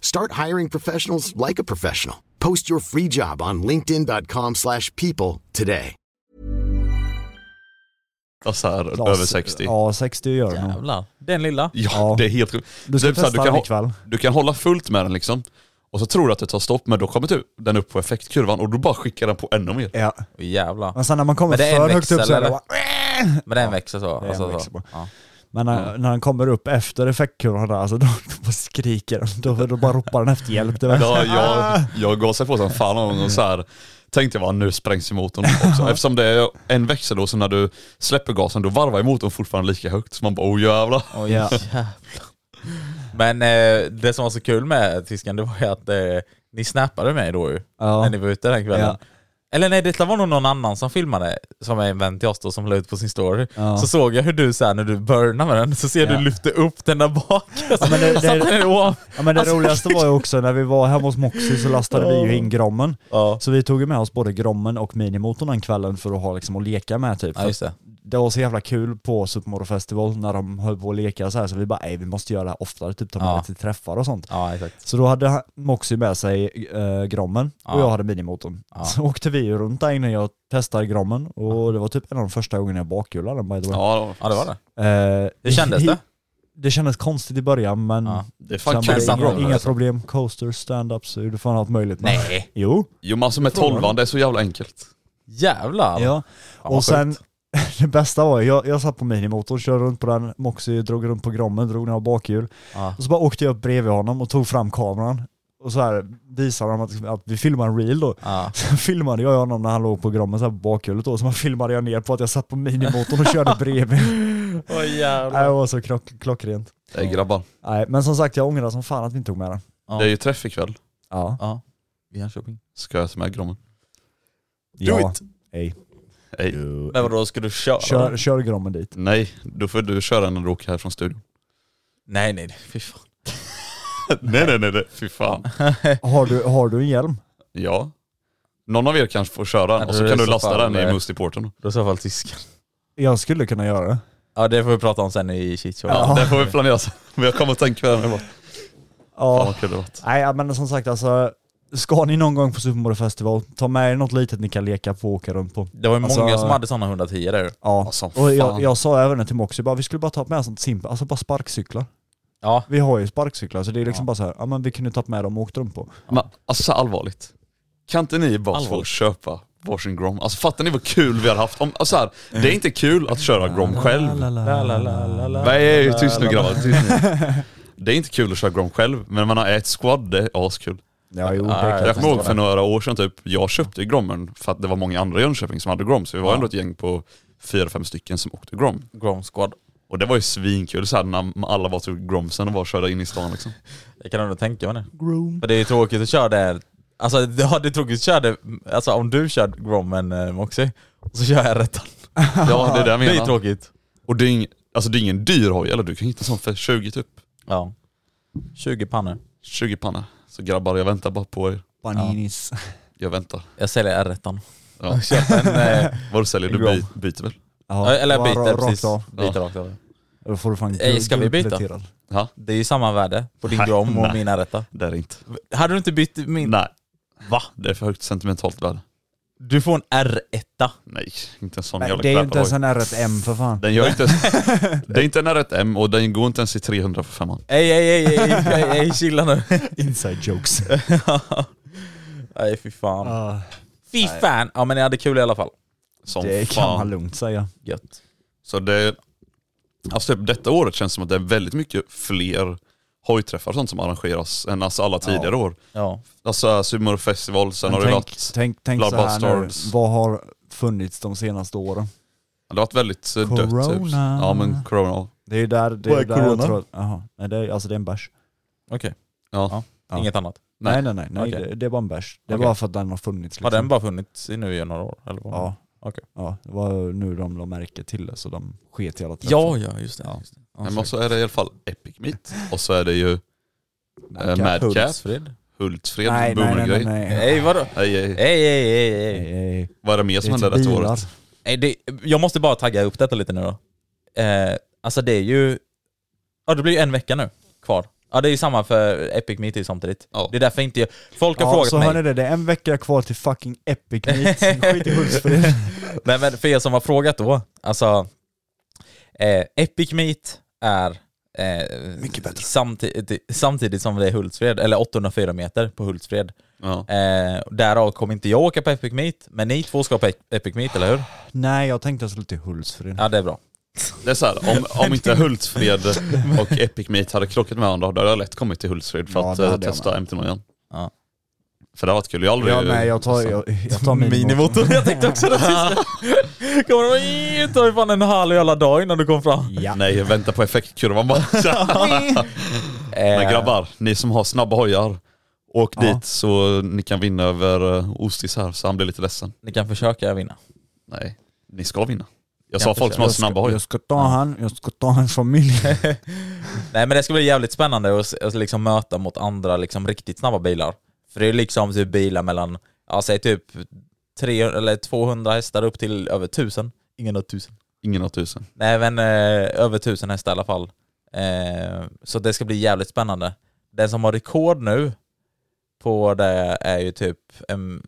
[SPEAKER 4] Start hiring professionals like a professional. Post your free job on linkedin.com/people slash people today.
[SPEAKER 3] Alltså här,
[SPEAKER 2] Ja,
[SPEAKER 3] över 60. Ja,
[SPEAKER 2] Ja, 60 gör den nog.
[SPEAKER 1] Jävlar. Den lilla.
[SPEAKER 2] Ja.
[SPEAKER 3] det är helt sjukt.
[SPEAKER 2] Du ska
[SPEAKER 3] Typ så här,
[SPEAKER 2] testa
[SPEAKER 3] du kan
[SPEAKER 2] den
[SPEAKER 3] ha-
[SPEAKER 2] ikväll.
[SPEAKER 3] Du kan hålla fullt med den liksom. Och så tror du att det tar stopp, men då kommer typ den upp på effektkurvan och då bara skickar den på ännu mer.
[SPEAKER 2] Ja.
[SPEAKER 1] Åh, Jävlar.
[SPEAKER 2] Men sen när man kommer
[SPEAKER 1] Men det är en
[SPEAKER 2] för högt upp
[SPEAKER 1] växel,
[SPEAKER 2] så är det
[SPEAKER 1] eller?
[SPEAKER 2] bara,
[SPEAKER 1] Men den växer så.
[SPEAKER 2] en
[SPEAKER 1] Alltså,
[SPEAKER 2] växer
[SPEAKER 1] så.
[SPEAKER 2] bara.
[SPEAKER 1] Ja.
[SPEAKER 2] Men när, när den kommer upp efter effektkurvan där, alltså då, då bara skriker den. Då, då bara ropar den efter hjälp. Det var-
[SPEAKER 3] Ja, jag, jag gasade på som fan någon gång och så här tänkte jag bara nu sprängs ju motorn också. Eftersom det är en växel då, så när du släpper gasen då varvar ju motorn fortfarande lika högt. Så man bara oh jävlar.
[SPEAKER 1] Oj,
[SPEAKER 2] Ja.
[SPEAKER 1] jävlar. Men eh, det som var så kul med tysken, det var ju att eh, ni snappade mig då ju.
[SPEAKER 2] Ja.
[SPEAKER 1] När ni var ute den kvällen. Eller nej, det var nog någon annan som filmade, som är en vän till oss då, som la ut på sin story. Så såg jag hur du såhär när du burnade med den, så ser du
[SPEAKER 2] Ja.
[SPEAKER 1] lyfte upp den där bak.
[SPEAKER 2] Ja, men det,
[SPEAKER 1] Satte den
[SPEAKER 2] det,
[SPEAKER 1] i ovan.
[SPEAKER 2] ja, men det
[SPEAKER 1] Alltså,
[SPEAKER 2] roligaste var ju också när vi var hemma hos Moxie så lastade vi ju in Grommen.
[SPEAKER 1] Ja.
[SPEAKER 2] Så vi tog ju med oss både Grommen och minimotorn den kvällen för att ha liksom att leka med typ.
[SPEAKER 1] Ja, just det.
[SPEAKER 2] det var så jävla kul på Supermoto Festival när de höll på att leka så här så vi bara ej vi måste göra det här oftare, typ ta med
[SPEAKER 1] Ja.
[SPEAKER 2] det till träffar och sånt.
[SPEAKER 1] Ja, exakt.
[SPEAKER 2] Så då hade han- Moxie med sig eh, Grommen och
[SPEAKER 1] Ja.
[SPEAKER 2] jag hade minimotorn.
[SPEAKER 1] Ja.
[SPEAKER 2] Så åkte vi ju runt där innan jag testade Grommen och det var typ en av de första gångerna jag bakhjulade den by the way.
[SPEAKER 3] Ja,
[SPEAKER 1] Ja, det var det.
[SPEAKER 2] Eh,
[SPEAKER 1] Hur kändes det?
[SPEAKER 2] Det kändes konstigt i början men
[SPEAKER 1] Ja.
[SPEAKER 3] det är
[SPEAKER 2] sen
[SPEAKER 3] fan
[SPEAKER 2] var
[SPEAKER 3] kul.
[SPEAKER 2] det
[SPEAKER 1] kul.
[SPEAKER 2] Mm. inga, inga
[SPEAKER 1] Alltså.
[SPEAKER 2] problem. Coasters, stand-ups, du fan allt möjligt. Men-
[SPEAKER 1] Nej.
[SPEAKER 2] Jo.
[SPEAKER 3] Jo men alltså med tolvan, det är så jävla enkelt.
[SPEAKER 1] Jävlar.
[SPEAKER 2] Ja.
[SPEAKER 1] Fan, vad
[SPEAKER 2] Och sen,
[SPEAKER 1] sjukt.
[SPEAKER 2] det bästa var ju, jag, jag satt på minimotorn, körde runt på den, Moxie drog runt på grommen, drog några bakhjul.
[SPEAKER 1] Ja.
[SPEAKER 2] Och så bara åkte jag upp bredvid honom och tog fram kameran. Och så här visade han att, att vi filmar en reel då.
[SPEAKER 1] Ja.
[SPEAKER 2] Sen filmade jag honom när han låg på grommen så här på bakhjulet då, så man filmade jag ner på att jag satt på minimotorn och körde bredvid.
[SPEAKER 1] Åh
[SPEAKER 2] Nej,
[SPEAKER 1] jävlar.
[SPEAKER 2] det var så klock, klockrent.
[SPEAKER 3] Nej grabbar,
[SPEAKER 2] Nej, men som sagt jag ångrar som fan att vi inte tog med den.
[SPEAKER 1] Ja.
[SPEAKER 3] det är ju träff ikväll.
[SPEAKER 2] Ja.
[SPEAKER 1] Ja. Vi har shopping.
[SPEAKER 3] Ska jag ta med Grommen?
[SPEAKER 2] ja.
[SPEAKER 1] it.
[SPEAKER 2] Ey.
[SPEAKER 3] Ey.
[SPEAKER 1] Men vadå, ska du köra?
[SPEAKER 2] Kör, kör grommen dit.
[SPEAKER 3] Nej, då får du köra när du åker här från studion.
[SPEAKER 1] Nej, nej, nej, fy fan.
[SPEAKER 3] nej nej nej, nej. fy fan.
[SPEAKER 1] Eh.
[SPEAKER 2] Har du, har du en hjälm?
[SPEAKER 3] Ja. Någon av er kanske får köra
[SPEAKER 1] Ja,
[SPEAKER 3] den och
[SPEAKER 1] då
[SPEAKER 3] så
[SPEAKER 1] är
[SPEAKER 3] kan
[SPEAKER 1] det
[SPEAKER 3] du
[SPEAKER 1] så
[SPEAKER 3] lasta
[SPEAKER 1] fall,
[SPEAKER 3] den i
[SPEAKER 1] eh,
[SPEAKER 3] Mustiporten.
[SPEAKER 1] Då är i så fall tyskan.
[SPEAKER 2] Jag skulle kunna göra det.
[SPEAKER 1] Ja, det får vi prata om sen i Chicho.
[SPEAKER 3] Ja, det får vi planera sen. Men jag kommer att tänka på det här nu bara. Fan
[SPEAKER 2] Ja.
[SPEAKER 3] vad kul det varit.
[SPEAKER 2] Nej, ja, men som sagt alltså, ska ni någon gång på Supermoto Festival, ta med er något litet ni kan leka på och åka runt på.
[SPEAKER 1] Det var ju många
[SPEAKER 2] Alltså-
[SPEAKER 1] som hade sådana 110 där.
[SPEAKER 2] Ja,
[SPEAKER 3] Alltså,
[SPEAKER 2] och jag,
[SPEAKER 3] fan.
[SPEAKER 2] jag sa även det till Moxie, bara, vi skulle bara ta med sånt simpel, alltså bara sparkcyklar.
[SPEAKER 1] Ja.
[SPEAKER 2] Vi har ju sparkcyklar så det är liksom bara så här, ja men vi kunde tagit med dem och åkt runt på.
[SPEAKER 3] Men alltså så här allvarligt. Kan inte ni bara få
[SPEAKER 1] Allvarligt.
[SPEAKER 3] köpa varsin Grom? Alltså fattar ni vad kul vi har haft? Om, alltså så här, det är inte kul att köra Grom själv. Nej, tyst nu grabbar. Tyst nu. Det är inte kul att köra Grom själv, men man har ett squad, det är askul.
[SPEAKER 2] Ja, jo, det
[SPEAKER 1] Ja,
[SPEAKER 2] är
[SPEAKER 1] ja,
[SPEAKER 2] klart.
[SPEAKER 3] Jag kommer ihåg
[SPEAKER 1] förstår
[SPEAKER 3] för
[SPEAKER 1] det.
[SPEAKER 3] några år sedan typ, jag köpte ju Grommen för att det var många andra i Jönköping som hade Grom, så vi var ändå ett gäng på fyra, fem stycken som åkte Grom.
[SPEAKER 1] Grom Squad.
[SPEAKER 3] Och det var ju svinkul så här, när alla var till Gromsen och bara körde in i stan liksom.
[SPEAKER 1] Jag kan ändå tänka mig det. För det är ju tråkigt att köra det. Alltså det ja, det är tråkigt att köra det, alltså om du kör Grom men eh, Moxie, och så kör jag Rettan.
[SPEAKER 3] Ja, det är det jag
[SPEAKER 1] Det är ju
[SPEAKER 3] menar.
[SPEAKER 1] tråkigt.
[SPEAKER 3] Och det är, ing, alltså, det är ingen dyr hoj, eller du kan hitta en sån för 20 typ.
[SPEAKER 1] Ja. 20 pannor.
[SPEAKER 3] 20 panna. Så grabbar, jag väntar bara på er.
[SPEAKER 2] Paninis.
[SPEAKER 3] Jag väntar.
[SPEAKER 1] Jag säljer R1.
[SPEAKER 3] Ja.
[SPEAKER 1] Köp en, Typ, eh,
[SPEAKER 3] Vad du säljer, du
[SPEAKER 2] Grom.
[SPEAKER 3] by, byter väl?
[SPEAKER 2] Ja,
[SPEAKER 1] eller
[SPEAKER 2] bara
[SPEAKER 1] byter
[SPEAKER 2] rakt
[SPEAKER 1] precis.
[SPEAKER 2] av.
[SPEAKER 1] Byter rakt av.
[SPEAKER 2] Då får du fan
[SPEAKER 1] Ey, ska vi byta?
[SPEAKER 2] guldpläterad.
[SPEAKER 3] Ja,
[SPEAKER 1] Det är ju samma värde på din
[SPEAKER 3] Nej,
[SPEAKER 1] Grom och
[SPEAKER 3] nej.
[SPEAKER 1] min R1.
[SPEAKER 3] det är det inte.
[SPEAKER 1] Hade du inte bytt min...
[SPEAKER 3] Nej,
[SPEAKER 1] Va?
[SPEAKER 3] det är för högt sentimentalt värde.
[SPEAKER 1] Du får en R1.
[SPEAKER 3] Nej, inte en sån
[SPEAKER 2] Nej,
[SPEAKER 3] jävla
[SPEAKER 2] det är ju inte ens
[SPEAKER 3] kräparhoj.
[SPEAKER 2] en R1M för fan.
[SPEAKER 3] Den gör inte ens, Det är inte en R1M och den går inte ens i 300 för femman.
[SPEAKER 1] Ej, ej, ej, ej, ej, ej, ej chilla nu.
[SPEAKER 2] Inside jokes.
[SPEAKER 1] Nej fy fan.
[SPEAKER 2] Ah,
[SPEAKER 1] Fy fan! Ja men jag hade kul i alla fall.
[SPEAKER 3] Som
[SPEAKER 2] det kan man
[SPEAKER 3] fan.
[SPEAKER 2] lugnt säga.
[SPEAKER 1] Gött.
[SPEAKER 3] Så det, alltså typ detta året känns som att det är väldigt mycket fler hojträffar och sånt som arrangeras än alltså alla tidigare år.
[SPEAKER 1] Ja.
[SPEAKER 3] Alltså Summer Festival, sen har det
[SPEAKER 2] tänk,
[SPEAKER 3] varit,
[SPEAKER 2] tänk, tänk
[SPEAKER 3] Blood
[SPEAKER 2] så här
[SPEAKER 3] Bastards.
[SPEAKER 2] nu, vad har funnits de senaste åren?
[SPEAKER 3] det har varit väldigt eh, dött typ.
[SPEAKER 2] Corona.
[SPEAKER 3] Ja men corona.
[SPEAKER 2] Det är ju där, det är
[SPEAKER 3] Vad är
[SPEAKER 2] ju där jag
[SPEAKER 3] corona?
[SPEAKER 2] tror att, aha, nej, det är, alltså det är en bärs.
[SPEAKER 1] Okej.
[SPEAKER 3] Ja.
[SPEAKER 1] Ja.
[SPEAKER 2] Ja.
[SPEAKER 1] Inget annat.
[SPEAKER 2] Nej nej nej, nej
[SPEAKER 1] Okej.
[SPEAKER 2] det, det är bara en bärs. Det är
[SPEAKER 1] Okej.
[SPEAKER 2] bara för att den har funnits liksom.
[SPEAKER 1] Har den bara funnits i nu i några år? Eller vad?
[SPEAKER 2] Ja.
[SPEAKER 1] Okej.
[SPEAKER 2] Ja, det var nu de la märke till det så de sket i alla träffar.
[SPEAKER 1] ja, ja just det.
[SPEAKER 2] Ja.
[SPEAKER 1] Just det.
[SPEAKER 3] Nej, men så är det i alla fall Epic Meat och så är det ju eh,
[SPEAKER 2] Madcap.
[SPEAKER 3] Madcap,
[SPEAKER 1] Hultsfred.
[SPEAKER 3] Hultsfred,
[SPEAKER 2] Nej nej nej
[SPEAKER 3] Boomergrej.
[SPEAKER 2] nej. nej.
[SPEAKER 1] Nej vadå?
[SPEAKER 3] Ej, ej, ej.
[SPEAKER 1] Ej, ej, ej, ej.
[SPEAKER 2] Nej, nej.
[SPEAKER 3] Vad är det mer som
[SPEAKER 2] Det är
[SPEAKER 3] hände
[SPEAKER 2] till
[SPEAKER 3] detta
[SPEAKER 2] bilar.
[SPEAKER 3] året?
[SPEAKER 1] Nej, det, jag måste bara tagga upp detta lite nu då. Eh, alltså det är ju... Ja det blir ju en vecka nu kvar. Ja det är ju samma för Epic Meet är ju samtidigt.
[SPEAKER 3] Ja.
[SPEAKER 1] Det är därför inte jag... Folk har
[SPEAKER 2] Ja,
[SPEAKER 1] frågat
[SPEAKER 2] så
[SPEAKER 1] mig...
[SPEAKER 2] hör ni det, det är en vecka kvar till fucking Epic Meet. Skit i Hultsfred.
[SPEAKER 1] Nej men för er som har frågat då, alltså eh, Epic Meet är eh, samti- samtidigt som det är Hultsfred, eller 804 meter på Hultsfred.
[SPEAKER 3] Ja.
[SPEAKER 1] Eh, därav kommer inte jag åka på Epic Meet, men ni två ska på Ep- Epic Meet, eller hur?
[SPEAKER 2] Nej jag tänkte jag skulle till Hultsfred.
[SPEAKER 1] Ja det är bra.
[SPEAKER 3] Det är så här, om, om inte Hultsfred och Epic Meat hade krockat med varandra, då hade jag lätt kommit till Hultsfred för
[SPEAKER 2] Ja,
[SPEAKER 3] att
[SPEAKER 2] det
[SPEAKER 3] eh,
[SPEAKER 2] hade jag
[SPEAKER 3] testa mt igen.
[SPEAKER 1] Ja.
[SPEAKER 3] För det har varit kul. Jag har aldrig...
[SPEAKER 2] Ja, nej, jag tar,
[SPEAKER 3] alltså,
[SPEAKER 2] jag, jag tar min
[SPEAKER 1] Minimotorn, jag tänkte också det sista. Kommer de ta fan en halv jävla dag innan du kom fram.
[SPEAKER 2] Ja.
[SPEAKER 3] Nej, vänta på effektkurvan bara.
[SPEAKER 1] Eh,
[SPEAKER 3] Men grabbar, ni som har snabba hojar, Åk
[SPEAKER 2] Ja.
[SPEAKER 3] dit så ni kan vinna över eh, Ostis här så han blir lite ledsen.
[SPEAKER 1] Ni kan försöka vinna.
[SPEAKER 3] Nej, ni ska vinna. Jag
[SPEAKER 1] Jag
[SPEAKER 3] sa folk som har
[SPEAKER 2] Jag ska,
[SPEAKER 3] snabba hoj.
[SPEAKER 2] jag ska ta han, jag ska ta hans familj.
[SPEAKER 1] Nej men det ska bli jävligt spännande att s- att liksom möta mot andra liksom riktigt snabba bilar. För det är liksom typ bilar mellan, ja säg typ 300, eller 200 hästar upp till över 1000. Ingen har 1000.
[SPEAKER 3] Ingen har tusen.
[SPEAKER 1] Nej men eh, över 1000 hästar i alla fall. Eh, så det ska bli jävligt spännande. Den som har rekord nu på det är ju typ en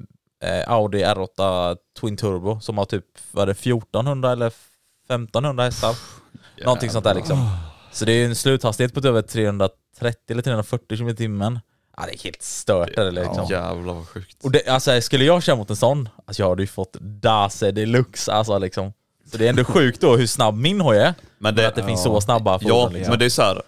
[SPEAKER 1] eh, Audi R8 Twin Turbo som har typ, vad är det, 1400 eller 1500 hästar? Någonting sånt där liksom. Så det är ju en sluthastighet på typ över 330 eller 340 km i timmen. Ja det är helt stört det, liksom.
[SPEAKER 3] Ja. Jävlar vad sjukt.
[SPEAKER 1] Och det, alltså, skulle jag köra mot en sån, alltså jag hade ju fått Dase deluxe alltså liksom. Så det är ändå sjukt då hur snabb min hoj är.
[SPEAKER 3] Men
[SPEAKER 1] Men att det finns så snabba fordon
[SPEAKER 3] Ja,
[SPEAKER 1] liksom.
[SPEAKER 3] men det är så här.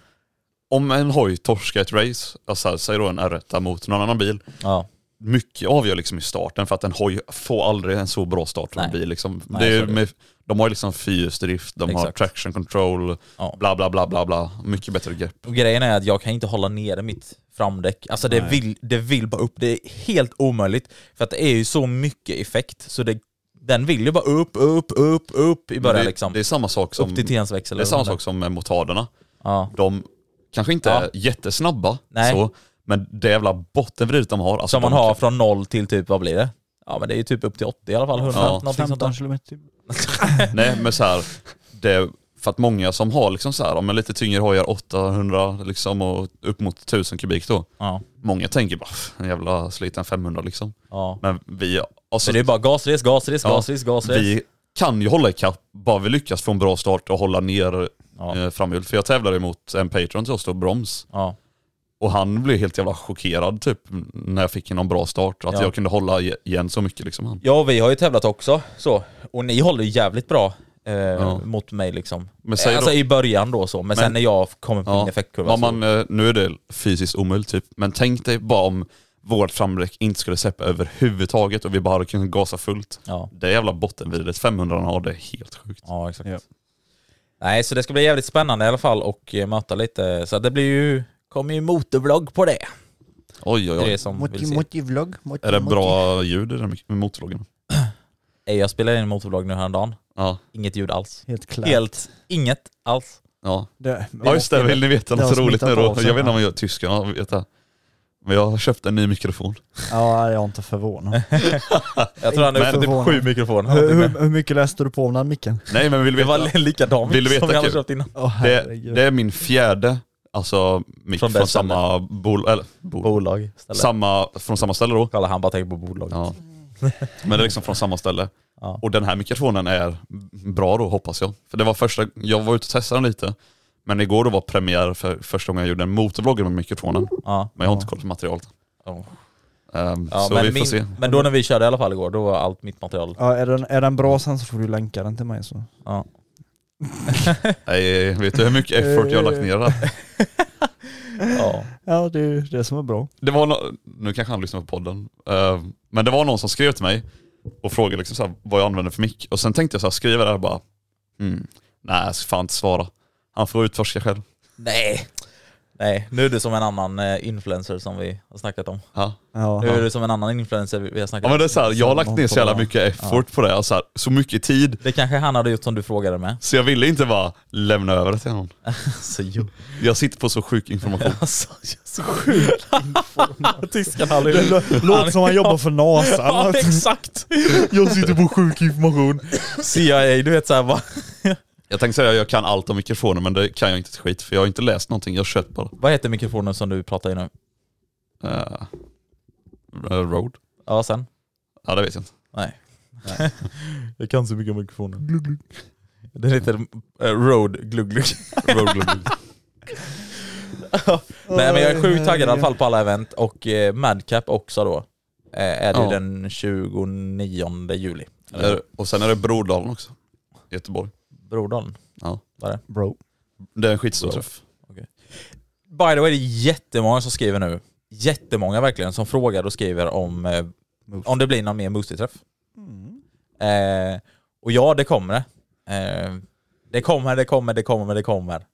[SPEAKER 3] Om en hoj torskar ett race, alltså här, säg då en R1 mot någon annan bil,
[SPEAKER 1] Ja.
[SPEAKER 3] mycket avgör liksom i starten för att en hoj får aldrig en så bra start som en
[SPEAKER 1] Nej.
[SPEAKER 3] bil. Liksom.
[SPEAKER 1] Nej,
[SPEAKER 3] det
[SPEAKER 1] så
[SPEAKER 3] är
[SPEAKER 1] är det.
[SPEAKER 3] med, de har ju liksom fyrhjulsdrift, de har
[SPEAKER 1] Exakt.
[SPEAKER 3] traction control,
[SPEAKER 1] Ja.
[SPEAKER 3] bla bla bla bla bla. Mycket bättre grepp.
[SPEAKER 1] Och grejen är att jag kan inte hålla nere mitt framdäck. Alltså det vill, det vill bara upp, det är helt omöjligt. För att det är ju så mycket effekt, så det, den vill ju bara upp, upp, upp, upp i början
[SPEAKER 3] det,
[SPEAKER 1] liksom.
[SPEAKER 3] det är samma sak som,
[SPEAKER 1] upp till Tiens växel.
[SPEAKER 3] det är
[SPEAKER 1] eller
[SPEAKER 3] samma
[SPEAKER 1] vad
[SPEAKER 3] sak som med motarderna.
[SPEAKER 1] Ja.
[SPEAKER 3] De kanske inte
[SPEAKER 1] Ja.
[SPEAKER 3] är jättesnabba,
[SPEAKER 1] Nej.
[SPEAKER 3] så, men det jävla bottenvridet de har. Alltså
[SPEAKER 1] Som man
[SPEAKER 3] de
[SPEAKER 1] har
[SPEAKER 3] kan-
[SPEAKER 1] från noll till typ, vad blir det? Ja men det är ju typ upp till 80 i alla fall, 100,
[SPEAKER 3] Ja.
[SPEAKER 1] någonting sånt
[SPEAKER 2] 15
[SPEAKER 1] där.
[SPEAKER 2] kilometer.
[SPEAKER 3] Mm,
[SPEAKER 2] i timmen.
[SPEAKER 3] Nej men så här, det, för att många som har liksom så här, om en lite tyngre hojar 800 liksom och upp mot 1000 kubik då.
[SPEAKER 1] Ja.
[SPEAKER 3] Många tänker bara, "Pff, en jävla sliten 500 liksom.
[SPEAKER 1] Ja.
[SPEAKER 3] Men vi, alltså,
[SPEAKER 1] Så det är bara gasres, gasres,
[SPEAKER 3] Ja,
[SPEAKER 1] gasres, gasres.
[SPEAKER 3] vi kan ju hålla ikapp bara vi lyckas från bra start och hålla ner
[SPEAKER 1] Ja.
[SPEAKER 3] eh, framhjul. För jag tävlade emot en Patreon till oss då, Broms.
[SPEAKER 1] Ja.
[SPEAKER 3] Och han blev helt jävla chockerad typ när jag fick en bra start. Att
[SPEAKER 1] Ja.
[SPEAKER 3] jag kunde hålla i- igen så mycket liksom han.
[SPEAKER 1] ja, vi har ju tävlat också så. Och ni håller ju jävligt bra eh,
[SPEAKER 3] Ja.
[SPEAKER 1] mot mig liksom.
[SPEAKER 3] Men säg
[SPEAKER 1] alltså
[SPEAKER 3] då-
[SPEAKER 1] i början då så, men, sen när jag kommer på min
[SPEAKER 3] Ja.
[SPEAKER 1] effektkurva
[SPEAKER 3] Ja,
[SPEAKER 1] så-
[SPEAKER 3] man, eh, nu är det fysiskt omöjligt typ, men tänk dig bara om vårt framdäck inte skulle släppa överhuvudtaget och vi bara hade kunnat gasa fullt.
[SPEAKER 1] Ja.
[SPEAKER 3] Det jävla bottenvidet 500 har, det är helt sjukt.
[SPEAKER 1] Ja, exakt.
[SPEAKER 2] Ja.
[SPEAKER 1] Nej, så det ska bli jävligt spännande i alla fall och eh, möta lite. Så det blir ju, kommer ju motorvlogg på det.
[SPEAKER 3] Oj oj
[SPEAKER 1] Det är det
[SPEAKER 3] oj.
[SPEAKER 1] som vill
[SPEAKER 2] Motti,
[SPEAKER 1] se.
[SPEAKER 2] motti vlogg. motti,
[SPEAKER 3] Är det
[SPEAKER 2] motti.
[SPEAKER 3] bra ljud i den mik- motorloggen?
[SPEAKER 1] Eh, Jag spelade in en motorvlogg nu häromdagen.
[SPEAKER 3] Ja.
[SPEAKER 1] Inget ljud alls.
[SPEAKER 2] Helt klart.
[SPEAKER 1] Helt inget alls.
[SPEAKER 3] Ja.
[SPEAKER 2] Det,
[SPEAKER 3] ja just det, vill ni veta
[SPEAKER 2] Det har
[SPEAKER 3] något roligt nu
[SPEAKER 2] smittat
[SPEAKER 3] då?
[SPEAKER 2] av sig.
[SPEAKER 3] Jag vet inte om jag, tyskarna vet det. Men jag har köpt en ny mikrofon.
[SPEAKER 2] Ja, jag är inte förvånad.
[SPEAKER 1] Jag tror han
[SPEAKER 3] Men-
[SPEAKER 1] har fått typ
[SPEAKER 2] Förvånad.
[SPEAKER 1] sju mikrofoner.
[SPEAKER 2] hur,
[SPEAKER 1] någonting
[SPEAKER 2] hur, hur mycket läste du på om den micken?
[SPEAKER 3] Nej men vill du
[SPEAKER 1] Det
[SPEAKER 3] veta?
[SPEAKER 1] var likadant
[SPEAKER 3] Vill du veta
[SPEAKER 1] som jag hade
[SPEAKER 3] kul?
[SPEAKER 1] köpt innan.
[SPEAKER 2] Åh
[SPEAKER 3] Det,
[SPEAKER 2] herregud.
[SPEAKER 3] det är min fjärde, alltså mick
[SPEAKER 1] Från
[SPEAKER 3] från,
[SPEAKER 1] det stället.
[SPEAKER 3] samma bolag, eller bol,
[SPEAKER 1] Bolag istället.
[SPEAKER 3] samma, från samma ställe då.
[SPEAKER 1] Kolla, han bara tänker på bolag.
[SPEAKER 3] Ja. Men det är liksom från samma ställe.
[SPEAKER 1] Ja.
[SPEAKER 3] Och den här mikrofonen är bra då hoppas jag. För det var första, jag var ute och testade den lite. Men igår då var premiär för första gången jag gjorde en motorvlogg med mikrofonen.
[SPEAKER 1] Ja.
[SPEAKER 3] Men jag har inte koll på materialet.
[SPEAKER 1] Ja.
[SPEAKER 3] Ehm,
[SPEAKER 1] Ja,
[SPEAKER 3] så
[SPEAKER 1] men,
[SPEAKER 3] vi får
[SPEAKER 1] min,
[SPEAKER 3] se.
[SPEAKER 1] men då när vi körde i alla fall igår, då var allt mitt material.
[SPEAKER 2] Ja, är, den, är den bra sen så får du länka den till mig så.
[SPEAKER 1] Ja.
[SPEAKER 3] Nej, vet du hur mycket effort jag har lagt ner där?
[SPEAKER 1] Ja.
[SPEAKER 2] Ja, det är ju det som är bra.
[SPEAKER 3] Det var no- nu kanske han lyssnar på podden. Ehm, men det var någon som skrev till mig och frågade liksom så här, vad jag använder för mick. Och sen tänkte jag så här, skriva det här bara, mm, nej jag ska fan inte svara. Han får utforska själv.
[SPEAKER 1] Nej. Nej, nu är du som en annan eh, influencer som vi har snackat om.
[SPEAKER 3] Ja.
[SPEAKER 2] Ja.
[SPEAKER 1] Nu är du som en annan influencer vi vi har snackat
[SPEAKER 3] Ja
[SPEAKER 1] om.
[SPEAKER 3] men det är så här, jag har lagt ner så jävla mycket effort på det, alltså här, så mycket tid.
[SPEAKER 1] Det kanske han hade gjort som du frågade med.
[SPEAKER 3] Så jag ville inte bara lämna över det till någon.
[SPEAKER 1] Alltså jo.
[SPEAKER 3] Jag sitter på så sjuk information.
[SPEAKER 1] Alltså jag är så sjuk. Tyskarna hade
[SPEAKER 2] Det lå- låter som han jobbar för NASA.
[SPEAKER 1] Ja exakt. Jag sitter på sjuk information. CIA, du vet såhär vad,
[SPEAKER 3] Jag tänkte säga att jag kan allt om mikrofoner men det kan jag inte ett skit för jag har inte läst någonting, jag har köpt bara.
[SPEAKER 1] vad heter mikrofonen som du pratar i nu?
[SPEAKER 3] Eh, eh, road?
[SPEAKER 1] Ja sen?
[SPEAKER 3] Ja det vet jag inte.
[SPEAKER 1] Nej. jag kan så mycket om mikrofoner. Den heter eh, Rode Glugglugg.
[SPEAKER 3] Road global.
[SPEAKER 1] Nej men jag är sjukt taggad i alla fall på alla event och eh, Madcap också då. Eh, är det
[SPEAKER 3] Ja.
[SPEAKER 1] den 29 juli. Eller
[SPEAKER 3] Eh, Och sen är det Brodalen också. i Göteborg.
[SPEAKER 1] Brodalen.
[SPEAKER 3] Ja.
[SPEAKER 1] Vad är det?
[SPEAKER 2] Bro.
[SPEAKER 3] Det är en skitstor
[SPEAKER 1] Road.
[SPEAKER 3] träff.
[SPEAKER 1] By the way, det är jättemånga som skriver nu. Jättemånga verkligen som frågar och skriver om, eh, om det blir någon mer Moostie-träff.
[SPEAKER 2] Mm.
[SPEAKER 1] Eh, och ja, det kommer det. Eh, det kommer, det kommer, det kommer, det kommer.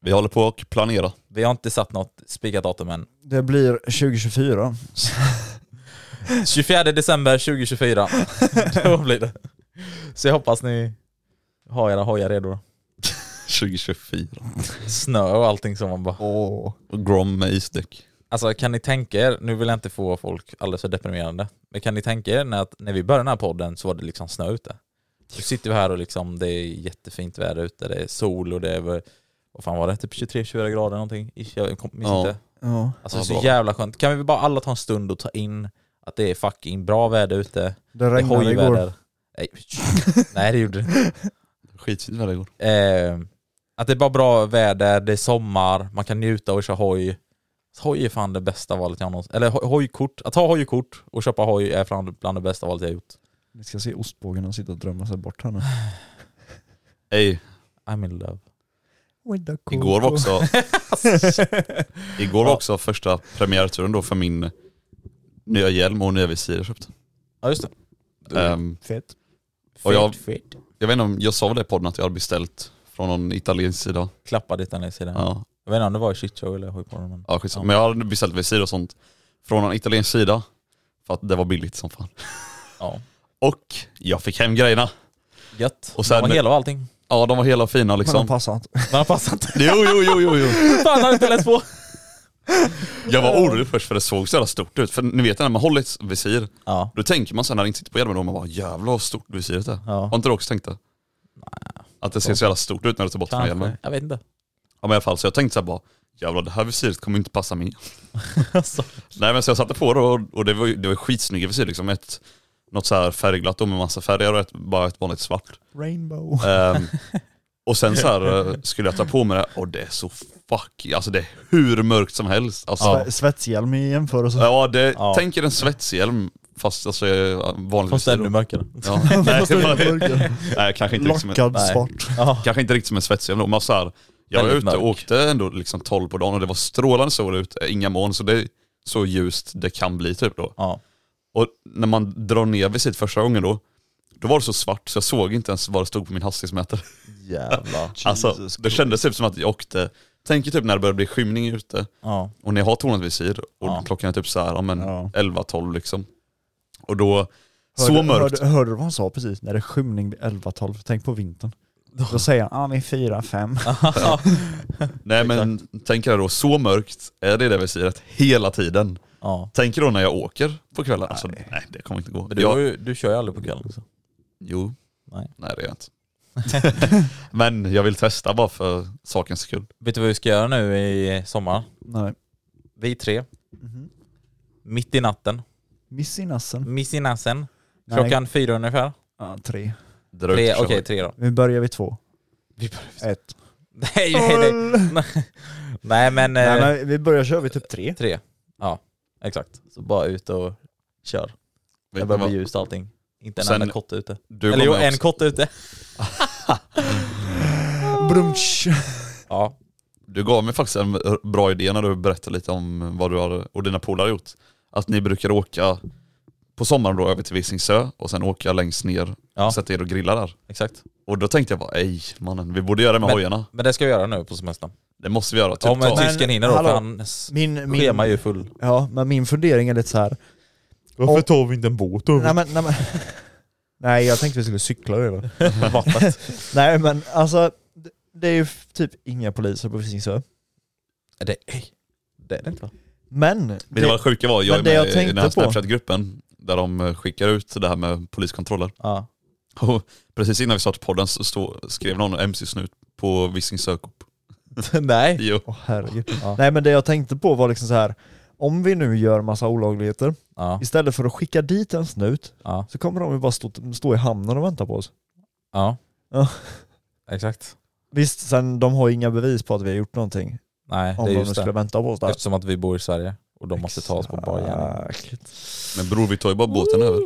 [SPEAKER 3] Vi håller på och planera.
[SPEAKER 1] Vi har inte satt något spikat datum än.
[SPEAKER 2] Det blir 2024.
[SPEAKER 1] 24 december 2024. Då blir det. Så jag hoppas ni har era hojar redo.
[SPEAKER 3] 2024.
[SPEAKER 1] Snö och allting som man bara...
[SPEAKER 2] Åh.
[SPEAKER 3] Och Grom med isdäck.
[SPEAKER 1] Alltså kan ni tänka er, nu vill jag inte få folk alldeles för deprimerande, men kan ni tänka er när, att, när vi började den här podden så var det liksom snö ute. Nu sitter vi här och liksom det är jättefint väder ute, det är sol och det är väl- vad fan var det, typ 23-24 grader någonting? Ish, Jag kom- minns
[SPEAKER 3] Ja.
[SPEAKER 1] inte.
[SPEAKER 2] Ja.
[SPEAKER 1] Alltså
[SPEAKER 3] Ja,
[SPEAKER 1] så
[SPEAKER 3] bra.
[SPEAKER 1] jävla skönt. Kan vi bara alla ta en stund och ta in att det är fucking bra väder ute.
[SPEAKER 2] Det
[SPEAKER 1] Det är
[SPEAKER 2] regnade igår.
[SPEAKER 1] hojväder. Nej, nej det gjorde det inte.
[SPEAKER 3] Skitfint väder igår.
[SPEAKER 1] Eh, att det är bara bra väder, det är sommar, man kan njuta och köra hoj. Hoj är fan det bästa valet jag någonsin... Eller ho- hojkort. Att ha hojkort och köpa hoj är fan bland det bästa valet jag gjort.
[SPEAKER 2] Ni ska se ostbågarna sitta och drömma sig bort här nu.
[SPEAKER 3] Ey,
[SPEAKER 1] I'm in love.
[SPEAKER 3] igår var också, igår var också första premiärturen då för min nya hjälm och nya visir jag köpte.
[SPEAKER 1] Ja just det.
[SPEAKER 3] Ehm,
[SPEAKER 2] Fett.
[SPEAKER 3] och jag,
[SPEAKER 1] Fett.
[SPEAKER 3] jag vet inte om jag sa väl det i podden att jag hade beställt från någon italiensk sida.
[SPEAKER 1] Klappa ditt andra sidan.
[SPEAKER 3] Ja,
[SPEAKER 1] Jag vet inte om det var i shitshow eller hojporren men...
[SPEAKER 3] ja, skitsamma. Men jag hade beställt visir och sånt från någon italiensk sida. För att det var billigt som fan.
[SPEAKER 1] Ja.
[SPEAKER 3] Och jag fick hem grejerna.
[SPEAKER 1] Gött.
[SPEAKER 3] Och sen-
[SPEAKER 1] De var hela och allting.
[SPEAKER 3] Ja de var hela och fina
[SPEAKER 2] Men de
[SPEAKER 3] liksom.
[SPEAKER 2] passar inte.
[SPEAKER 1] Men han passade inte.
[SPEAKER 3] Jo, jo, jo, jo, jo.
[SPEAKER 1] Fan han har inte läst på.
[SPEAKER 3] Jag var orolig först för det såg så jävla stort ut. För ni vet när man håller ett visir,
[SPEAKER 1] Ja.
[SPEAKER 3] då tänker man sen när det inte sitter på hjälmen, då man bara jävlar vad stort visiret är.
[SPEAKER 1] Ja.
[SPEAKER 3] Har inte du också tänkt det? Nej. Att det ser så jävla stort ut när du tar bort från hjälmen.
[SPEAKER 1] Kanske. Jag vet inte.
[SPEAKER 3] Ja men i alla fall, så jag tänkte så här bara, jävlar det här visiret kommer inte passa min.
[SPEAKER 1] Alltså.
[SPEAKER 3] Nej men så jag satte på det och, och det var, ju- det var ju skitsnygga visir liksom. Ett, något så här färgglatt då med massa färger och ett, bara ett vanligt svart.
[SPEAKER 2] Rainbow.
[SPEAKER 3] Ehm, och sen så här eh, skulle jag ta på mig det och det är så fuck, alltså det är hur mörkt som helst. Alltså,
[SPEAKER 2] Sve- Svetshjälm i jämförelse.
[SPEAKER 3] Ja, det,
[SPEAKER 1] Ja.
[SPEAKER 3] tänk er en svetshjälm fast alltså vanligtvis...
[SPEAKER 1] Fast ännu mörkare.
[SPEAKER 3] Ja. Nej,
[SPEAKER 2] Fast ännu
[SPEAKER 3] bara-
[SPEAKER 2] mörkare.
[SPEAKER 3] liksom Nej, kanske inte, riktigt som en,
[SPEAKER 2] Lockad
[SPEAKER 1] nej.
[SPEAKER 2] svart.
[SPEAKER 1] Ja.
[SPEAKER 3] kanske inte riktigt som en svetshjälm då, men så här, jag var
[SPEAKER 1] Väldigt
[SPEAKER 3] ute och
[SPEAKER 1] mörk.
[SPEAKER 3] åkte ändå liksom 12 på dagen och det var strålande sol ut, eh, inga moln, så det är så ljust det kan bli typ då.
[SPEAKER 1] Ja.
[SPEAKER 3] Och när man drar ner visit första gången då, då var det så svart så jag såg inte ens vad det stod på min hastighetsmätare.
[SPEAKER 1] Jävlar.
[SPEAKER 3] Alltså, det kändes typ som att jag åkte, tänk er typ när det börjar bli skymning ute,
[SPEAKER 1] Ja.
[SPEAKER 3] Och när jag har tonat visir och
[SPEAKER 1] Ja.
[SPEAKER 3] klockan är typ så här, ja, men
[SPEAKER 2] Ja.
[SPEAKER 3] 11-12 liksom. Och då, så
[SPEAKER 2] Hörde-
[SPEAKER 3] mörkt.
[SPEAKER 2] Hörde, hörde du vad han sa precis? När det är skymning vid 11-12, tänk på vintern. Då säger han, ah vi är 4-5.
[SPEAKER 3] Nej men tänk er då, så mörkt är det det visiret hela tiden.
[SPEAKER 1] ja.
[SPEAKER 3] Tänk er då när jag åker på kvällen, nej. alltså nej det kommer inte gå.
[SPEAKER 1] Men du, har
[SPEAKER 3] Jag,
[SPEAKER 1] ju, du kör ju aldrig på kvällen. Så.
[SPEAKER 3] jo,
[SPEAKER 1] Nej.
[SPEAKER 3] nej. det gör jag inte. men jag vill testa bara för sakens skull.
[SPEAKER 1] Vet du vad vi ska göra nu i sommar?
[SPEAKER 2] Nej.
[SPEAKER 1] Vi tre,
[SPEAKER 2] Mhm.
[SPEAKER 1] mitt i natten,
[SPEAKER 2] Miss i nassen.
[SPEAKER 1] miss i nassen,
[SPEAKER 2] Nej.
[SPEAKER 1] klockan fyra ungefär.
[SPEAKER 2] Ja, tre.
[SPEAKER 3] Dra ut
[SPEAKER 1] Tre-
[SPEAKER 3] och
[SPEAKER 1] Okej,
[SPEAKER 3] köra.
[SPEAKER 1] tre då.
[SPEAKER 2] Vi börjar vid två.
[SPEAKER 1] Vi börjar vid-
[SPEAKER 2] Ett.
[SPEAKER 1] nej, nej, nej. nej, men,
[SPEAKER 2] Nej,
[SPEAKER 1] eh,
[SPEAKER 2] men vi börjar köra vid typ tre.
[SPEAKER 1] tre. Ja, exakt. Så bara ut och kör.
[SPEAKER 3] Vet
[SPEAKER 1] Det
[SPEAKER 3] ni
[SPEAKER 1] behöver
[SPEAKER 3] vad?
[SPEAKER 1] bli ljust allting. Inte en
[SPEAKER 3] Sen-
[SPEAKER 1] enda kotte ute.
[SPEAKER 3] Du
[SPEAKER 1] Eller jo,
[SPEAKER 3] kommer
[SPEAKER 1] en
[SPEAKER 3] också-
[SPEAKER 1] kotte ute.
[SPEAKER 2] Brunch.
[SPEAKER 1] Ja,
[SPEAKER 3] Du gav mig faktiskt en bra idé när du berättade lite om vad du har, och dina polare har gjort. Att ni brukar åka på sommaren då över till Visingsö och sen åka längst ner
[SPEAKER 1] Ja.
[SPEAKER 3] och sätta er och grilla där.
[SPEAKER 1] exakt.
[SPEAKER 3] Och då tänkte jag bara, ej mannen, vi borde göra det med
[SPEAKER 1] Men-
[SPEAKER 3] hojarna.
[SPEAKER 1] Men det ska vi göra nu på semestern.
[SPEAKER 3] Det måste vi göra. Typ
[SPEAKER 1] Om
[SPEAKER 3] ta,
[SPEAKER 2] tyst-
[SPEAKER 1] tysken hinner då,
[SPEAKER 2] hallå.
[SPEAKER 1] för hans
[SPEAKER 2] Min, min,
[SPEAKER 1] schema är ju full.
[SPEAKER 2] Ja, men min fundering är lite så här. Varför
[SPEAKER 1] tar vi inte en båt
[SPEAKER 2] Nej, men, nej, men, nej jag tänkte vi skulle cykla över.
[SPEAKER 1] Vattnet.
[SPEAKER 2] Nej men alltså, det- det är ju f- typ inga poliser på Visingsö.
[SPEAKER 1] Det, ej. det är det inte va?
[SPEAKER 2] Men,
[SPEAKER 3] vet du vad
[SPEAKER 2] det,
[SPEAKER 3] det sjuka var? Jag
[SPEAKER 2] men det
[SPEAKER 3] är
[SPEAKER 2] jag
[SPEAKER 3] med i den
[SPEAKER 2] tänkte
[SPEAKER 3] här
[SPEAKER 2] på-
[SPEAKER 3] Snapchat-gruppen där de eh, skickar ut det här med poliskontroller.
[SPEAKER 1] Ja.
[SPEAKER 3] Och precis innan vi startade podden så stod, skrev någon mc-snut på Visingsö Coop.
[SPEAKER 1] Nej.
[SPEAKER 3] Jo.
[SPEAKER 2] åh, herregud.
[SPEAKER 1] Ja.
[SPEAKER 2] nej men det jag tänkte på var liksom så här. om vi nu gör massa olagligheter,
[SPEAKER 1] Ja.
[SPEAKER 2] istället för att skicka dit en snut,
[SPEAKER 1] Ja.
[SPEAKER 2] så kommer de ju bara stå, stå i hamnen och vänta på oss.
[SPEAKER 1] ja.
[SPEAKER 2] Ja.
[SPEAKER 1] Exakt.
[SPEAKER 2] Visst, sen de har ju inga bevis på att vi har gjort någonting,
[SPEAKER 1] Nej,
[SPEAKER 2] om
[SPEAKER 1] det är
[SPEAKER 2] de nu
[SPEAKER 1] just
[SPEAKER 2] skulle
[SPEAKER 1] det.
[SPEAKER 2] vänta på oss där.
[SPEAKER 1] Eftersom att vi bor i Sverige och de måste ta oss på bar gärning.
[SPEAKER 2] Exakt.
[SPEAKER 3] Men bror vi tar ju bara båten över.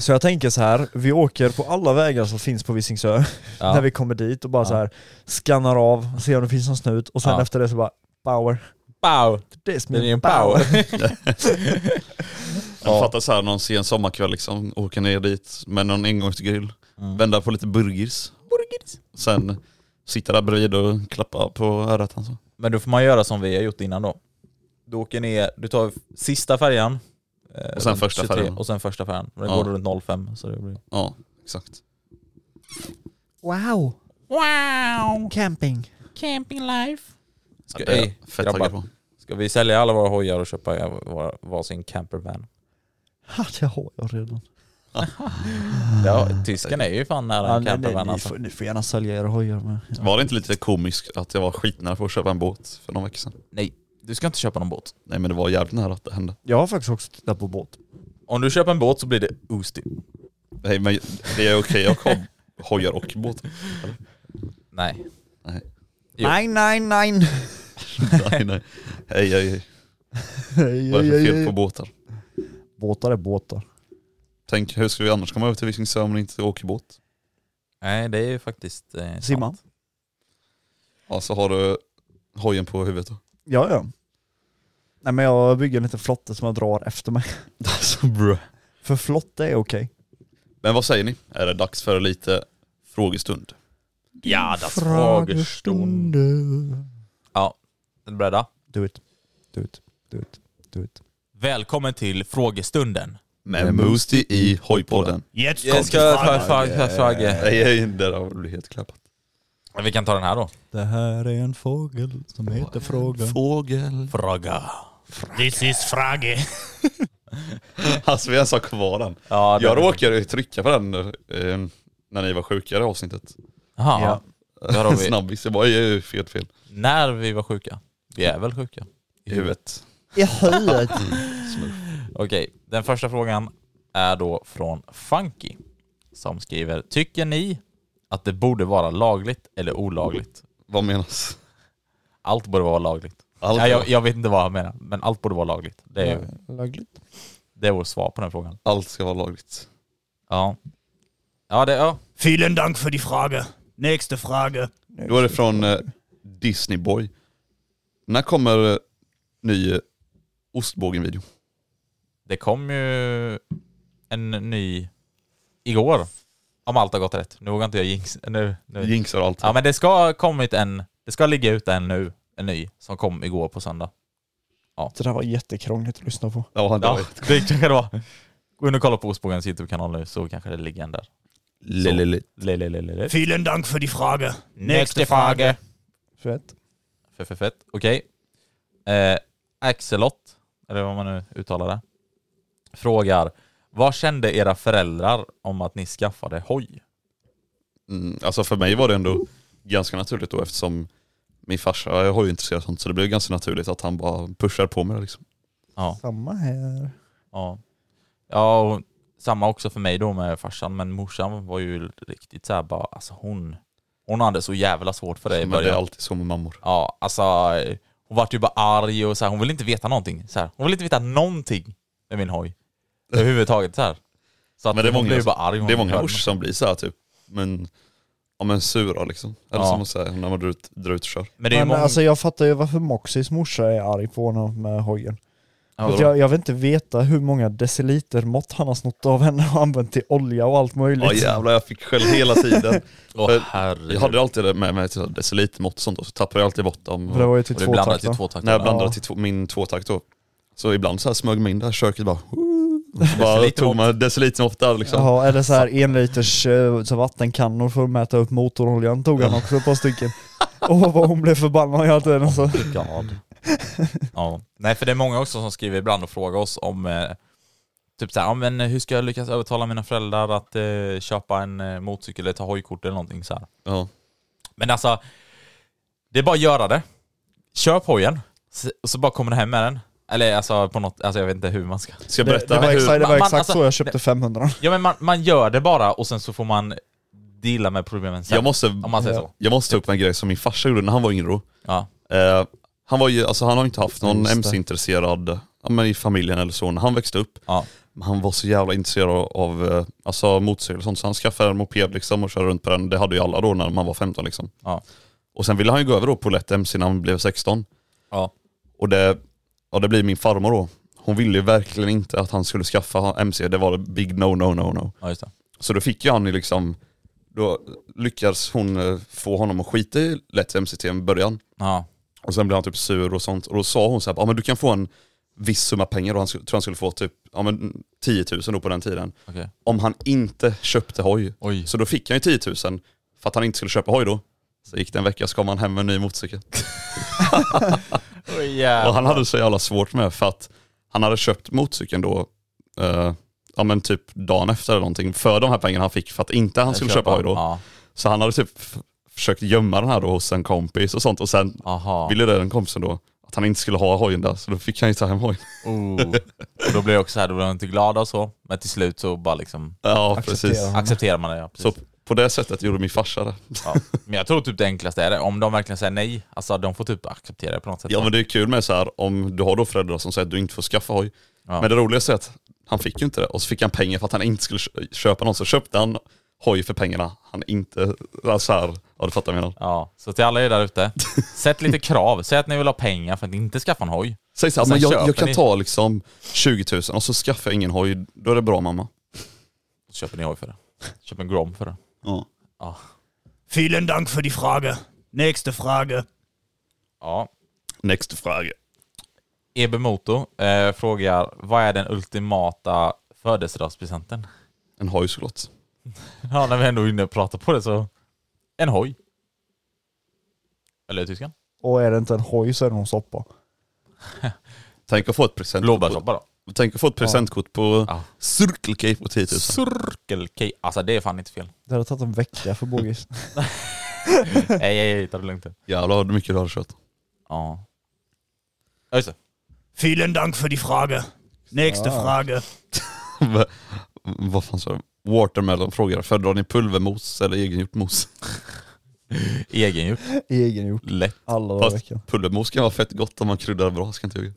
[SPEAKER 2] Så jag tänker så här, vi åker på alla vägar som finns på Visingsö
[SPEAKER 1] Ja.
[SPEAKER 2] när vi kommer dit och bara
[SPEAKER 1] Ja.
[SPEAKER 2] så här skannar av, ser om det finns någon snut och sen
[SPEAKER 1] Ja.
[SPEAKER 2] efter det så bara power.
[SPEAKER 1] Pow!
[SPEAKER 2] Det är
[SPEAKER 1] Det är ju
[SPEAKER 2] min
[SPEAKER 1] en power.
[SPEAKER 3] Men Fatta så här någon sen sommarkväll liksom, åka ner dit med någon engångsgrill,
[SPEAKER 1] Mm.
[SPEAKER 3] vända på lite burgers. Sen sitta där bredvid och klappa på örat. Alltså.
[SPEAKER 1] Men då får man göra som vi har gjort innan då. Du åker ner, du tar sista färjan. eh,
[SPEAKER 3] Och sen
[SPEAKER 1] runt
[SPEAKER 3] första färjan.
[SPEAKER 1] Och sen första färjan. Och Den
[SPEAKER 3] Ja.
[SPEAKER 1] går runt 05 så det blir...
[SPEAKER 3] Ja, exakt.
[SPEAKER 2] Wow!
[SPEAKER 1] Wow!
[SPEAKER 2] Camping.
[SPEAKER 1] Camping life. Ska,
[SPEAKER 3] Ja, det är jag
[SPEAKER 1] ey,
[SPEAKER 3] fett
[SPEAKER 1] grabbar.
[SPEAKER 3] taggad på.
[SPEAKER 1] Ska vi sälja alla våra hojar och köpa var- varsin campervan?
[SPEAKER 2] Ha, det har jag redan.
[SPEAKER 1] Ja, tysken är ju fan nära
[SPEAKER 2] Ja,
[SPEAKER 1] en
[SPEAKER 2] nej, nej,
[SPEAKER 1] campervan
[SPEAKER 2] ni,
[SPEAKER 1] alltså.
[SPEAKER 2] får, ni får gärna sälja era hojar med.
[SPEAKER 3] Var det inte lite komiskt att jag var skitnära på att köpa en båt för några veckor sedan?
[SPEAKER 1] Nej, du ska inte köpa någon båt.
[SPEAKER 3] Nej men det var jävligt nära att det hände.
[SPEAKER 2] Jag har faktiskt också tittat på båt.
[SPEAKER 1] Om du köper en båt så blir det Oosty.
[SPEAKER 3] Nej men det är okej, jag har hojar och båt.
[SPEAKER 1] Nej.
[SPEAKER 3] Nej.
[SPEAKER 1] Jo.
[SPEAKER 2] Nej, nej, nej. nej,
[SPEAKER 3] nej, nej. Hej, hej, hej.
[SPEAKER 2] nej,
[SPEAKER 3] Vad är det
[SPEAKER 2] nej,
[SPEAKER 3] för fel
[SPEAKER 2] nej.
[SPEAKER 3] på båtar?
[SPEAKER 2] Båtar är båtar.
[SPEAKER 3] Tänk, hur ska vi annars komma över till Visingsö om ni inte åker båt?
[SPEAKER 1] Nej, det är ju faktiskt... Eh, sant.
[SPEAKER 2] Simma.
[SPEAKER 3] Ja, så har du hojen på huvudet då.
[SPEAKER 2] Ja, ja. Nej men jag bygger en liten flotte som jag drar efter mig.
[SPEAKER 3] Alltså bro.
[SPEAKER 2] För flotte är okej.
[SPEAKER 3] Men vad säger ni? Är det dags för lite frågestund?
[SPEAKER 1] Ja, alltså das Frågestund.
[SPEAKER 2] Frågestunder.
[SPEAKER 1] Är du beredda?
[SPEAKER 2] Do it. Do it. Do it. Do it.
[SPEAKER 1] Välkommen till frågestunden.
[SPEAKER 3] Med Moosty i hojpodden.
[SPEAKER 2] Jetzt
[SPEAKER 1] Jag ska ta en fråga.
[SPEAKER 3] Nej, hej, där har du helt klappat.
[SPEAKER 1] Vi kan ta den här då.
[SPEAKER 2] Det här är en fågel som heter fråga.
[SPEAKER 3] Fågel.
[SPEAKER 1] Fråga.
[SPEAKER 5] This is Frage.
[SPEAKER 3] Alltså vi ens har kvar den.
[SPEAKER 1] Ja,
[SPEAKER 3] Jag
[SPEAKER 1] den-
[SPEAKER 3] råkade trycka på den eh, när ni var sjuka i det avsnittet.
[SPEAKER 1] Jaha.
[SPEAKER 2] Ja.
[SPEAKER 1] Där har vi-
[SPEAKER 3] Snabbis, jag bara "Ej, fel fel.
[SPEAKER 1] När vi var sjuka. Vi är väl sjuka?
[SPEAKER 3] I huvudet.
[SPEAKER 2] I huvudet.
[SPEAKER 1] Okej, den första frågan är då från Funky som skriver Tycker ni att det borde vara lagligt eller olagligt?
[SPEAKER 3] Vad menas?
[SPEAKER 1] Allt borde vara lagligt.
[SPEAKER 3] Allt
[SPEAKER 1] ja, jag, jag vet inte vad han menar, men allt borde vara lagligt. Det är,
[SPEAKER 2] Lagligt.
[SPEAKER 1] det är vårt svar på den frågan.
[SPEAKER 3] Allt ska vara lagligt.
[SPEAKER 1] Ja. Ja, det, ja.
[SPEAKER 5] Vielen Dank für die Frage. Nächste Frage.
[SPEAKER 3] Då är det från eh, Disney Boy. När kommer eh, ny eh, ostbågen-video?
[SPEAKER 1] det kom ju en ny igår. Om allt har gått rätt. Nu vågar inte jag jinx... Nu, nu.
[SPEAKER 3] Jinxar och allt.
[SPEAKER 1] Ja men det ska ha kommit en, det ska ligga ute en nu, en ny, som kom igår på söndag.
[SPEAKER 2] Det där var jättekrångligt att lyssna på.
[SPEAKER 3] Ja, han
[SPEAKER 1] Ja,
[SPEAKER 3] dör.
[SPEAKER 1] det kanske det var. Gå in och kolla på Ostbågens YouTube-kanal nu så kanske det ligger en där.
[SPEAKER 3] Lelele.
[SPEAKER 1] Le, le, le, le, le.
[SPEAKER 5] Vielen Dank für die Frage.
[SPEAKER 1] Nästa fråga.
[SPEAKER 2] Fett.
[SPEAKER 1] För, för fett. Okej. Eh, Axelot, eller vad man nu uttalar det, frågar Vad kände era föräldrar om att ni skaffade hoj?
[SPEAKER 3] Mm, alltså för mig var det ändå ganska naturligt då eftersom min farsa jag har ju intresserat av sånt så det blev ganska naturligt att han bara pushar på mig liksom.
[SPEAKER 1] Ja.
[SPEAKER 2] Samma här.
[SPEAKER 1] Ja. Ja, och samma också för mig då med farsan, men morsan var ju riktigt såhär bara, alltså hon, hon hade så jävla svårt för det i
[SPEAKER 3] Men det är
[SPEAKER 1] början.
[SPEAKER 3] alltid så med mammor.
[SPEAKER 1] Ja, alltså eh, hon vart ju bara arg och så här, hon ville inte veta någonting. Så här. Hon ville inte veta någonting med min hoj. Överhuvudtaget så här. Så att
[SPEAKER 3] Men det är
[SPEAKER 1] hon blev
[SPEAKER 3] många,
[SPEAKER 1] ju bara arg. hon
[SPEAKER 3] det är
[SPEAKER 1] blev
[SPEAKER 3] många
[SPEAKER 1] arg.
[SPEAKER 3] mors som blir så här typ, men, ja, men sura liksom. Eller
[SPEAKER 1] Ja.
[SPEAKER 3] som man säger när man drar ut, drar ut och kör.
[SPEAKER 1] Men det är ju
[SPEAKER 2] Men
[SPEAKER 1] många...
[SPEAKER 2] alltså jag fattar ju varför Moxys morsa är arg på honom med hojen.
[SPEAKER 1] Ja,
[SPEAKER 2] För att
[SPEAKER 1] vadå?
[SPEAKER 2] jag, jag vill inte veta hur många deciliter mått han har snott av henne och använt till olja och allt möjligt.
[SPEAKER 3] Ja jävlar jag fick skäll hela tiden.
[SPEAKER 1] Åh
[SPEAKER 3] för-
[SPEAKER 1] herregud.
[SPEAKER 3] Liksom. Jag hade alltid det med mig till decilitermått och sånt och så tappade jag alltid bort dem.
[SPEAKER 2] För det var ju typ till
[SPEAKER 1] och det blandade
[SPEAKER 2] tvåtakt
[SPEAKER 1] till två
[SPEAKER 2] va?
[SPEAKER 3] När jag
[SPEAKER 1] takter.
[SPEAKER 3] blandade
[SPEAKER 2] Ja.
[SPEAKER 3] till två, min tvåtakt då. Så ibland så här smög mig in där i köket bara, så bara
[SPEAKER 1] Decilitermått.
[SPEAKER 3] tog man decilitermått där liksom.
[SPEAKER 2] Jaha, eller så här en liters eh, så vattenkannor för att mäta upp motoroljan tog han också ett par stycken. Åh vad hon blev förbannad hela tiden alltså.
[SPEAKER 1] God. ja. Nej för det är många också som skriver ibland och frågar oss om eh, Typ såhär, ja, men hur ska jag lyckas övertala mina föräldrar att eh, köpa en eh, motorcykel eller ta hojkort eller någonting så här.
[SPEAKER 3] Ja.
[SPEAKER 1] Men alltså, det är bara att göra det. Köp hojen, s- och så bara kommer du hem med den. Eller alltså på något, alltså jag vet inte hur man ska.
[SPEAKER 3] Ska jag
[SPEAKER 2] Det,
[SPEAKER 3] berätta
[SPEAKER 2] det var
[SPEAKER 3] hur...
[SPEAKER 2] exakt, det var
[SPEAKER 1] man-
[SPEAKER 2] exakt
[SPEAKER 1] alltså-
[SPEAKER 2] så jag köpte 500.
[SPEAKER 1] Ja men man, man gör det bara och sen så får man deala med problemen sen.
[SPEAKER 3] Jag måste,
[SPEAKER 1] om man säger
[SPEAKER 2] Ja.
[SPEAKER 1] så.
[SPEAKER 3] jag måste ta upp en grej som min farsa gjorde när han var yngre.
[SPEAKER 1] Ja.
[SPEAKER 3] Eh, han, var ju, alltså han har inte haft någon
[SPEAKER 2] Just det.
[SPEAKER 3] mc-intresserad ja, men i familjen eller så när han växte upp.
[SPEAKER 1] Ja.
[SPEAKER 3] Men han var så jävla intresserad av eh, alltså, motorcykel och sånt så han skaffade en moped liksom, och körde runt på den. Det hade ju alla då när man var 15 liksom.
[SPEAKER 1] Ja.
[SPEAKER 3] Och sen ville han ju gå över då på lätt mc när han blev 16.
[SPEAKER 1] Ja.
[SPEAKER 3] Och det, ja, det blir min farmor då. Hon ville ju verkligen inte att han skulle skaffa mc, det var big no no no no.
[SPEAKER 1] ja, just det.
[SPEAKER 3] Så då fick ju han ju liksom Då lyckas hon eh, få honom att skita i lätt MCT i början.
[SPEAKER 1] Ja.
[SPEAKER 3] Och sen blev han typ sur och sånt. Och då sa hon så här, ja men du kan få en viss summa pengar. Och han sk- tror han skulle få typ ja, men 10 000 då på den tiden.
[SPEAKER 1] Okej.
[SPEAKER 3] Om han inte köpte hoj.
[SPEAKER 1] Oj.
[SPEAKER 3] Så då fick han ju 10 000 för att han inte skulle köpa hoj då. Så gick det en vecka så kom han hem med en ny motorcykel. Och han hade så jävla svårt med för att han hade köpt motorcykeln då, eh, ja men typ dagen efter eller någonting, för de här pengarna han fick för att inte han skulle köpa hoj då.
[SPEAKER 1] Ja.
[SPEAKER 3] Så han hade typ f- försökt gömma den här då hos en kompis och sånt och sen
[SPEAKER 1] Aha.
[SPEAKER 3] ville den kompisen då att han inte skulle ha hojen där så då fick han ju ta hem hojen.
[SPEAKER 1] Oh. Och då blir jag också så här, då blir de inte glada och så. Men till slut så bara liksom
[SPEAKER 3] Ja
[SPEAKER 2] Acceptera.
[SPEAKER 3] precis.
[SPEAKER 1] accepterar man det. Ja,
[SPEAKER 3] Så
[SPEAKER 1] precis.
[SPEAKER 3] på det sättet gjorde min farsa det.
[SPEAKER 1] Ja. Men jag tror typ det enklaste är det. Om de verkligen säger nej, alltså de får typ acceptera det på något sätt.
[SPEAKER 3] Ja men det är kul med så här om du har då föräldrar som säger att du inte får skaffa hoj.
[SPEAKER 1] Ja.
[SPEAKER 3] Men det roligaste är att han fick ju inte det och så fick han pengar för att han inte skulle kö- köpa någon. Så köpte han hoj för pengarna han inte, så här, ja du fattar vad jag menar.
[SPEAKER 1] Ja, så till alla er där ute. Sätt lite krav. Säg att ni vill ha pengar för att inte skaffa en hoj.
[SPEAKER 3] Säg så här,
[SPEAKER 1] Sen
[SPEAKER 3] men jag, jag
[SPEAKER 1] köper
[SPEAKER 3] kan
[SPEAKER 1] ni-
[SPEAKER 3] ta liksom 20 000 och så skaffar jag ingen hoj, då är det bra mamma.
[SPEAKER 1] Så köper ni hoj för det. Köp en Grom för det.
[SPEAKER 3] Ja.
[SPEAKER 1] Ja.
[SPEAKER 5] Vielen Dank für die Frage. Nächste Frage.
[SPEAKER 1] ja.
[SPEAKER 3] Next fråga.
[SPEAKER 1] Ebe Moto eh, frågar, vad är den ultimata födelsedagspresenten?
[SPEAKER 3] En hoj såklart.
[SPEAKER 1] Ja, när vi ändå är inne och pratar på det så... En hoj. Eller tyskan?
[SPEAKER 2] Och är det inte en hoj så är det någon soppa.
[SPEAKER 3] Tänk att få ett presentkort på,
[SPEAKER 1] Blåbärssoppa då.
[SPEAKER 3] tänk att få ett presentkort på
[SPEAKER 1] Ja.
[SPEAKER 3] Circle K på 10 000.
[SPEAKER 1] Cirkel K. Alltså det är fan inte fel.
[SPEAKER 2] Det hade tagit en vecka för Bogis.
[SPEAKER 1] Nej, nej, nej, ta det lugnt.
[SPEAKER 3] Jävlar vad mycket du hade köpt.
[SPEAKER 1] Ja. Ja, just det.
[SPEAKER 5] Vielen Dank für die Frage. Nächste Frage.
[SPEAKER 3] Va- Vad fan sa du? Watermelon frågar, föredrar ni pulvermos eller egengjort mos?
[SPEAKER 1] Egengjort.
[SPEAKER 2] Egengjort.
[SPEAKER 1] Lätt.
[SPEAKER 2] Alla dagar i
[SPEAKER 3] Fast
[SPEAKER 2] veckan.
[SPEAKER 3] pulvermos kan vara fett gott om man kryddar bra, ska inte ljuga.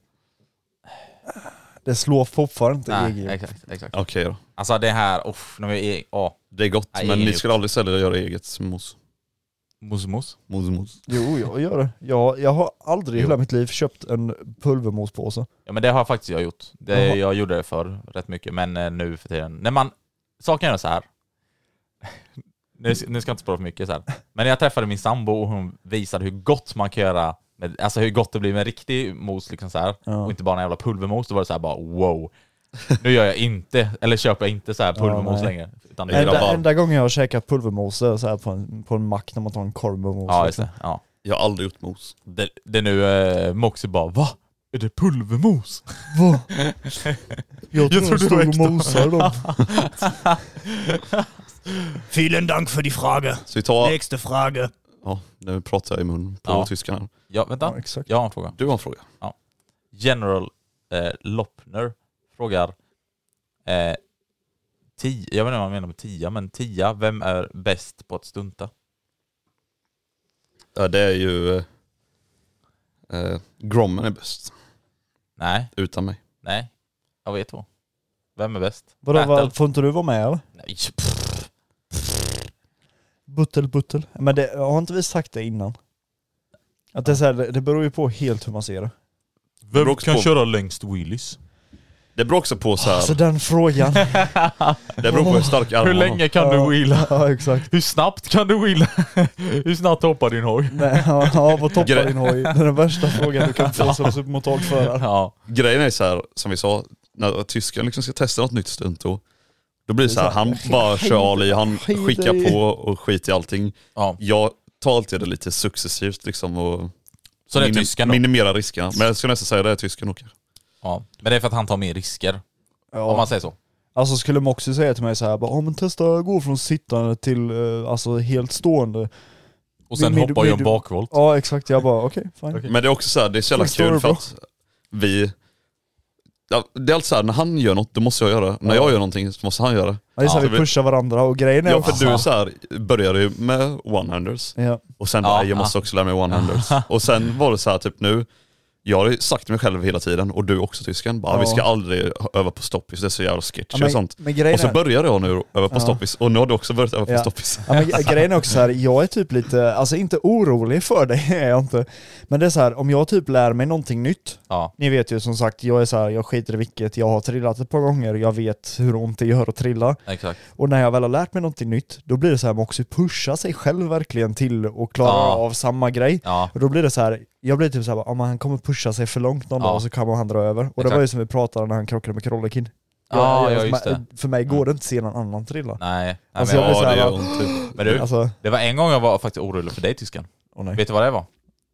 [SPEAKER 2] Det slår fortfarande inte
[SPEAKER 1] Nej,
[SPEAKER 2] egengjort.
[SPEAKER 1] exakt, exakt.
[SPEAKER 3] Okej då.
[SPEAKER 1] Alltså det här, uff, när vi är... Ja.
[SPEAKER 3] Det är gott,
[SPEAKER 1] Nej,
[SPEAKER 3] men
[SPEAKER 1] ingen
[SPEAKER 3] ni
[SPEAKER 1] gjort.
[SPEAKER 3] skulle aldrig sälja och göra eget mos.
[SPEAKER 1] Mos, mos.
[SPEAKER 3] Mos, mos.
[SPEAKER 2] Jo, jag gör det. Jag, jag har aldrig i
[SPEAKER 1] Jo.
[SPEAKER 2] hela mitt liv köpt en pulvermospåse.
[SPEAKER 1] Ja men det har faktiskt jag gjort. Det,
[SPEAKER 2] Jaha.
[SPEAKER 1] jag gjorde det förr rätt mycket, men eh, nu för tiden. När man, saken är så här. Nu, nu ska jag inte spara för mycket så här. Men jag träffade min sambo och hon visade hur gott man kan göra, med, alltså hur gott det blir med riktig mos liksom så här.
[SPEAKER 2] Ja.
[SPEAKER 1] Och inte bara en jävla pulvermos, då var det så här bara wow. Nu gör jag inte, eller köper jag inte så här pulvermos
[SPEAKER 2] nej.
[SPEAKER 1] längre. Utan det är
[SPEAKER 3] Ända-
[SPEAKER 1] bara-
[SPEAKER 2] Enda,
[SPEAKER 3] rabarber.
[SPEAKER 2] enda gången jag har käkat pulvermos är så här på, en, på en mack när man tar en korv med mos.
[SPEAKER 1] Ja just
[SPEAKER 2] liksom.
[SPEAKER 1] det. Ja.
[SPEAKER 3] Jag har aldrig gjort mos.
[SPEAKER 1] Det, det är nu eh, Moxie bara va? Är det pulvermos?
[SPEAKER 2] Va? Jag
[SPEAKER 1] Jag
[SPEAKER 2] tror
[SPEAKER 1] trodde
[SPEAKER 2] de
[SPEAKER 1] det
[SPEAKER 2] stod
[SPEAKER 1] var
[SPEAKER 2] och
[SPEAKER 1] äkta.
[SPEAKER 2] mosade dem.
[SPEAKER 5] Vielen Dank für die Frage.
[SPEAKER 3] Så vi tar...
[SPEAKER 5] Nächste Frage.
[SPEAKER 3] Ja, nu pratar jag i mun på
[SPEAKER 1] Ja.
[SPEAKER 3] tyskan här.
[SPEAKER 1] Ja vänta,
[SPEAKER 2] Ja, exakt.
[SPEAKER 1] jag har en fråga.
[SPEAKER 3] Du har en fråga.
[SPEAKER 1] General eh, Loppner frågar eh, ti- Jag vet inte vad han menar med tia, men tia, vem är bäst på att stunta?
[SPEAKER 3] Ja, det är ju... Eh, eh, Grommen är bäst,
[SPEAKER 1] Nej,
[SPEAKER 3] utan mig.
[SPEAKER 1] nej. Jag vet då. Vem är bäst?
[SPEAKER 2] Vadå,
[SPEAKER 1] Battle?
[SPEAKER 2] vad, får inte du vara med eller?
[SPEAKER 1] Nej, pff.
[SPEAKER 2] Buttel, buttel. Men det, har inte vi sagt det innan? Att det, är så här, det, det beror ju på helt hur man ser det.
[SPEAKER 3] beror
[SPEAKER 1] Vem
[SPEAKER 3] också
[SPEAKER 1] kan
[SPEAKER 3] på-
[SPEAKER 1] köra längst wheelies?
[SPEAKER 3] Det beror också på så här,
[SPEAKER 2] Alltså den frågan.
[SPEAKER 3] det beror på hur stark armarna
[SPEAKER 1] Hur länge kan du
[SPEAKER 2] Ja,
[SPEAKER 1] wheela?
[SPEAKER 2] Ja exakt.
[SPEAKER 1] Hur snabbt kan du wheela? Hur snabbt hoppar din hoj?
[SPEAKER 2] Nej, ja, ja, vad toppar
[SPEAKER 3] Gre-
[SPEAKER 2] din hoj? Det är den värsta frågan du kan få som supermotorförare.
[SPEAKER 1] Ja,
[SPEAKER 3] Grejen är så här, som vi sa, när tysken liksom ska testa något nytt stunt då, då blir det så här,
[SPEAKER 2] Det är
[SPEAKER 3] han
[SPEAKER 2] så här,
[SPEAKER 3] bara kör all i, han
[SPEAKER 2] skit i.
[SPEAKER 3] skickar på och skiter i allting.
[SPEAKER 1] ja.
[SPEAKER 3] Jag tar alltid det lite successivt liksom och
[SPEAKER 1] Så det är
[SPEAKER 3] minim-
[SPEAKER 1] tysken då?
[SPEAKER 3] minimera riskerna. Men jag skulle nästan säga det är tysken nog.
[SPEAKER 1] Ja. Men det är för att han tar mer risker, om
[SPEAKER 2] Ja.
[SPEAKER 1] man säger så.
[SPEAKER 2] Alltså skulle Moxie säga till mig så här, bara, "Ja, men testa att gå från sittande till eh, alltså, helt stående.
[SPEAKER 1] Och sen
[SPEAKER 2] Min- min-
[SPEAKER 1] hoppar ju en
[SPEAKER 2] min-
[SPEAKER 1] bakvolt.
[SPEAKER 2] Ja exakt, jag bara okej, fine.
[SPEAKER 3] Men det är också så här, det är så jävla
[SPEAKER 2] Förstår du,
[SPEAKER 3] kul för
[SPEAKER 2] bro?
[SPEAKER 3] att vi... Ja, Det är alltid så här, när han gör något, då måste jag göra det. När jag gör någonting så måste han göra det.
[SPEAKER 2] Ja, det är så här,
[SPEAKER 3] Ja.
[SPEAKER 2] vi pushar varandra och grejen är
[SPEAKER 3] Ja,
[SPEAKER 2] också-
[SPEAKER 3] för du så här, började ju med one-handers.
[SPEAKER 2] Ja.
[SPEAKER 3] Och sen
[SPEAKER 1] Ja,
[SPEAKER 3] bara, jag
[SPEAKER 1] ja.
[SPEAKER 3] måste också lära mig one-handers. Och sen var det så här typ nu, Jag har ju sagt till mig själv hela tiden, och du också tysken, bara,
[SPEAKER 2] Ja.
[SPEAKER 3] vi ska aldrig öva på stoppis, det är så jävla sketchy
[SPEAKER 2] Ja, men-
[SPEAKER 3] och sånt.
[SPEAKER 2] men grejen
[SPEAKER 3] och så
[SPEAKER 2] är-
[SPEAKER 3] började jag nu öva på
[SPEAKER 2] Ja.
[SPEAKER 3] stoppis, och nu har du också börjat öva på stoppis.
[SPEAKER 2] Ja, men gre- grejen är också så här, jag är typ lite, alltså inte orolig för dig är jag inte. Men det är så här, om jag typ lär mig någonting nytt, ni vet ju som sagt, jag är så här, jag skiter i vilket, jag har trillat ett par gånger, jag vet hur ont det gör att trilla.
[SPEAKER 1] Exakt.
[SPEAKER 2] Och när jag väl har lärt mig någonting nytt, då blir det så här, man också pusha sig själv verkligen till och klara
[SPEAKER 1] Ja.
[SPEAKER 2] av samma grej.
[SPEAKER 1] Ja.
[SPEAKER 2] Och då blir det så här, jag blir typ så här, om han kommer pusha sig för långt någon
[SPEAKER 1] Ja.
[SPEAKER 2] dag och så kommer han dra över. Och det
[SPEAKER 1] Exakt.
[SPEAKER 2] var ju som vi pratade när han krockade med Krolle Kid.
[SPEAKER 1] Ja,
[SPEAKER 2] Jag-
[SPEAKER 1] ja,
[SPEAKER 2] jag-
[SPEAKER 1] just det. Mm.
[SPEAKER 2] För mig går det inte att se någon annan trilla.
[SPEAKER 1] Nej.
[SPEAKER 2] Alltså, jag blir så här, va-
[SPEAKER 1] typ. Men du,
[SPEAKER 2] Alltså-
[SPEAKER 1] det var en gång jag var faktiskt orolig för dig tysken.
[SPEAKER 2] Åh, nej.
[SPEAKER 1] Vet du vad det var?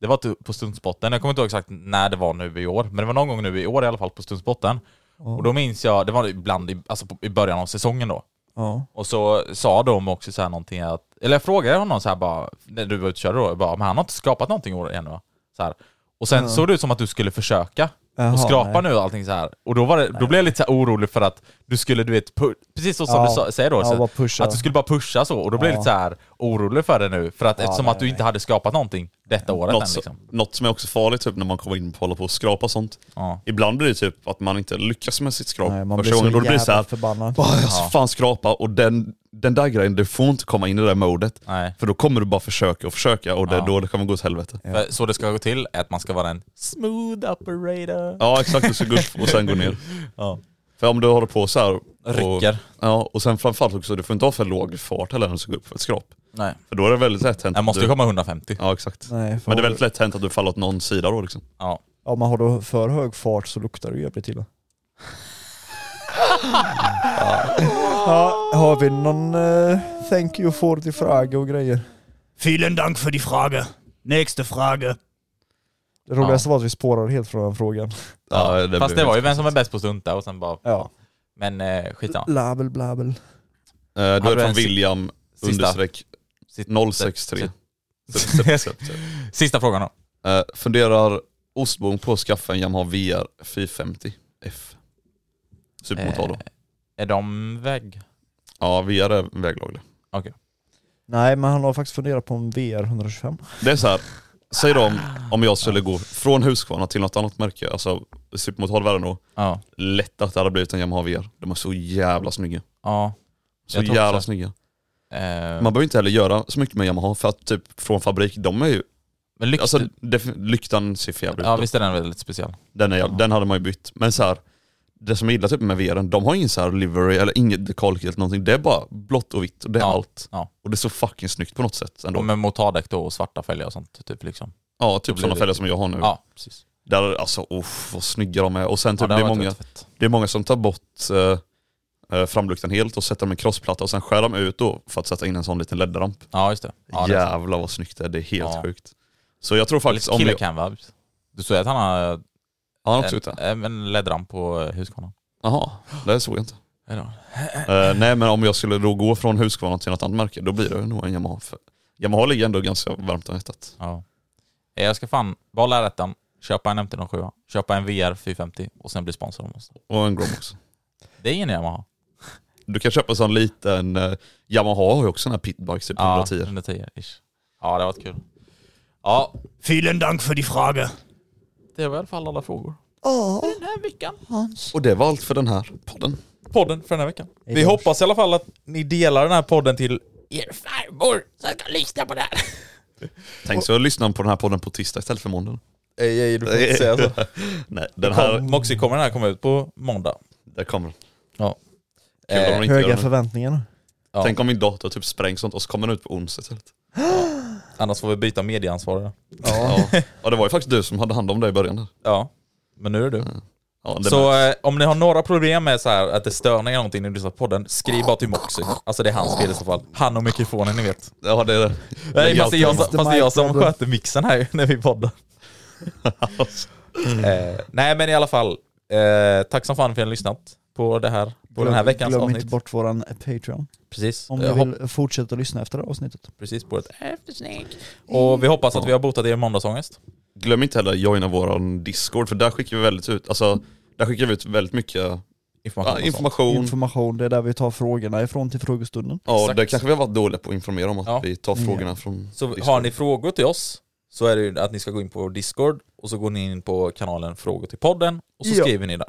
[SPEAKER 1] Det var typ på stundspotten, jag kommer inte ihåg exakt när det var nu i år, men det var någon gång nu i år i alla fall på stundspotten. Och då minns jag, det var ibland i, alltså på, i början av säsongen då.
[SPEAKER 2] Ja.
[SPEAKER 1] Och så sa de också så här någonting att, eller jag frågade honom så här bara, när du var ute och körde då, jag bara, men han har inte skapat någonting i år ännu va? Så här. Och sen
[SPEAKER 2] Ja.
[SPEAKER 1] såg det ut som att du skulle försöka
[SPEAKER 2] Jaha,
[SPEAKER 1] och skrapa
[SPEAKER 2] nej.
[SPEAKER 1] nu och allting så här. Och då, var det, då blev jag lite så här orolig för att du skulle, du vet, pu- precis så som
[SPEAKER 2] Ja.
[SPEAKER 1] du sa, säger då,
[SPEAKER 2] Ja, bara pusha.
[SPEAKER 1] att du skulle bara pusha så. Och då blev jag
[SPEAKER 2] Ja.
[SPEAKER 1] lite så här orolig för det nu, för att
[SPEAKER 2] Ja,
[SPEAKER 1] eftersom
[SPEAKER 2] nej,
[SPEAKER 1] att du inte hade skapat någonting detta året
[SPEAKER 3] Något,
[SPEAKER 1] än
[SPEAKER 3] så-
[SPEAKER 1] liksom.
[SPEAKER 3] något som är också farligt typ, när man kommer in på hålla på och skrapa och sånt.
[SPEAKER 1] Ja.
[SPEAKER 3] Ibland blir det typ att man inte lyckas med sitt skrap
[SPEAKER 2] Nej, man
[SPEAKER 3] första
[SPEAKER 2] blir så
[SPEAKER 3] gången. Då blir det
[SPEAKER 2] jävla
[SPEAKER 3] så här,
[SPEAKER 2] förbannad.
[SPEAKER 3] bara, jag ska fan skrapa och den, den där grejen, du får inte komma in i det där modet.
[SPEAKER 1] Nej.
[SPEAKER 3] För då kommer du bara försöka och försöka och det, är då det kommer gå åt helvete. Ja,
[SPEAKER 1] För, så det ska gå till är att man ska vara en smooth operator.
[SPEAKER 3] exakt, du ska gå upp och sen gå ner.
[SPEAKER 1] Ja.
[SPEAKER 3] För om du håller på så här. Och,
[SPEAKER 1] Rycker.
[SPEAKER 3] ja, och sen framförallt också, du får inte ha för låg fart heller när du ska gå upp för ett skrap.
[SPEAKER 1] Nej.
[SPEAKER 3] För då är det väldigt lätt hänt.
[SPEAKER 1] Jag
[SPEAKER 3] att
[SPEAKER 1] måste
[SPEAKER 3] du-
[SPEAKER 1] ju komma 150.
[SPEAKER 3] Ja exakt.
[SPEAKER 2] Nej, för
[SPEAKER 3] Men det är väldigt lätt hänt att du faller åt någon sida då liksom.
[SPEAKER 1] Ja.
[SPEAKER 2] om man har då för hög fart så luktar det ju jävligt illa. ja, har vi någon eh, thank you for the frage och grejer?
[SPEAKER 5] Vielen Dank für die Frage. Nächste Frage.
[SPEAKER 2] Det roligaste var att vi spårade helt från den frågan.
[SPEAKER 3] Ja, det
[SPEAKER 1] Fast
[SPEAKER 3] blir-
[SPEAKER 1] det var ju vem som är bäst på att stunta och sen bara...
[SPEAKER 2] Ja.
[SPEAKER 1] Men eh, skitsamma.
[SPEAKER 2] Label blabel.
[SPEAKER 3] Eh, då
[SPEAKER 1] Hade
[SPEAKER 3] är
[SPEAKER 1] du
[SPEAKER 3] det
[SPEAKER 1] en
[SPEAKER 3] från
[SPEAKER 1] si-
[SPEAKER 3] William
[SPEAKER 1] sista?
[SPEAKER 3] understreck
[SPEAKER 1] Sitt-
[SPEAKER 3] 063.
[SPEAKER 1] sitt- Sista frågan då.
[SPEAKER 3] Eh, funderar Ostbom på att skaffa en Yamaha VR 450 F? Supermotor då.
[SPEAKER 1] Eh, Är de vägg?
[SPEAKER 3] Ja, VR är väglaglig.
[SPEAKER 1] Okej.
[SPEAKER 2] Nej, men han har faktiskt funderat på en VR 125.
[SPEAKER 3] Det är så här. säg då om, om jag skulle gå från Husqvarna till något annat märke, alltså supermotor värre nog,
[SPEAKER 1] Ja.
[SPEAKER 3] lätt att det hade blivit en Yamaha VR. De är så jävla snygga.
[SPEAKER 1] Ja.
[SPEAKER 3] Så
[SPEAKER 1] Jag tror
[SPEAKER 3] jävla
[SPEAKER 1] också.
[SPEAKER 3] snygga.
[SPEAKER 1] Eh,
[SPEAKER 3] Man behöver inte heller göra så mycket med Yamaha för att typ från fabrik, de är ju,
[SPEAKER 1] men lykt,
[SPEAKER 3] alltså def- lyktan ser för jävligt ut.
[SPEAKER 1] Typ. ja
[SPEAKER 3] då.
[SPEAKER 1] visst är den väldigt speciell.
[SPEAKER 3] Den, är, den hade man ju bytt. Men så här, det som jag gillar typ med VRn, de har ingen så här livery eller inget dekalkit eller någonting. Det är bara blått och vitt och det är
[SPEAKER 1] Ja,
[SPEAKER 3] allt.
[SPEAKER 1] ja.
[SPEAKER 3] Och det är så fucking snyggt på något sätt ändå.
[SPEAKER 1] Och med motardäck då och svarta fälgar och sånt typ liksom.
[SPEAKER 3] ja,
[SPEAKER 1] då
[SPEAKER 3] typ
[SPEAKER 1] blir
[SPEAKER 3] sådana
[SPEAKER 1] det-
[SPEAKER 3] fälgar som jag har nu.
[SPEAKER 1] Ja, precis.
[SPEAKER 3] Där, alltså uff, vad snygga de är. Och sen
[SPEAKER 1] Ja,
[SPEAKER 3] typ, det,
[SPEAKER 1] hade
[SPEAKER 3] är
[SPEAKER 1] varit
[SPEAKER 3] många,
[SPEAKER 1] rätt fett.
[SPEAKER 3] det är många som tar bort eh, eh, framluktan helt och sätter dem i en crossplatta och sen skär de ut då för att sätta in en sån liten LED-ramp.
[SPEAKER 1] Ja, just det. Ja, det är sant.
[SPEAKER 3] Jävlar vad snyggt det är, det är helt
[SPEAKER 1] Ja.
[SPEAKER 3] sjukt. Så jag tror faktiskt
[SPEAKER 1] Lite
[SPEAKER 3] om...
[SPEAKER 1] killer
[SPEAKER 3] Jag,
[SPEAKER 1] canvabs. Du såg att han har
[SPEAKER 3] han har också gjort
[SPEAKER 1] en,
[SPEAKER 3] det?
[SPEAKER 1] en, en ledram på eh, Husqvarna.
[SPEAKER 3] Jaha, det såg jag inte.
[SPEAKER 1] Eller?
[SPEAKER 3] Eh, nej men om jag skulle då gå från Husqvarna till något annat märke, då blir det nog en Yamaha. För Yamaha ligger ändå ganska varmt om hjärtat.
[SPEAKER 1] Ja. Eh, Jag ska fan behålla rätten, köpa en MT-07, köpa en VR 450 och sen bli sponsor av oss.
[SPEAKER 3] Och en Grom också.
[SPEAKER 1] Det är ingen Yamaha.
[SPEAKER 3] Du kan köpa en sån liten, eh, Yamaha har ju också den här pitbikes typ
[SPEAKER 1] Ja,
[SPEAKER 3] 110.
[SPEAKER 1] 110 ish. Ja, det har varit kul. Ja,
[SPEAKER 5] Vielen Dank für die Frage.
[SPEAKER 1] det var i alla fall alla frågor. Den här veckan.
[SPEAKER 3] Och det var allt för den här podden.
[SPEAKER 1] podden för den här veckan. Vi hoppas i alla fall att ni delar den här podden till er farmor som ska lyssna på det här.
[SPEAKER 3] Tänk så lyssnar på den här podden på tisdag istället för måndag.
[SPEAKER 1] Ej, ej, du får inte säga så.
[SPEAKER 3] nej, den här,
[SPEAKER 1] Moxie kommer den här komma ut på måndag. Eh,
[SPEAKER 3] där kommer den.
[SPEAKER 1] Ja.
[SPEAKER 3] Kul om de inte gör
[SPEAKER 2] Höga
[SPEAKER 3] det.
[SPEAKER 2] förväntningar.
[SPEAKER 1] Ja.
[SPEAKER 3] Tänk om min dator typ sprängs och sånt och så kommer den ut på onsdag istället.
[SPEAKER 1] Annars får vi byta medieansvariga.
[SPEAKER 3] Ja. ja. det var ju faktiskt du som hade hand om det i början. där.
[SPEAKER 1] Ja, men nu är det du.
[SPEAKER 3] Ja, det
[SPEAKER 1] Så
[SPEAKER 3] märks.
[SPEAKER 1] eh, om ni har några problem med så här, att det är störningar eller någonting när ni lyssnar på podden, skriv bara till Moxie. Alltså det är hans fel i så fall. Han och mikrofonen ni vet.
[SPEAKER 3] ja det är det.
[SPEAKER 1] Nej, fast det är jag,
[SPEAKER 2] Mr.
[SPEAKER 1] som- fast det är jag som
[SPEAKER 2] Microblad.
[SPEAKER 1] sköter mixen här när vi poddar.
[SPEAKER 3] Mm.
[SPEAKER 1] eh, nej men i alla fall, eh, tack som fan för att ni har lyssnat på, det här, på den här veckans
[SPEAKER 2] Glöm
[SPEAKER 1] avsnitt.
[SPEAKER 2] inte bort våran Patreon.
[SPEAKER 1] Precis.
[SPEAKER 2] Om
[SPEAKER 1] Eh,
[SPEAKER 2] ni
[SPEAKER 1] hopp-
[SPEAKER 2] vill fortsätta lyssna efter det här avsnittet.
[SPEAKER 1] precis på ett Och vi hoppas att vi har botat er måndagsångest.
[SPEAKER 3] Glöm inte heller joina våran discord för där skickar vi väldigt ut, alltså där skickar vi ut väldigt mycket
[SPEAKER 1] Information.
[SPEAKER 3] ja,
[SPEAKER 1] och sånt.
[SPEAKER 3] information.
[SPEAKER 2] Information, det är där vi tar frågorna ifrån till frågestunden.
[SPEAKER 3] ja,
[SPEAKER 1] Exakt.
[SPEAKER 3] det kanske vi har varit dåliga på att informera om att
[SPEAKER 1] Ja. Mm.
[SPEAKER 3] vi tar frågorna från
[SPEAKER 1] så
[SPEAKER 3] discord.
[SPEAKER 1] har ni frågor till oss så är det ju att ni ska gå in på Discord och så går ni in på kanalen Frågor till podden och så
[SPEAKER 2] Ja.
[SPEAKER 1] skriver ni där.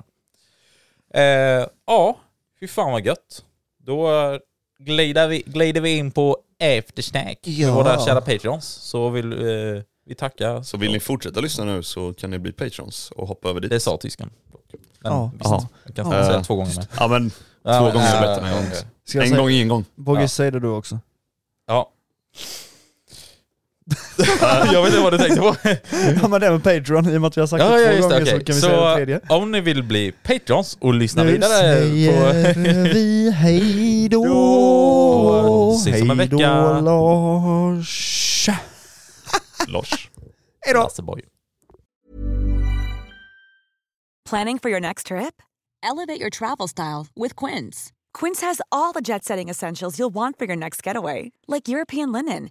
[SPEAKER 1] Eh, ja, fy fan vad gött. Då eh, glider vi, glider vi in på eftersnack
[SPEAKER 2] Ja.
[SPEAKER 1] med våra kära Patreons. Så vill eh, vi tacka.
[SPEAKER 3] Så vill ni fortsätta lyssna nu så kan ni bli patrons och hoppa över dit.
[SPEAKER 1] Det sa tysken. Men
[SPEAKER 2] Ja.
[SPEAKER 1] visst,
[SPEAKER 3] Jaha.
[SPEAKER 1] jag kan
[SPEAKER 3] Eh,
[SPEAKER 1] säga två gånger. med.
[SPEAKER 3] Ja men,
[SPEAKER 1] Ja, eh,
[SPEAKER 3] två
[SPEAKER 1] men, äh,
[SPEAKER 3] gånger
[SPEAKER 1] ja,
[SPEAKER 3] är bättre än
[SPEAKER 1] ja,
[SPEAKER 3] en gång.
[SPEAKER 1] ja.
[SPEAKER 2] Ska jag
[SPEAKER 3] En
[SPEAKER 2] säga,
[SPEAKER 3] gång är en gång.
[SPEAKER 2] Bogge,
[SPEAKER 1] Ja.
[SPEAKER 2] säg det du också.
[SPEAKER 1] Ja. jag vet inte vad du tänkte på.
[SPEAKER 2] ja men det är med Patreon, i och med att vi har sagt
[SPEAKER 1] Ja,
[SPEAKER 2] det
[SPEAKER 1] ja
[SPEAKER 2] två
[SPEAKER 1] just det.
[SPEAKER 2] gånger
[SPEAKER 1] okej.
[SPEAKER 2] så kan vi
[SPEAKER 1] Så,
[SPEAKER 2] säga det tredje.
[SPEAKER 1] om ni vill bli Patreons och lyssna
[SPEAKER 2] Nu
[SPEAKER 1] vidare på...
[SPEAKER 2] säger vi hejdå!
[SPEAKER 1] Då ses om en
[SPEAKER 2] Hejdå,
[SPEAKER 1] vecka.
[SPEAKER 2] Lars!
[SPEAKER 3] Lars.
[SPEAKER 1] Lasseboy.
[SPEAKER 6] Planning for your next trip?
[SPEAKER 7] Elevate your travel style with Quince.
[SPEAKER 6] Quince has all the jet setting essentials you'll want for your next getaway, like European linen,